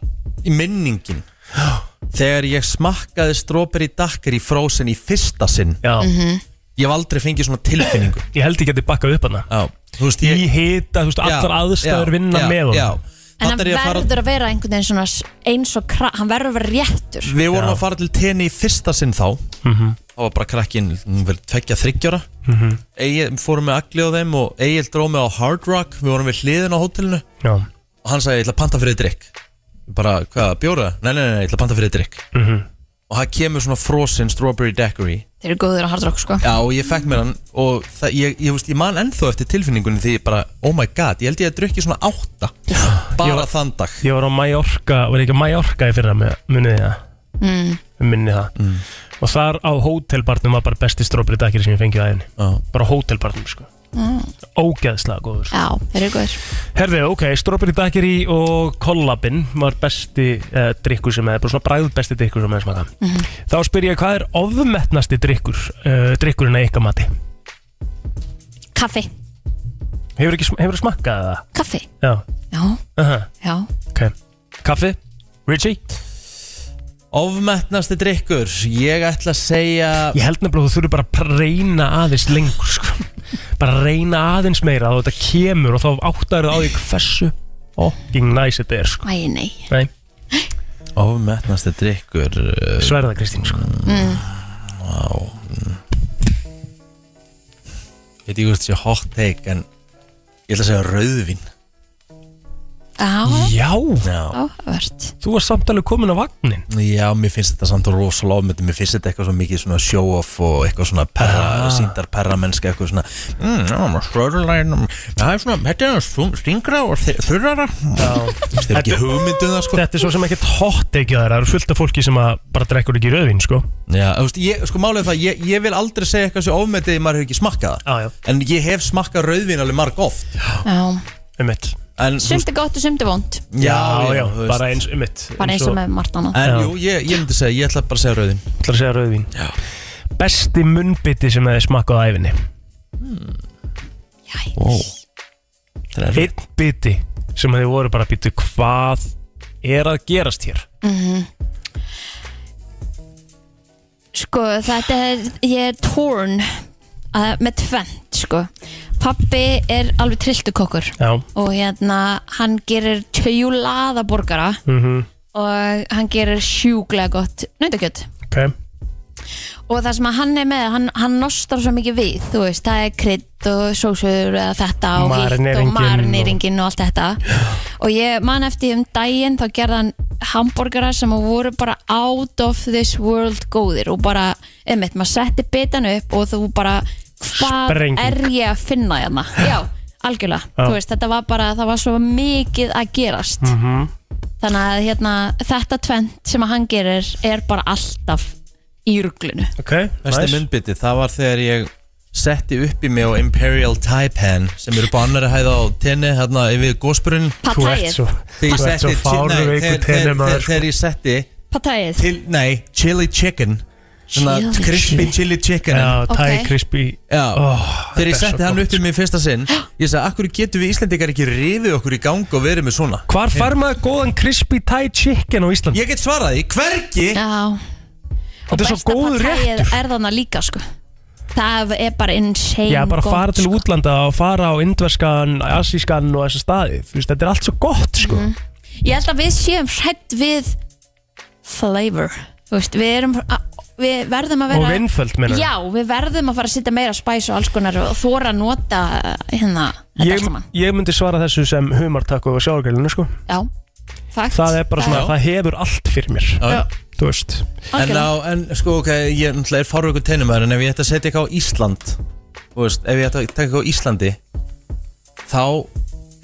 í minningin þegar ég smakkaði strawberry daiquiri frozen í fyrsta sinn
Mhm.
ég hef aldrei fengið svona tilfinningu
ég held ekki að þið bakkað upp hana
já, þú veist, ég,
Í hita, þú veist, allar aðstæður vinna með honum.
já.
En hann
Þarna er ég
verður
að fara-
að vera einhvern veginn svona s- eins og kra, hann verður að vera réttur
við vorum að fara til tenni í fyrsta sinn þá þá var bara krakkin hún var tveggja þryggjóra
Mhm.
Egil, fórum með Agli og þeim og Egil dróð mig á Hard Rock við vorum við hliðin á hótelinu
Já.
og hann sagði ég ætla að panta fyrir drikk bara hvað bjóra? Nei, nei, nei, nei, ég ætla að panta fyrir drikk
Mhm.
og það kemur svona frozen strawberry daiquiri
Þeir eru góður á hardrock sko
Já, og ég fekk mér hann og það, ég, ég, veist, ég man ennþá eftir tilfinningunni því ég bara, oh my god, ég held ég að drukki svona átta bara þann dag
Ég var á Mallorca, var ég ekki á Mallorca í fyrra með- munið það
mm.
minni það og þar á hótelbarnum var bara besti strawberry dagir sem ég fengið að henni
ah.
bara á hótelbarnum sko
Mm.
ógeðslega góður
Já, þeir eru góður
herði ok, strawberry dagir og kollabin var besti uh, drikkur sem er bara svona bræð besti drikkur sem er smaka
Mhm.
þá spyr ég hvað er ofmetnasti drikkur uh, drikkurinn að ykkar mati
Kaffi,
hefur ekki sm- hefur smakkað það
kaffi,
já
já,
uh
já
ok kaffi Richie
Ofmetnasti drikkur, ég ætla að segja
Ég held nefnilega að þú þurfi bara að reyna aðeins lengur sko. bara reyna aðeins meira þá þetta kemur og þá áttar það á því hversu fucking nice þetta er sko.
Æ, nei
Nei,
Ofmetnasti drikkur uh,
sverða Kristín sko.
mm.
Vá mm. Ég veit ekki hvort sé hot take en ég ætla að segja rauðvin
Já,
Já,
áhvert
Þú var samt alveg komin á vagnin
Já, mér finnst þetta samt rosalega ofmyndi Mér finnst þetta eitthvað svo mikið svona show off og eitthvað svona perra,
Ah.
síndar perramennska eitthvað svona mm, já, maður svörlæn Það er svona, þetta er svona stingra og þe- þurrara Það er ekki hugmynduð það sko
Þetta er svo sem ekkert hot ekki að það eru fullt af fólki sem að bara drekkur ekki rauðvin sko.
Já, þú veist, ég, sko málið er það, ég, ég vil aldrei segja eitthvað svo ofmyndið ef maður hefur ekki smakkað það
já.
En ég hef smakkað rauðvin alveg marg oft
Já,
um mitt
En, þú
sumt er gott og sumt er vond
Já, já,
þú veist.
bara eins um mitt
Bara eins og með margt annað
En jú, ég, ég myndi segja, ég ætla bara að segja rauðin
ætlar að segja rauðvín Já. Besti munnbytti sem hefði smakkað á æfinni
Jæks
Einn bytti sem hefði voru bara býttu hvað er að gerast hér
Mhm. Sko, þetta er, ég er torn að, með tvent, sko. Pappi er alveg trilltukokkur
Já
og hérna, hann gerir tjúlaða borgara
mm -hmm.
og hann gerir sjúglega gott nautakjött.
Ok
Og það sem að hann er með, hann, hann nostar svo mikið við, þú veist, það er krydd og sósur eða þetta og hitt og
Marineringin og-
marniringin og allt þetta. Og ég man eftir um daginn þá gerði hann hambúrgara sem voru bara out of this world góðir og bara, einmitt, maður setti bitan upp og þú bara, hvað
Sprenging.
er ég að finna hérna? Já, algjörlega,
Já.
þú veist, þetta var bara, það var svo mikið að gerast.
mm -hmm.
Þannig að hérna, þetta tvent sem að hann gerir er bara alltaf í ruglunu.
okay,
Besti nice. það var þegar ég setti upp í mig á Imperial Taipan sem eru på annari hæð á tenni hérna yfir gósbrunn
Pad Þú ert Thai-ið. svo-
Þegar
þú
ég
ert
setti
svo fárveikur
nei, þegar- þegar-
tennimaður,
þegar-
sko.
þegar ég setti
Pattæðið
til, nei, chili chicken svona
Chili
crispy
chicken.
chili chicken
Já, Thai Ok. crispy
Já,
Oh,
þegar
þetta er
ég
svo
setti hann upp í mig í fyrsta sinn ég sagði, akkur getum við Íslendingar ekki rifið okkur í gang og verið með svona
Hvar fær maður góðan crispy Thai chicken á Íslandi?
Ég get svarað því, hvergi
Já
Þetta er svo góður réttur
er þarna líka sko það er bara insane
Já, bara
gott,
fara til
sko.
útlanda og fara á indverskan, assískan og þessa staði Þú veist, þetta er allt svo gott, sko
Mhm.
Ég held að við séum hrætt við flavor Þú veist, við, erum, að- við verðum að vera
Og vinföld, meinarðu?
Já, við verðum að fara að setja meira spæs og alls konar og þóra að nota hérna þetta
ég,
allt saman
ég myndi svara þessu sem humartakku og sjáargrillinu, sko
Já, fakt
Það er bara svona,
Já.
það hefur allt fyrir mér
já.
Þú veist
En,
Algjörlega.
á, en sko, ok, ég náttúrulega er fárvöku teinumæður En ef ég ætti að setja eitthvað á Ísland Þú veist, ef ég ætti að taka eitthvað á Íslandi Þá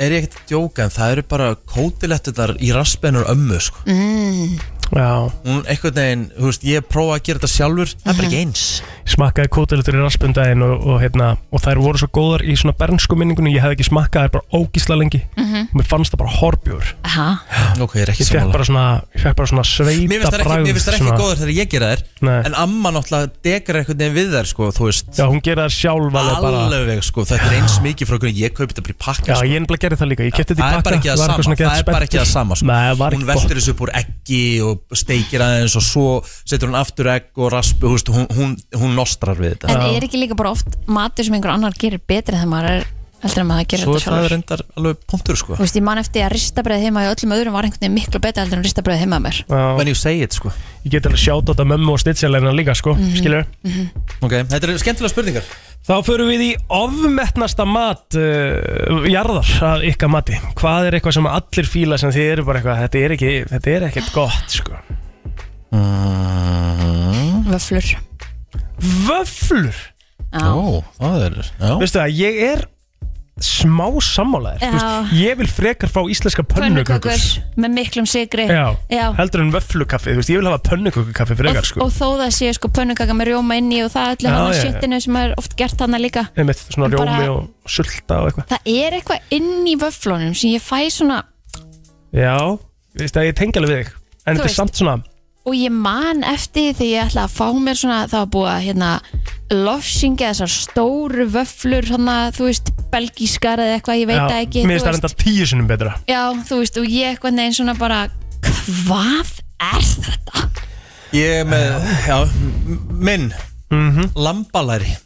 er ég ekkert að djóka En það eru bara kótilettunar í raspennur ömmu, sko
mm.
Já
Hún einhvern veginn, þú veist, ég prófa að gera þetta sjálfur Það er bara ekki eins
Ég smakkaði kótelitur í raspundaginn og, og, hérna, og þær voru svo góðar í svona bernsku minningunni ég hef ekki smakkað þær bara ógísla lengi
Mhm.
og mér fannst það bara horbjör
Aha.
Ok, ég er ekki
ég fekk
sammála.
bara svona, ég fekk bara svona sveita
Mér finnst það ekki, mér finnst þær ekki
svona-
góður þegar ég gera þær
Nei.
En amma náttúrulega dekar einhvern veginn við þær sko, þú veist
Já, hún gera þær sjálf
alveg
alveg bara-
sko, þetta er eins mikið frá hvernig ég kaupi þetta bara í pakka
Já,
sko.
ég ennbla gerði það líka, ég kefti þetta í
Það er
pakka
bara ekki það
var eitthvað
sama
svona
Það er
geðveikt
bara ekki
spenntur.
það sama sko.
Nei, var
Hún
ekki gott
veltir þessu upp úr eggi og steikir aðeins og svo setur hún aftur egg og rasp húst, hún, hún, hún nostrar við þetta
En er ekki líka bara oft matur sem einhver annar gerir betri þegar maður er heldur en maður gerir
Svo er það
þetta sjálfur
reyndar alveg punktur sko
Þú veist, ég man eftir að ristabröð heima í öllum öðrum var einhvern veginn miklu betra heldur en ristabröð heima að mér
When you say it sko
Ég get alveg sjátt á þetta mömmu og stittsjæleina líka sko, mm
Mhm.
Mhm. Ok, þetta eru skemmtilega spurningar
Þá förum við í ofmetnasta mat uh, jarðar að ykkar mati Hvað er eitthvað sem allir fíla sem þið eru bara eitthvað Þetta er, ekki, þetta er ekkert gott sko
Vöflur
Vöflur?
Já. Ó,
það er
Veistu það, ég er smá sammálaðir
Já.
Þú veist, Ég vil frekar fá íslenska pönnukökur
með miklum sigri
Já,
Já.
heldur en vöflukaffi Þú veist, Ég vil hafa pönnukökukaffi frekar sko
og þó það sé sko pönnukaka með rjóma inni og það allir
Já,
hana
já, já.
shitinu sem er oft gert hana líka
Einmitt, svona
En bara-
rjómi og sulta og eitthvað
það er eitthvað inn í vöflunum sem ég fæ svona
Já, veist það, ég tengi alveg við þig En
Þú
þetta er
veist.
samt svona
og ég man eftir því þegar ég ætla að fá mér svona það var búið að hérna lofsingja þessar stóru vöflur svona, þú veist, belgískar eða eitthvað ég veit
Já,
það ekki
Mér finnst
þú
það
veist.
enda tíu sinnum betra
já, þú veist, og ég eitthvað neginn svona bara hvað er þetta?
Ég er með, já, Mm-hmm. m- minn Lambalæri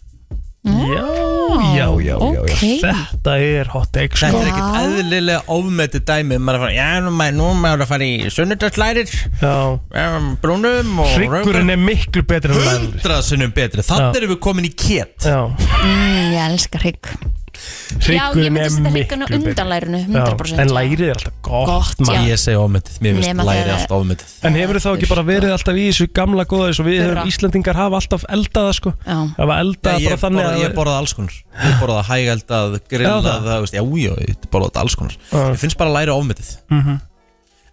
Já, já, já, já, já.
ok.
Þetta er hot take sko.
Þetta er ekkert eðlilega ofmeti dæmi maður er að fara, Já, nú maður, nú maður er að fara í sunnudagslærir um, Brúnum og
Hryggurinn er miklu betri en lærir.
Hundra sinnum betri
Já.
Þannig erum við komin í két
Já,
mm, ég elska hrygg já, ég
Hryggurinn er
myndi setja hrygguna
miklu betri.
undan lærinu
Já,
100%
en
lærið er alltaf gott,
gott já.
Ég segi ofmetið, mér
Nema
finnst læri
þegar-
alltaf ofmetið
En hefur þá ekki bara verið alltaf í þessu gamla góða eins og við
Þurra.
höfum Íslandingar hafa alltaf eldaða sko
Já.
Hafa eldaða
Ég
bara þannig
borða- ég borðaði alls konar Ég borðaði hægældað, grillað
það?
það, veist, Já, já, ég borðaði alls konar Ég finnst bara læri ofmetið
Mhm.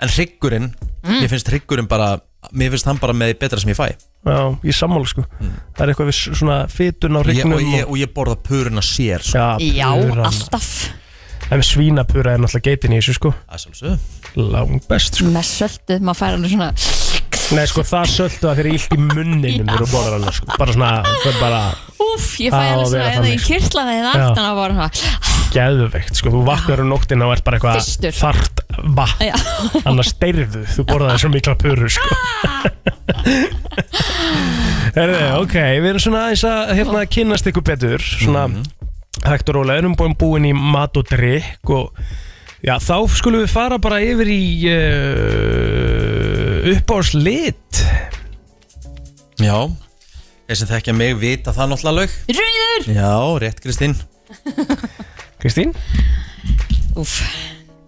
En hryggurinn,
Mm.
mér finnst hryggurinn bara Mér finnst hann bara með því betra sem ég fæ
Já, ég sammála sko Það er eitthvað við s- svona fytun á
Og Mm. ég,
hryggnum
og, ég, og ég borða puruna sér sko.
Já,
Já,
puran.
alltaf
En svínapura er náttúrulega geitin í þessu sko
Æsjálfsög
Langbest sko
með söldu, maður fær alveg svona
Nei sko, það söldu það fyrir illt í munninum þegar þú borðar hana sko Bara svona, það er bara
uff, ég fæ
Það á
alveg svona hérna
að vera
eða
þannig,
ég
sko.
kyrtla það eða
Já.
aftan að bara svona
geðveikt sko, þú vaknar um nóttina og ert bara
Fyrstur.
eitthvað þart vatn
Já.
annars deyrðu, þú borðaði svo mikla puru sko Herðu, ok, við erum svona aðeins að hérna kynnast ykkur betur svona hægt og rólega, erum búin búin í mat og drikk og já, þá skulum við fara bara yfir í uh, uppáðslit
Já, þeir sem þekkja mig vita það náttúrulega lög
Rauður!
Já, rétt Kristín
Kristín?
uff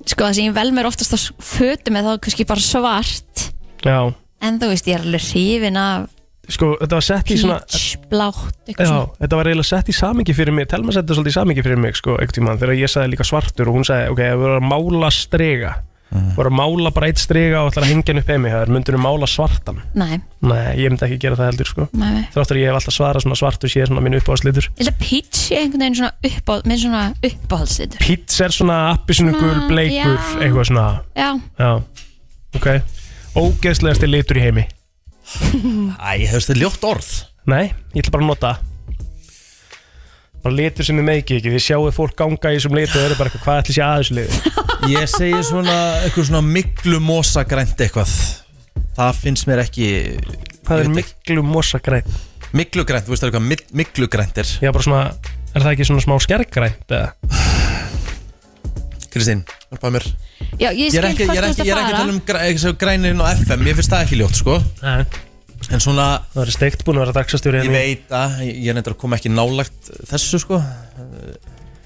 sko það sem ég vel mér oftast á fötum eða þá kannski bara svart
Já,
en þú veist, ég er alveg hrifin af
sko, þetta var sett í svona
peach, blátt, eitthvað
Já,
svona
þetta var eiginlega sett í samingi fyrir mig Telma setti svolítið í samingi fyrir mig sko, einhvern tímann þegar ég sagði líka svartur og hún sagði ok, ef við vorum að mála strega mm. vorum að mála bara eitt strega og ætlar að hengja hann upp heimi það er myndur mála svartan
Nei,
Nei, ég myndi ekki gera það heldur sko
Nei, nei.
Þráttur ég hef alltaf svarað svona svartur sé svona minn uppáðslitur
ég held að peach er einhvern veginn svona uppáð, með svona uppáhaldslitur
Pits er svona appisinu gul
Svona,
bleikur
já.
eitthvað svona
Já,
Já, ok Ógeðslegasti litur í heimi
Æ, hefurst þið ljótt orð?
Nei, ég ætla bara að nota það. bara litur sem við meiki ekki, við sjáum fólk ganga í þessum litur og eru bara eitthvað, hvað ætli sé að þessu litur
Ég segi svona eitthvað svona miklu mosagrænt eitthvað Það finnst mér ekki
Það er miklu mosagræn
Miklugrænt, þú veist það er eitthvað mik- miklugrænt er
Já, bara svona, er það ekki svona smá skergrænt eða?
Kristín, hjálpaði mér
Já, ég
er
skil
ekki, ég er
hvað þú
ekki, ég
ert að
er ekki að
fara
tala um græ, ekki, grænirinn á FM, ég finnst það ekki ljótt sko
Nei.
En svona
Það er steikt búin að vera dagsastjóri hérna.
Ég veit að, ég ég er neitt að koma ekki nálagt þessu sko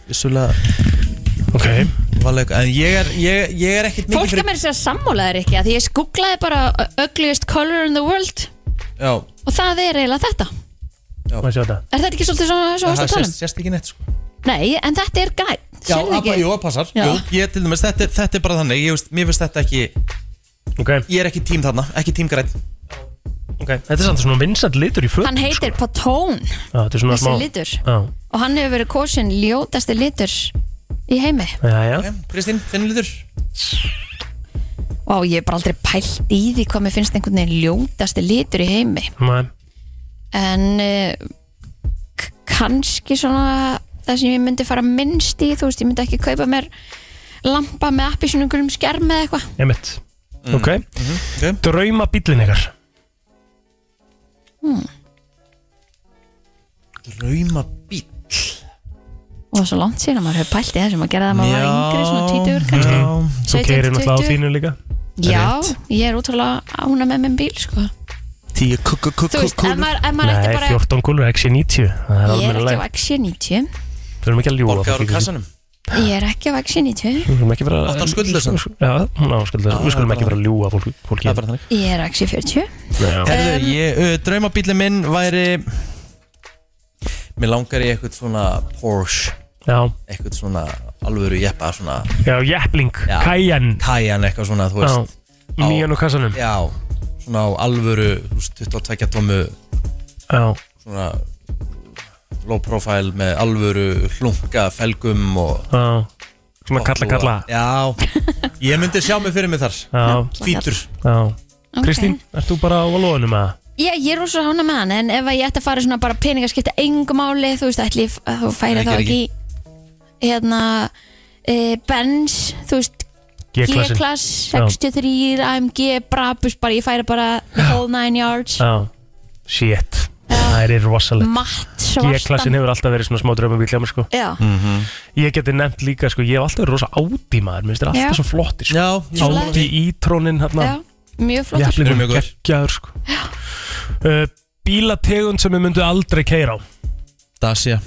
Vissulega
Ok
Valega, En ég er, ég, ég er ekkit mikið
Fólk er
fyrir
mér að segja sammálaðir ekki að því ég googlaði bara ugliest color in the world
Já,
og það er eiginlega þetta
já
Má sjá þetta
Er þetta ekki svolítið svona svo
Það
að tala um?
sést, sést ekki neitt sko
Nei, en þetta er græn
Já,
Sérðu
að,
ekki?
jú, það passar
Já.
Jú, ég til dæmis, þetta, er- þetta er bara þannig Ég veist, mér finnst þetta ekki
okay.
Ég er ekki tím þarna, ekki tím græn
okay. Þetta er samt svona vinsat litur í fötum
Hann heitir Patón
Já, þetta er svona
þessi
smá
litur.
Já,
og hann hefur verið kosin ljótasti litur í heimi
já, já
Kristín, þinn litur
og ég hef bara aldrei pælt í því hvað mér finnst einhvern veginn ljótasti litur í heimi
Nei.
en uh, kannski svona það sem ég myndi fara minnst í þú veist, ég myndi ekki kaupa mér lampa með appi svona einhverjum skjerm eða eitthvað
Emmett
Mm.
Ok
okay.
Drauma bílinn ykkar
hmm.
Drauma bíl
og það er svo langt síðan að maður hefur pælt í þessum að gera það að maður var yngri svona 20
Mm-hmm.
kannski
Já. Þú
17,
keirir náttúrulega á
20.
þínu líka
Já, ég er útrúlega ána með minn bíl sko.
Tíu kúlur
Þú veist, ef maður- ef maður ætti
Nei,
bara-
14 kúlur, ekki 90
Ég
Það er
er ekki á
almennilega
Action 90
Við erum ekki að ljúga
Borgar úr
fólki.
kassanum
Ég er ekki á Action 90
Við erum ekki að
Átti hann skuldlausan?
Já, hún á skuldlausan Við skulum ekki vera að ljúga fólki Það er
bara þannig
Ég er Action 40
Herðu, ég, uh, draumabílinn minn væri Mér langar í eitthvað svona Porsche
Já
Eitthvað svona alvöru jeppa svona
Já, jeppling, Cayenne
Cayenne eitthvað svona, þú
Já,
veist á-
nýjan úr kassanum.
Já, svona á alvöru, þú veist, 22 tómu
Já.
Svona low profile með alvöru hlunga felgum og
Já. Svona kalla, kalla.
Já, ég myndi sjá mig fyrir mig þar
Já.
Hvítur
Já
Ok.
Kristín, ert þú bara á valóðunum að?
Ég, ég er rosa hána með hann En ef að ég ætti að fara í svona bara peningaskipta engu máli Þú veist, ætli ég f- að þú færi
Nei,
þá
gerði
ekki í, Hérna e, Benz, þú veist
G-klassin.
G-klass,
Já.
63 AMG, Brabus bara, Ég færi bara the whole nine yards
Já. Shit. Það er rosalegt.
Matt
G-klassin
svartan
hefur alltaf verið svona smá drömmabíl hjá mér sko.
Já.
-hmm. Ég geti nefnt líka sko, ég hef alltaf verið rosa Audi maður, minnst þér
Já.
alltaf svo flottir sko.
Já,
ég sammála
Audi e-trónin
Já,
hérna.
mjög flott
Jæfnir mjög geggjaður sko. uh, Bílategund sem við myndu aldrei keira á.
Dacia.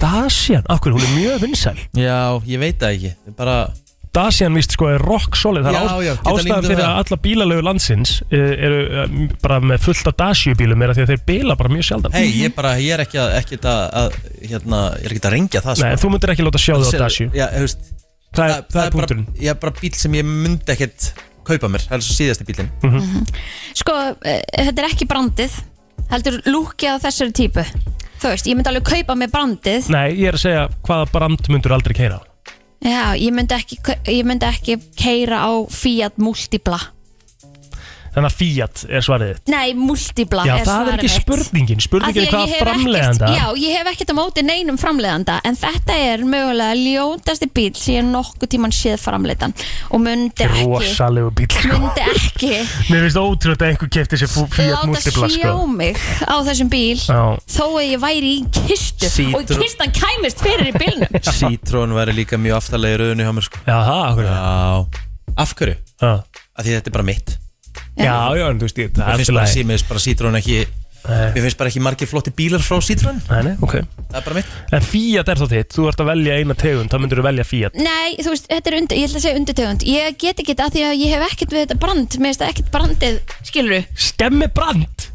Dacian, af hverju, hún er mjög vinsæl.
Já, ég veit það ekki Ég bara
Dacian víst sko er rock solid Það
Já,
er ás-
já, geta
ástæðan
límyndað
fyrir
það.
að alla bílalögu landsins uh, eru uh, bara með fullt af Dacia bílum er að því að þeir bila bara mjög sjaldan
Hei, ég bara, ég er ekki að, ekki að, að hérna, ég er ekki að rengja það
Nei, en þú myndir ekki láta sjá þig á
Þessi-
Dacia.
Já, þú veist
sko. Það er, það er
bara, ég er bara bíl sem ég myndi ekkert kaupa mér Það er svo síðasti bílinn
Sko, e, þetta er ekki brandið Heldur lúkið á þessari típu Þú veist, ég myndi alveg kaupa með brandið
Nei, ég er að segja hvaða brand myndur aldrei keira á
Já, ég myndi ekki, ég myndi ekki keira á Fiat Multipla
Þannig að Fiat er svarið þitt
Nei, Multipla
Já,
er
það er
svarið
ekki um
mitt.
spurningin
Af því
Spurningin
að
er
ég
hvaða
hef
framleganda
ekkert, Já, ég hef ekkert á móti neinum framleganda En þetta er mögulega ljótasti bíl sem ég nokkuð tíman séð framleitan Og myndi ekki
Rosalegu bíl sko.
Myndi ekki
Mér finnst ótrúlega að einhver kefti sér Fu- Fiat
láta
Multipla
sjá
sko.
mig á þessum bíl
Já.
Þó að ég væri í kistu
Sítru-
Og kistan kæmist fyrir í bílnum
Citroen væri líka mjög aftalega í rauðinu hjá mér sko
Já, það, af hverju?
Já, af hverju?
Já
Af því þetta er bara mitt
Já, já, en þú veist ég
Mér finnst bara, sí- mér finnst bara Citroen ekki Mér finnst bara ekki margir flotti bílar frá Citroen
Nei, nei, ok
Það er bara mitt
En Fiat er þá þitt, þú ert að velja eina tegund Þá myndur þú velja Fiat
Nei, þú veist, þetta er undir, ég ætla að segja undirtegund Ég get ekki þetta af því að ég hef ekkert við þetta brand Mér finnst það ekkert brandið, skilur du
Stemmi brand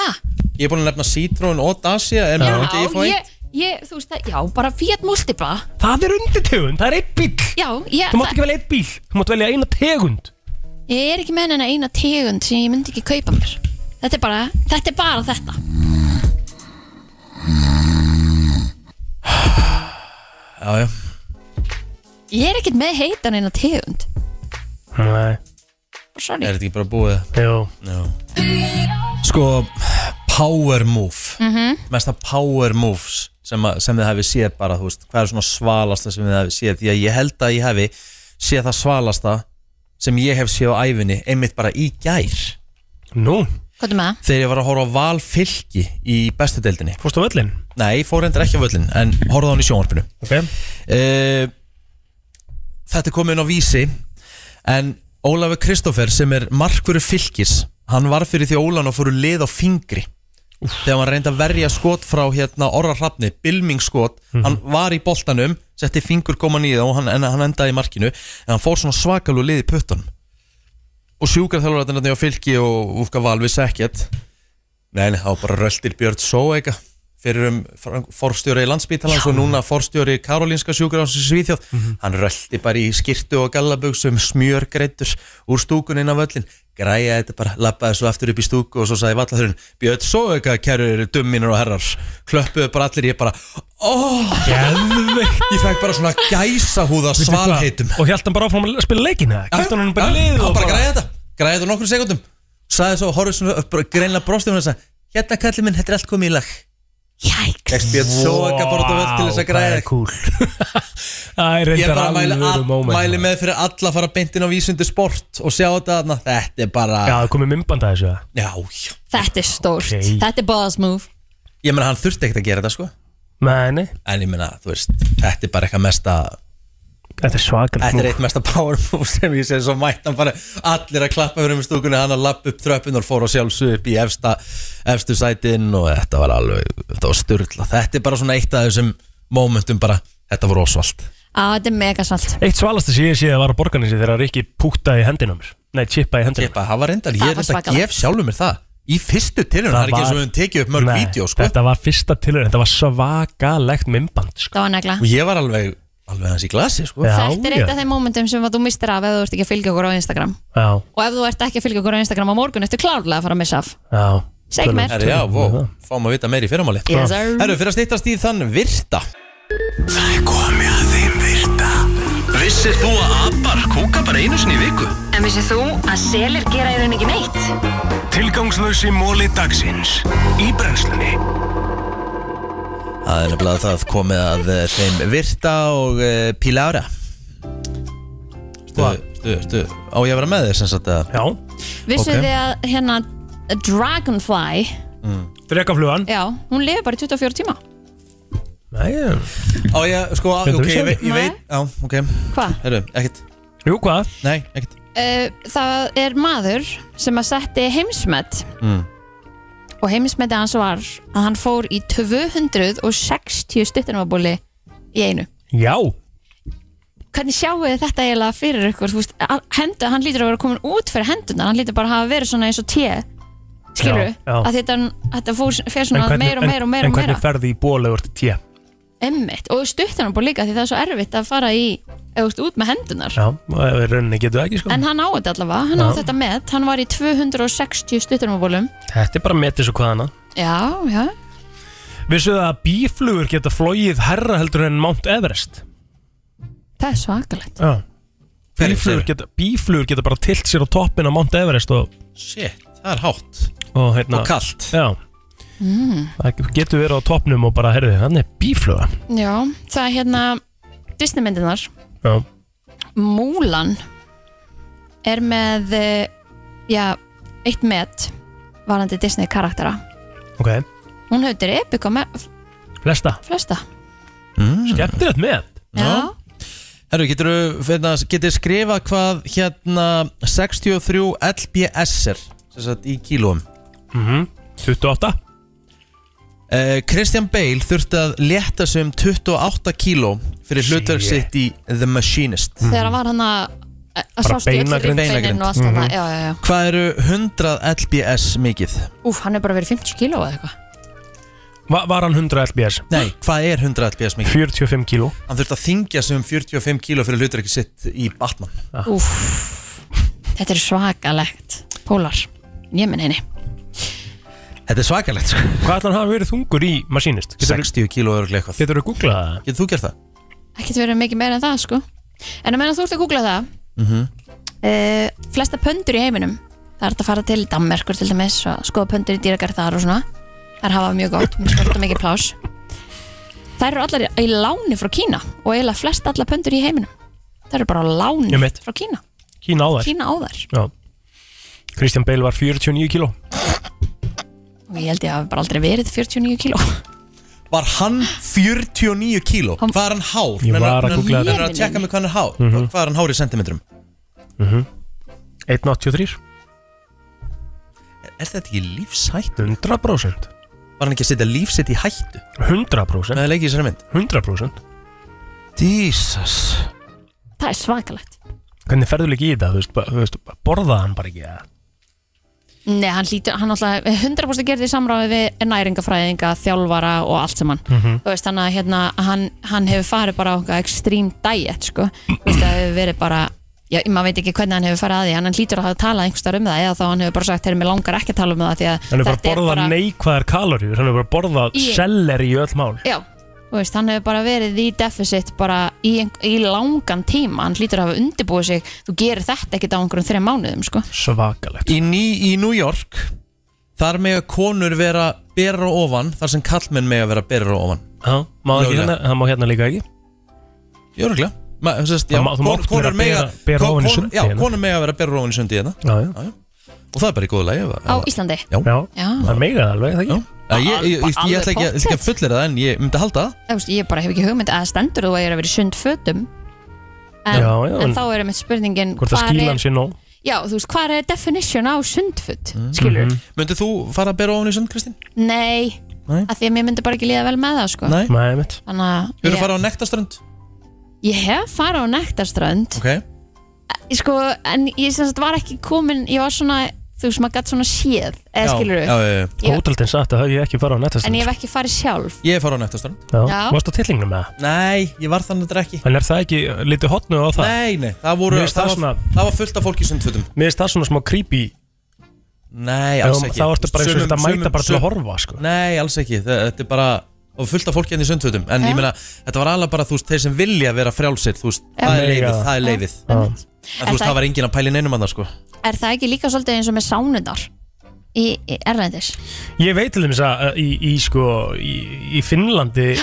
Hæ?
Ég er búin að nefna Citroen og Dacia En mér myndi ég fá eitt
ég, ég, þú veist það, já, bara Fiat Multipla
Það er undirtegund, það er einn bíl
Já, ég,
Þú mátt ekki velja einn bíl, þú mátt velja eina tegund
ég er ekki með henni eina tegund sem ég myndi ekki kaupa mér Þetta er bara, þetta er bara þetta
Já, já
Ég er ekkert með heitan eina tegund
Nei
Sorry
Er þetta ekki bara búið?
Jó
Sko, power move
Mhm.
mesta power moves sem, að, sem þið hefði séð bara, þú veist, hvað er svona svalasta sem þið hefði séð, því að ég held að ég hefði séð það svalasta sem ég hef séð á æfinni, einmitt bara í gær
Nú?
Hvað er með það?
þegar ég var að horfa á Val Fylki í bestu deildinni
Fórstu á völlin?
Nei, ég fór endur ekki á völlin en horfði á hann í sjónvarpinu
okay.
Eh, Þetta er komið inn á vísi en Ólafur Kristoffer sem er markvöru Fylkis hann var fyrir því Ólan og fóru um lið á fingri þegar hann reyndi að verja skot frá hérna orra hrafni, bilmingsskot hann var í boltanum, setti fingur koma nýða og hann, en hann endaði í markinu en hann fór svona svakalú lið í puttunum og sjúkarþjálfurarnir á fylki og Úfka Valvis ekkert Nei, nei, það var bara röltir Björn Sóeika fyrir um fran- forstjóri í landsbítalans og núna forstjóri Karolínska sjúkurás í Svíþjóð
Mhm.
hann rölti bara í skirtu og gallabugsum smjörgreitur úr stúkun inn á völlin græja þetta bara, lappaði svo aftur upp í stúku og svo sagði vallathurinn Björn Sóeika, kæru dumminur og herrar klöppuðu bara allir, ég bara oh,
Geðveikt.
ég fekk bara svona gæsa húða
Veistu hvað?
svalheitum
Og held hann bara áfram að spila leikina Kæftan hann bara í lið
hann
og
bara græði þetta græði þetta á nokkrum sekundum sagði svo, horfði svona upp, bara greinlega brosti hún og sagði hérna kallið minn, þetta er allt komið í lag jæks ég svo ekki bara út á völd til þess að græða
það er cool Það er
ég
reyndar
bara mæli,
alvöru
all,
moment
mæli með fyrir alla að fara beint inn á vísundu sport og sjá þetta þarna þetta er bara
Já, það komið mymband að þessu eða?
já, já.
Þetta er stórt,
Ok.
þetta er boss move
ég meina hann þurfti ekkert að gera þetta sko
Nei, nei
en ég meina, þú veist, þetta er bara eitthvað mesta
Þetta er svakar
Þetta er eitt mesta power move sem ég sé svo mætt hann bara allir að klappa fyrir um stúkunni hann að lappa upp tröppun og fór á sjálfsög upp í efsta, efstu sætin og þetta var alveg, þetta var styrla þetta er bara svona eitt af þessum momentum bara, þetta var ósvalt
Á, þetta er megasvalt
Eitt svalasta sem ég sé að var á borgarinsi þegar Rikki púktaði í hendina á mér Nei, chippaði í hendina
Chippaði, það var reyndar,
ég er reyndar svakalegt. gef
sjálfur mér það Í fyrstu tilraun, það er ekki eins og við höfum tekið upp mörg vídeó, sko.
Þetta var fyrsta tilhörun, þetta var svakalegt mymband sko.
Það var negla
og ég var alveg, alveg hans í glasi sko.
Þetta er eitt af þeim momentum sem að þú mistir af ef þú ert ekki að fylgja okkur á Instagram
Já,
og ef þú ert ekki að fylgja okkur á Instagram á morgun eftir klárlega að fara að missa af
já
Segðu mér.
Herri, Já, vó, fáum að vita meir í fyrramáli
Yes, sir.
Herru, fyrir að snýttast í þann virta
Það er komið að þeim virta Vissir þú að abar kúka bara einu sinni í viku?
En vissið þú að selir gera í raun ekki neitt?
Tilgangslösi móli dagsins Í brennslunni
Það er nefnilega það komið að eh, þeim Virta og uh, Pílára Stu, stu, stu Á ég að vera með þér sem sagt að
Já
Vissuð þið að hérna Dragonfly,
Drekaflugan
já, hún lifir bara í 24 tíma
Á ég, sko,
Þetta er
ok, ég
sem-
veit, ég veit Já, ok
Hvað?
Herru, ekkert
Jú, hvað?
Nei, ekkert
Uh, það er maður sem að setti heimsmet
mm.
og heimsmeti hans var að hann fór í 260 stuttunumabóli í einu
Já
hvernig sjáu þið þetta eiginlega fyrir ykkur þú veist, að- hendur, hann lítur að vera komin út fyrir hendunar hann lítur bara að hafa verið svona eins og té skilur
Já, já.
að þetta, þetta fór, fer svona meira og meira og meira
en
og meira
hvernig ferði í ból eða úr til tjé?
emmitt, og stuttan hann búið líka því það er svo erfitt að fara í eða þú veist, út með hendunar
Já, og í rauninni getur það ekki sko
en hann á þetta allavega, hann á
Já.
þetta met hann var í 260 stuttunumabólum
Þetta er bara metið svo hvað annað
já, já,
Vissuð þið að bíflugur geta flogið herra heldur en Mount Everest?
það er svakalegt
Já Bíflugur geta, bíflugur geta bara tilt sér á toppin á Mount Everest og,
Shit, það er hátt
og, heitna,
Og kalt.
Já,
mm.
það getur verið á toppnum og bara, herðu, hann er bífluga
já, það er hérna Disneymyndinar
Já,
Múlan er með eh, já, eitt met varandi Disney karaktera
ok
hún hautir Epic og með
Flesta
flesta
mm.
Skemmtilegt með
já.
Herru, getur þið skrifa hvað hérna 63 LBS er sem sagt í kílóum
mm 28
Eh, Christian Bale þurfti að létta sig um 28 kíló fyrir hlutverk
Shit.
sitt í The Machinist
þegar hann var hann að eh, að
Bara
sást í öll
beinagrind.
rifbeinin og allt
Beinagrind.
mm
Mhm.
já, já, já.
Hvað eru 100 LBS mikið?
Úf, hann er bara verið 50 kíló eða eitthvað
Va Var hann 100 LBS?
Nei, hvað er 100 LBS mikið?
45 kíló
Hann þurfti að þingja sig um 45 kíló fyrir hlutverk sitt í Batman
Úf, þetta er svakalegt Pólar, ég minn henni
Þetta er svakalegt sko.
Hvað ætlar hann hafa verið þungur í Machinist?
60 kíló öruglega eitthvað
Getur þú googlað það?
Getur þú gert það?
ekkert verið mikið meira en það sko en að meina þú ert að googla það
Mm
Mhm.
uh, flesta pöndur í heiminum það er hægt að fara til Danmerkur til dæmis og skoða pöndur í dýragarð þar og svona þær hafa mjög gott, mjög gott og mikið plás þær eru allar í- í láni frá Kína og eiginlega flest allar pöndur í heiminum þær eru bara á láni
Einmitt.
frá Kína
Kína á þær
Kína á þær
Já Kristján Bale var 49 kíló
og ég held ég að bara aldrei verið 49 kíló
Var hann 49 kíló? Hvað er hann hár?
Ég var að googla
þetta
þetta.
Nennir að tjekka mig hvað hann er hár
Mhm.
Hvað er hann hár í sentimetrum?
mm -hmm. 183
Er þetta ekki lífshætt?
100%
Var hann ekki að setja lífsitt í hættu?
100%
Það er leikið í þessari mynd
100%
Jesus
það er svakalegt
Hvernig ferður líka í þetta, þú veist, ba- þú veist borðaði hann bara ekki eða?
Nei, hann lítur, hann alltaf 100% gerði samráði við næringafræðinga, þjálfara og allt saman
Mhm.
Þú veist, þannig að hérna, hann, hann hefur farið bara á eitthvað extreme diet, sko Þú veist, það hefur verið bara Já, maður veit ekki hvernig hann hefur farið að því en hann lítur að hafa talað einhvers þar um það eða þá hann hefur bara sagt, heyrðu, mig langar ekki að tala um það því að
Hann hefur bara
þetta er
borðað
bara-
neikvæðar kaloríur Hann hefur bara borðað
Ég-
selleri í öll mál
Já, þú veist, hann hefur bara verið í deficit bara í, ein- í langan tíma hann lítur að hafa undirbúið sig þú gerir þetta ekkert á einhverjum þreim mánuðum sko.
Svakalegt
í, ný, í New York Þar mega konur vera berra ofan Þar sem kallmenn mega vera berra ofan
Já, má ekki
Löglega.
hérna, það má hérna líka ekki
Jörglega Ma, sest, já,
Það má- þú mátt
konur
vera
mega-
bera- bera
kon-
ofan í
kon-
sundi
Já,
hérna.
konur mega vera berra ofan í sundi hérna
Já, já.
Og það er bara í góðu lagi
á Íslandi
Já,
já.
Já.
það mega það alveg, það ekki?
Já, ég, ég, ég, ég, ég ætla ekki, að- ég ætla ekki að fullera það en ég myndi að halda það
Þú veist, ég bara hef ekki hugmynd að stendur þú að ég er að vera í sund fötum en,
Já, já,
en
en-
þá er mitt spurningin
Hvort að
hvar
skýlan
er-
sé nóg?
já, þú veist, hvað er definition á sundföt skilur
Mhm. Myndið þú fara að bera ofan í sund, Kristín?
nei,
Nei.
að því að mér myndi bara ekki líða vel með það sko.
Nei.
Nei, mitt
þannig að
Þú eru að
ég,
fara á nektaströnd?
ég hef farið á nektarströnd
Ok
Ég sko, en ég sem sagt var ekki komin ég var svona, þú veist, maður gætt svona séð eða skilur Ég-
Ótraldin satt að það hef ég ekki farið á nettast
en ég hef ekki farið sjálf
Ég fara á nektaströnd
Já,
Já.
varst á tillingnum með það?
Nei, ég var þannig að drekki
En er það ekki litið hotnu á það?
Nei, nei, það, voru,
Mér finnst
það,
það
var, það var fullt af fólki í sundfötum
Mér finnst það svona smá creepy
Nei,
Já,
alls ekki
þá ertu bara eins og
Sumum-
þetta mæta
sumum-
bara til að
sum-
horfa, sko.
Nei, alls ekki, Þa- þetta er bara og fullt af fólki henni í sundfötum en ég meina, þetta var alveg bara, þú veist, þeir sem vilja vera frjálsir þú veist,
Já.
það er
Mega.
leiðið, það er leiðið
Já.
en þú veist,
það-
það var enginn að pæli neinum annað, sko
er það ekki líka svolítið eins og með sánundar í, í Erlendis
Ég veit til þess að uh, í, í, sko, í, í Finnlandi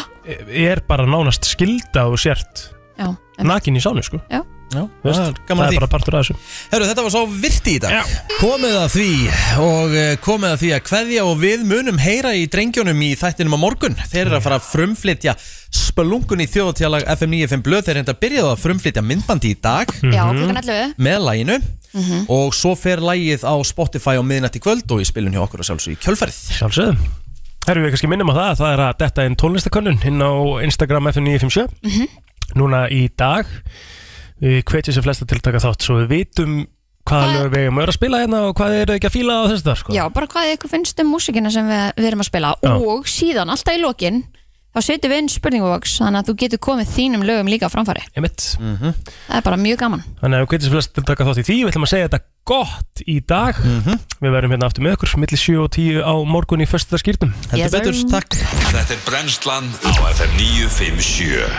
er bara nánast skilda og sért
já,
nakin í sánu sko
Já.
Já,
Veist,
það er gaman að
það er
því.
bara partur af þessu
Herru, þetta var svo virti í dag Komið að því og eh, komið að því að kveðja og við munum heyra í drengjónum í þættinum á morgun Þeir eru að fara að frumflytja spölungun í þjóðatíðalag FM 95 blöð Þeir reynda að byrjaðu að frumflytja myndbandi í dag
Já, klukkan 11.
Með læginu
Mhm.
og svo fer lægið á Spotify á miðnætti kvöld og í spilun hjá okkur að sjálfsög í kjölfarið
Sjálfsögðum Herru, við kannski minnum á það Það er að detta inn tónlistakönnun inn á Instagram F957 Núna í dag Við hvetjum sem flesta til að taka þátt Svo við vitum hvaða lög við erum að spila hérna Og hvað eru ekki að fíla á þessu þar sko
já, bara hvað ykkur finnst um músikina sem við, við erum að spila
Já.
og síðan, alltaf í lokin þá setjum við inn spurningavox þannig að þú getur komið þínum lögum líka á framfæri
Einmitt.
það er bara mjög gaman
Þannig að við hvetjum sem flesta til að taka þátt í því Við ætlum að segja þetta gott í dag Við verðum hérna aftur með okkur Millir 7 og 10 á morgun í föstudagsskýrtum
Þetta er brennslan á FM 957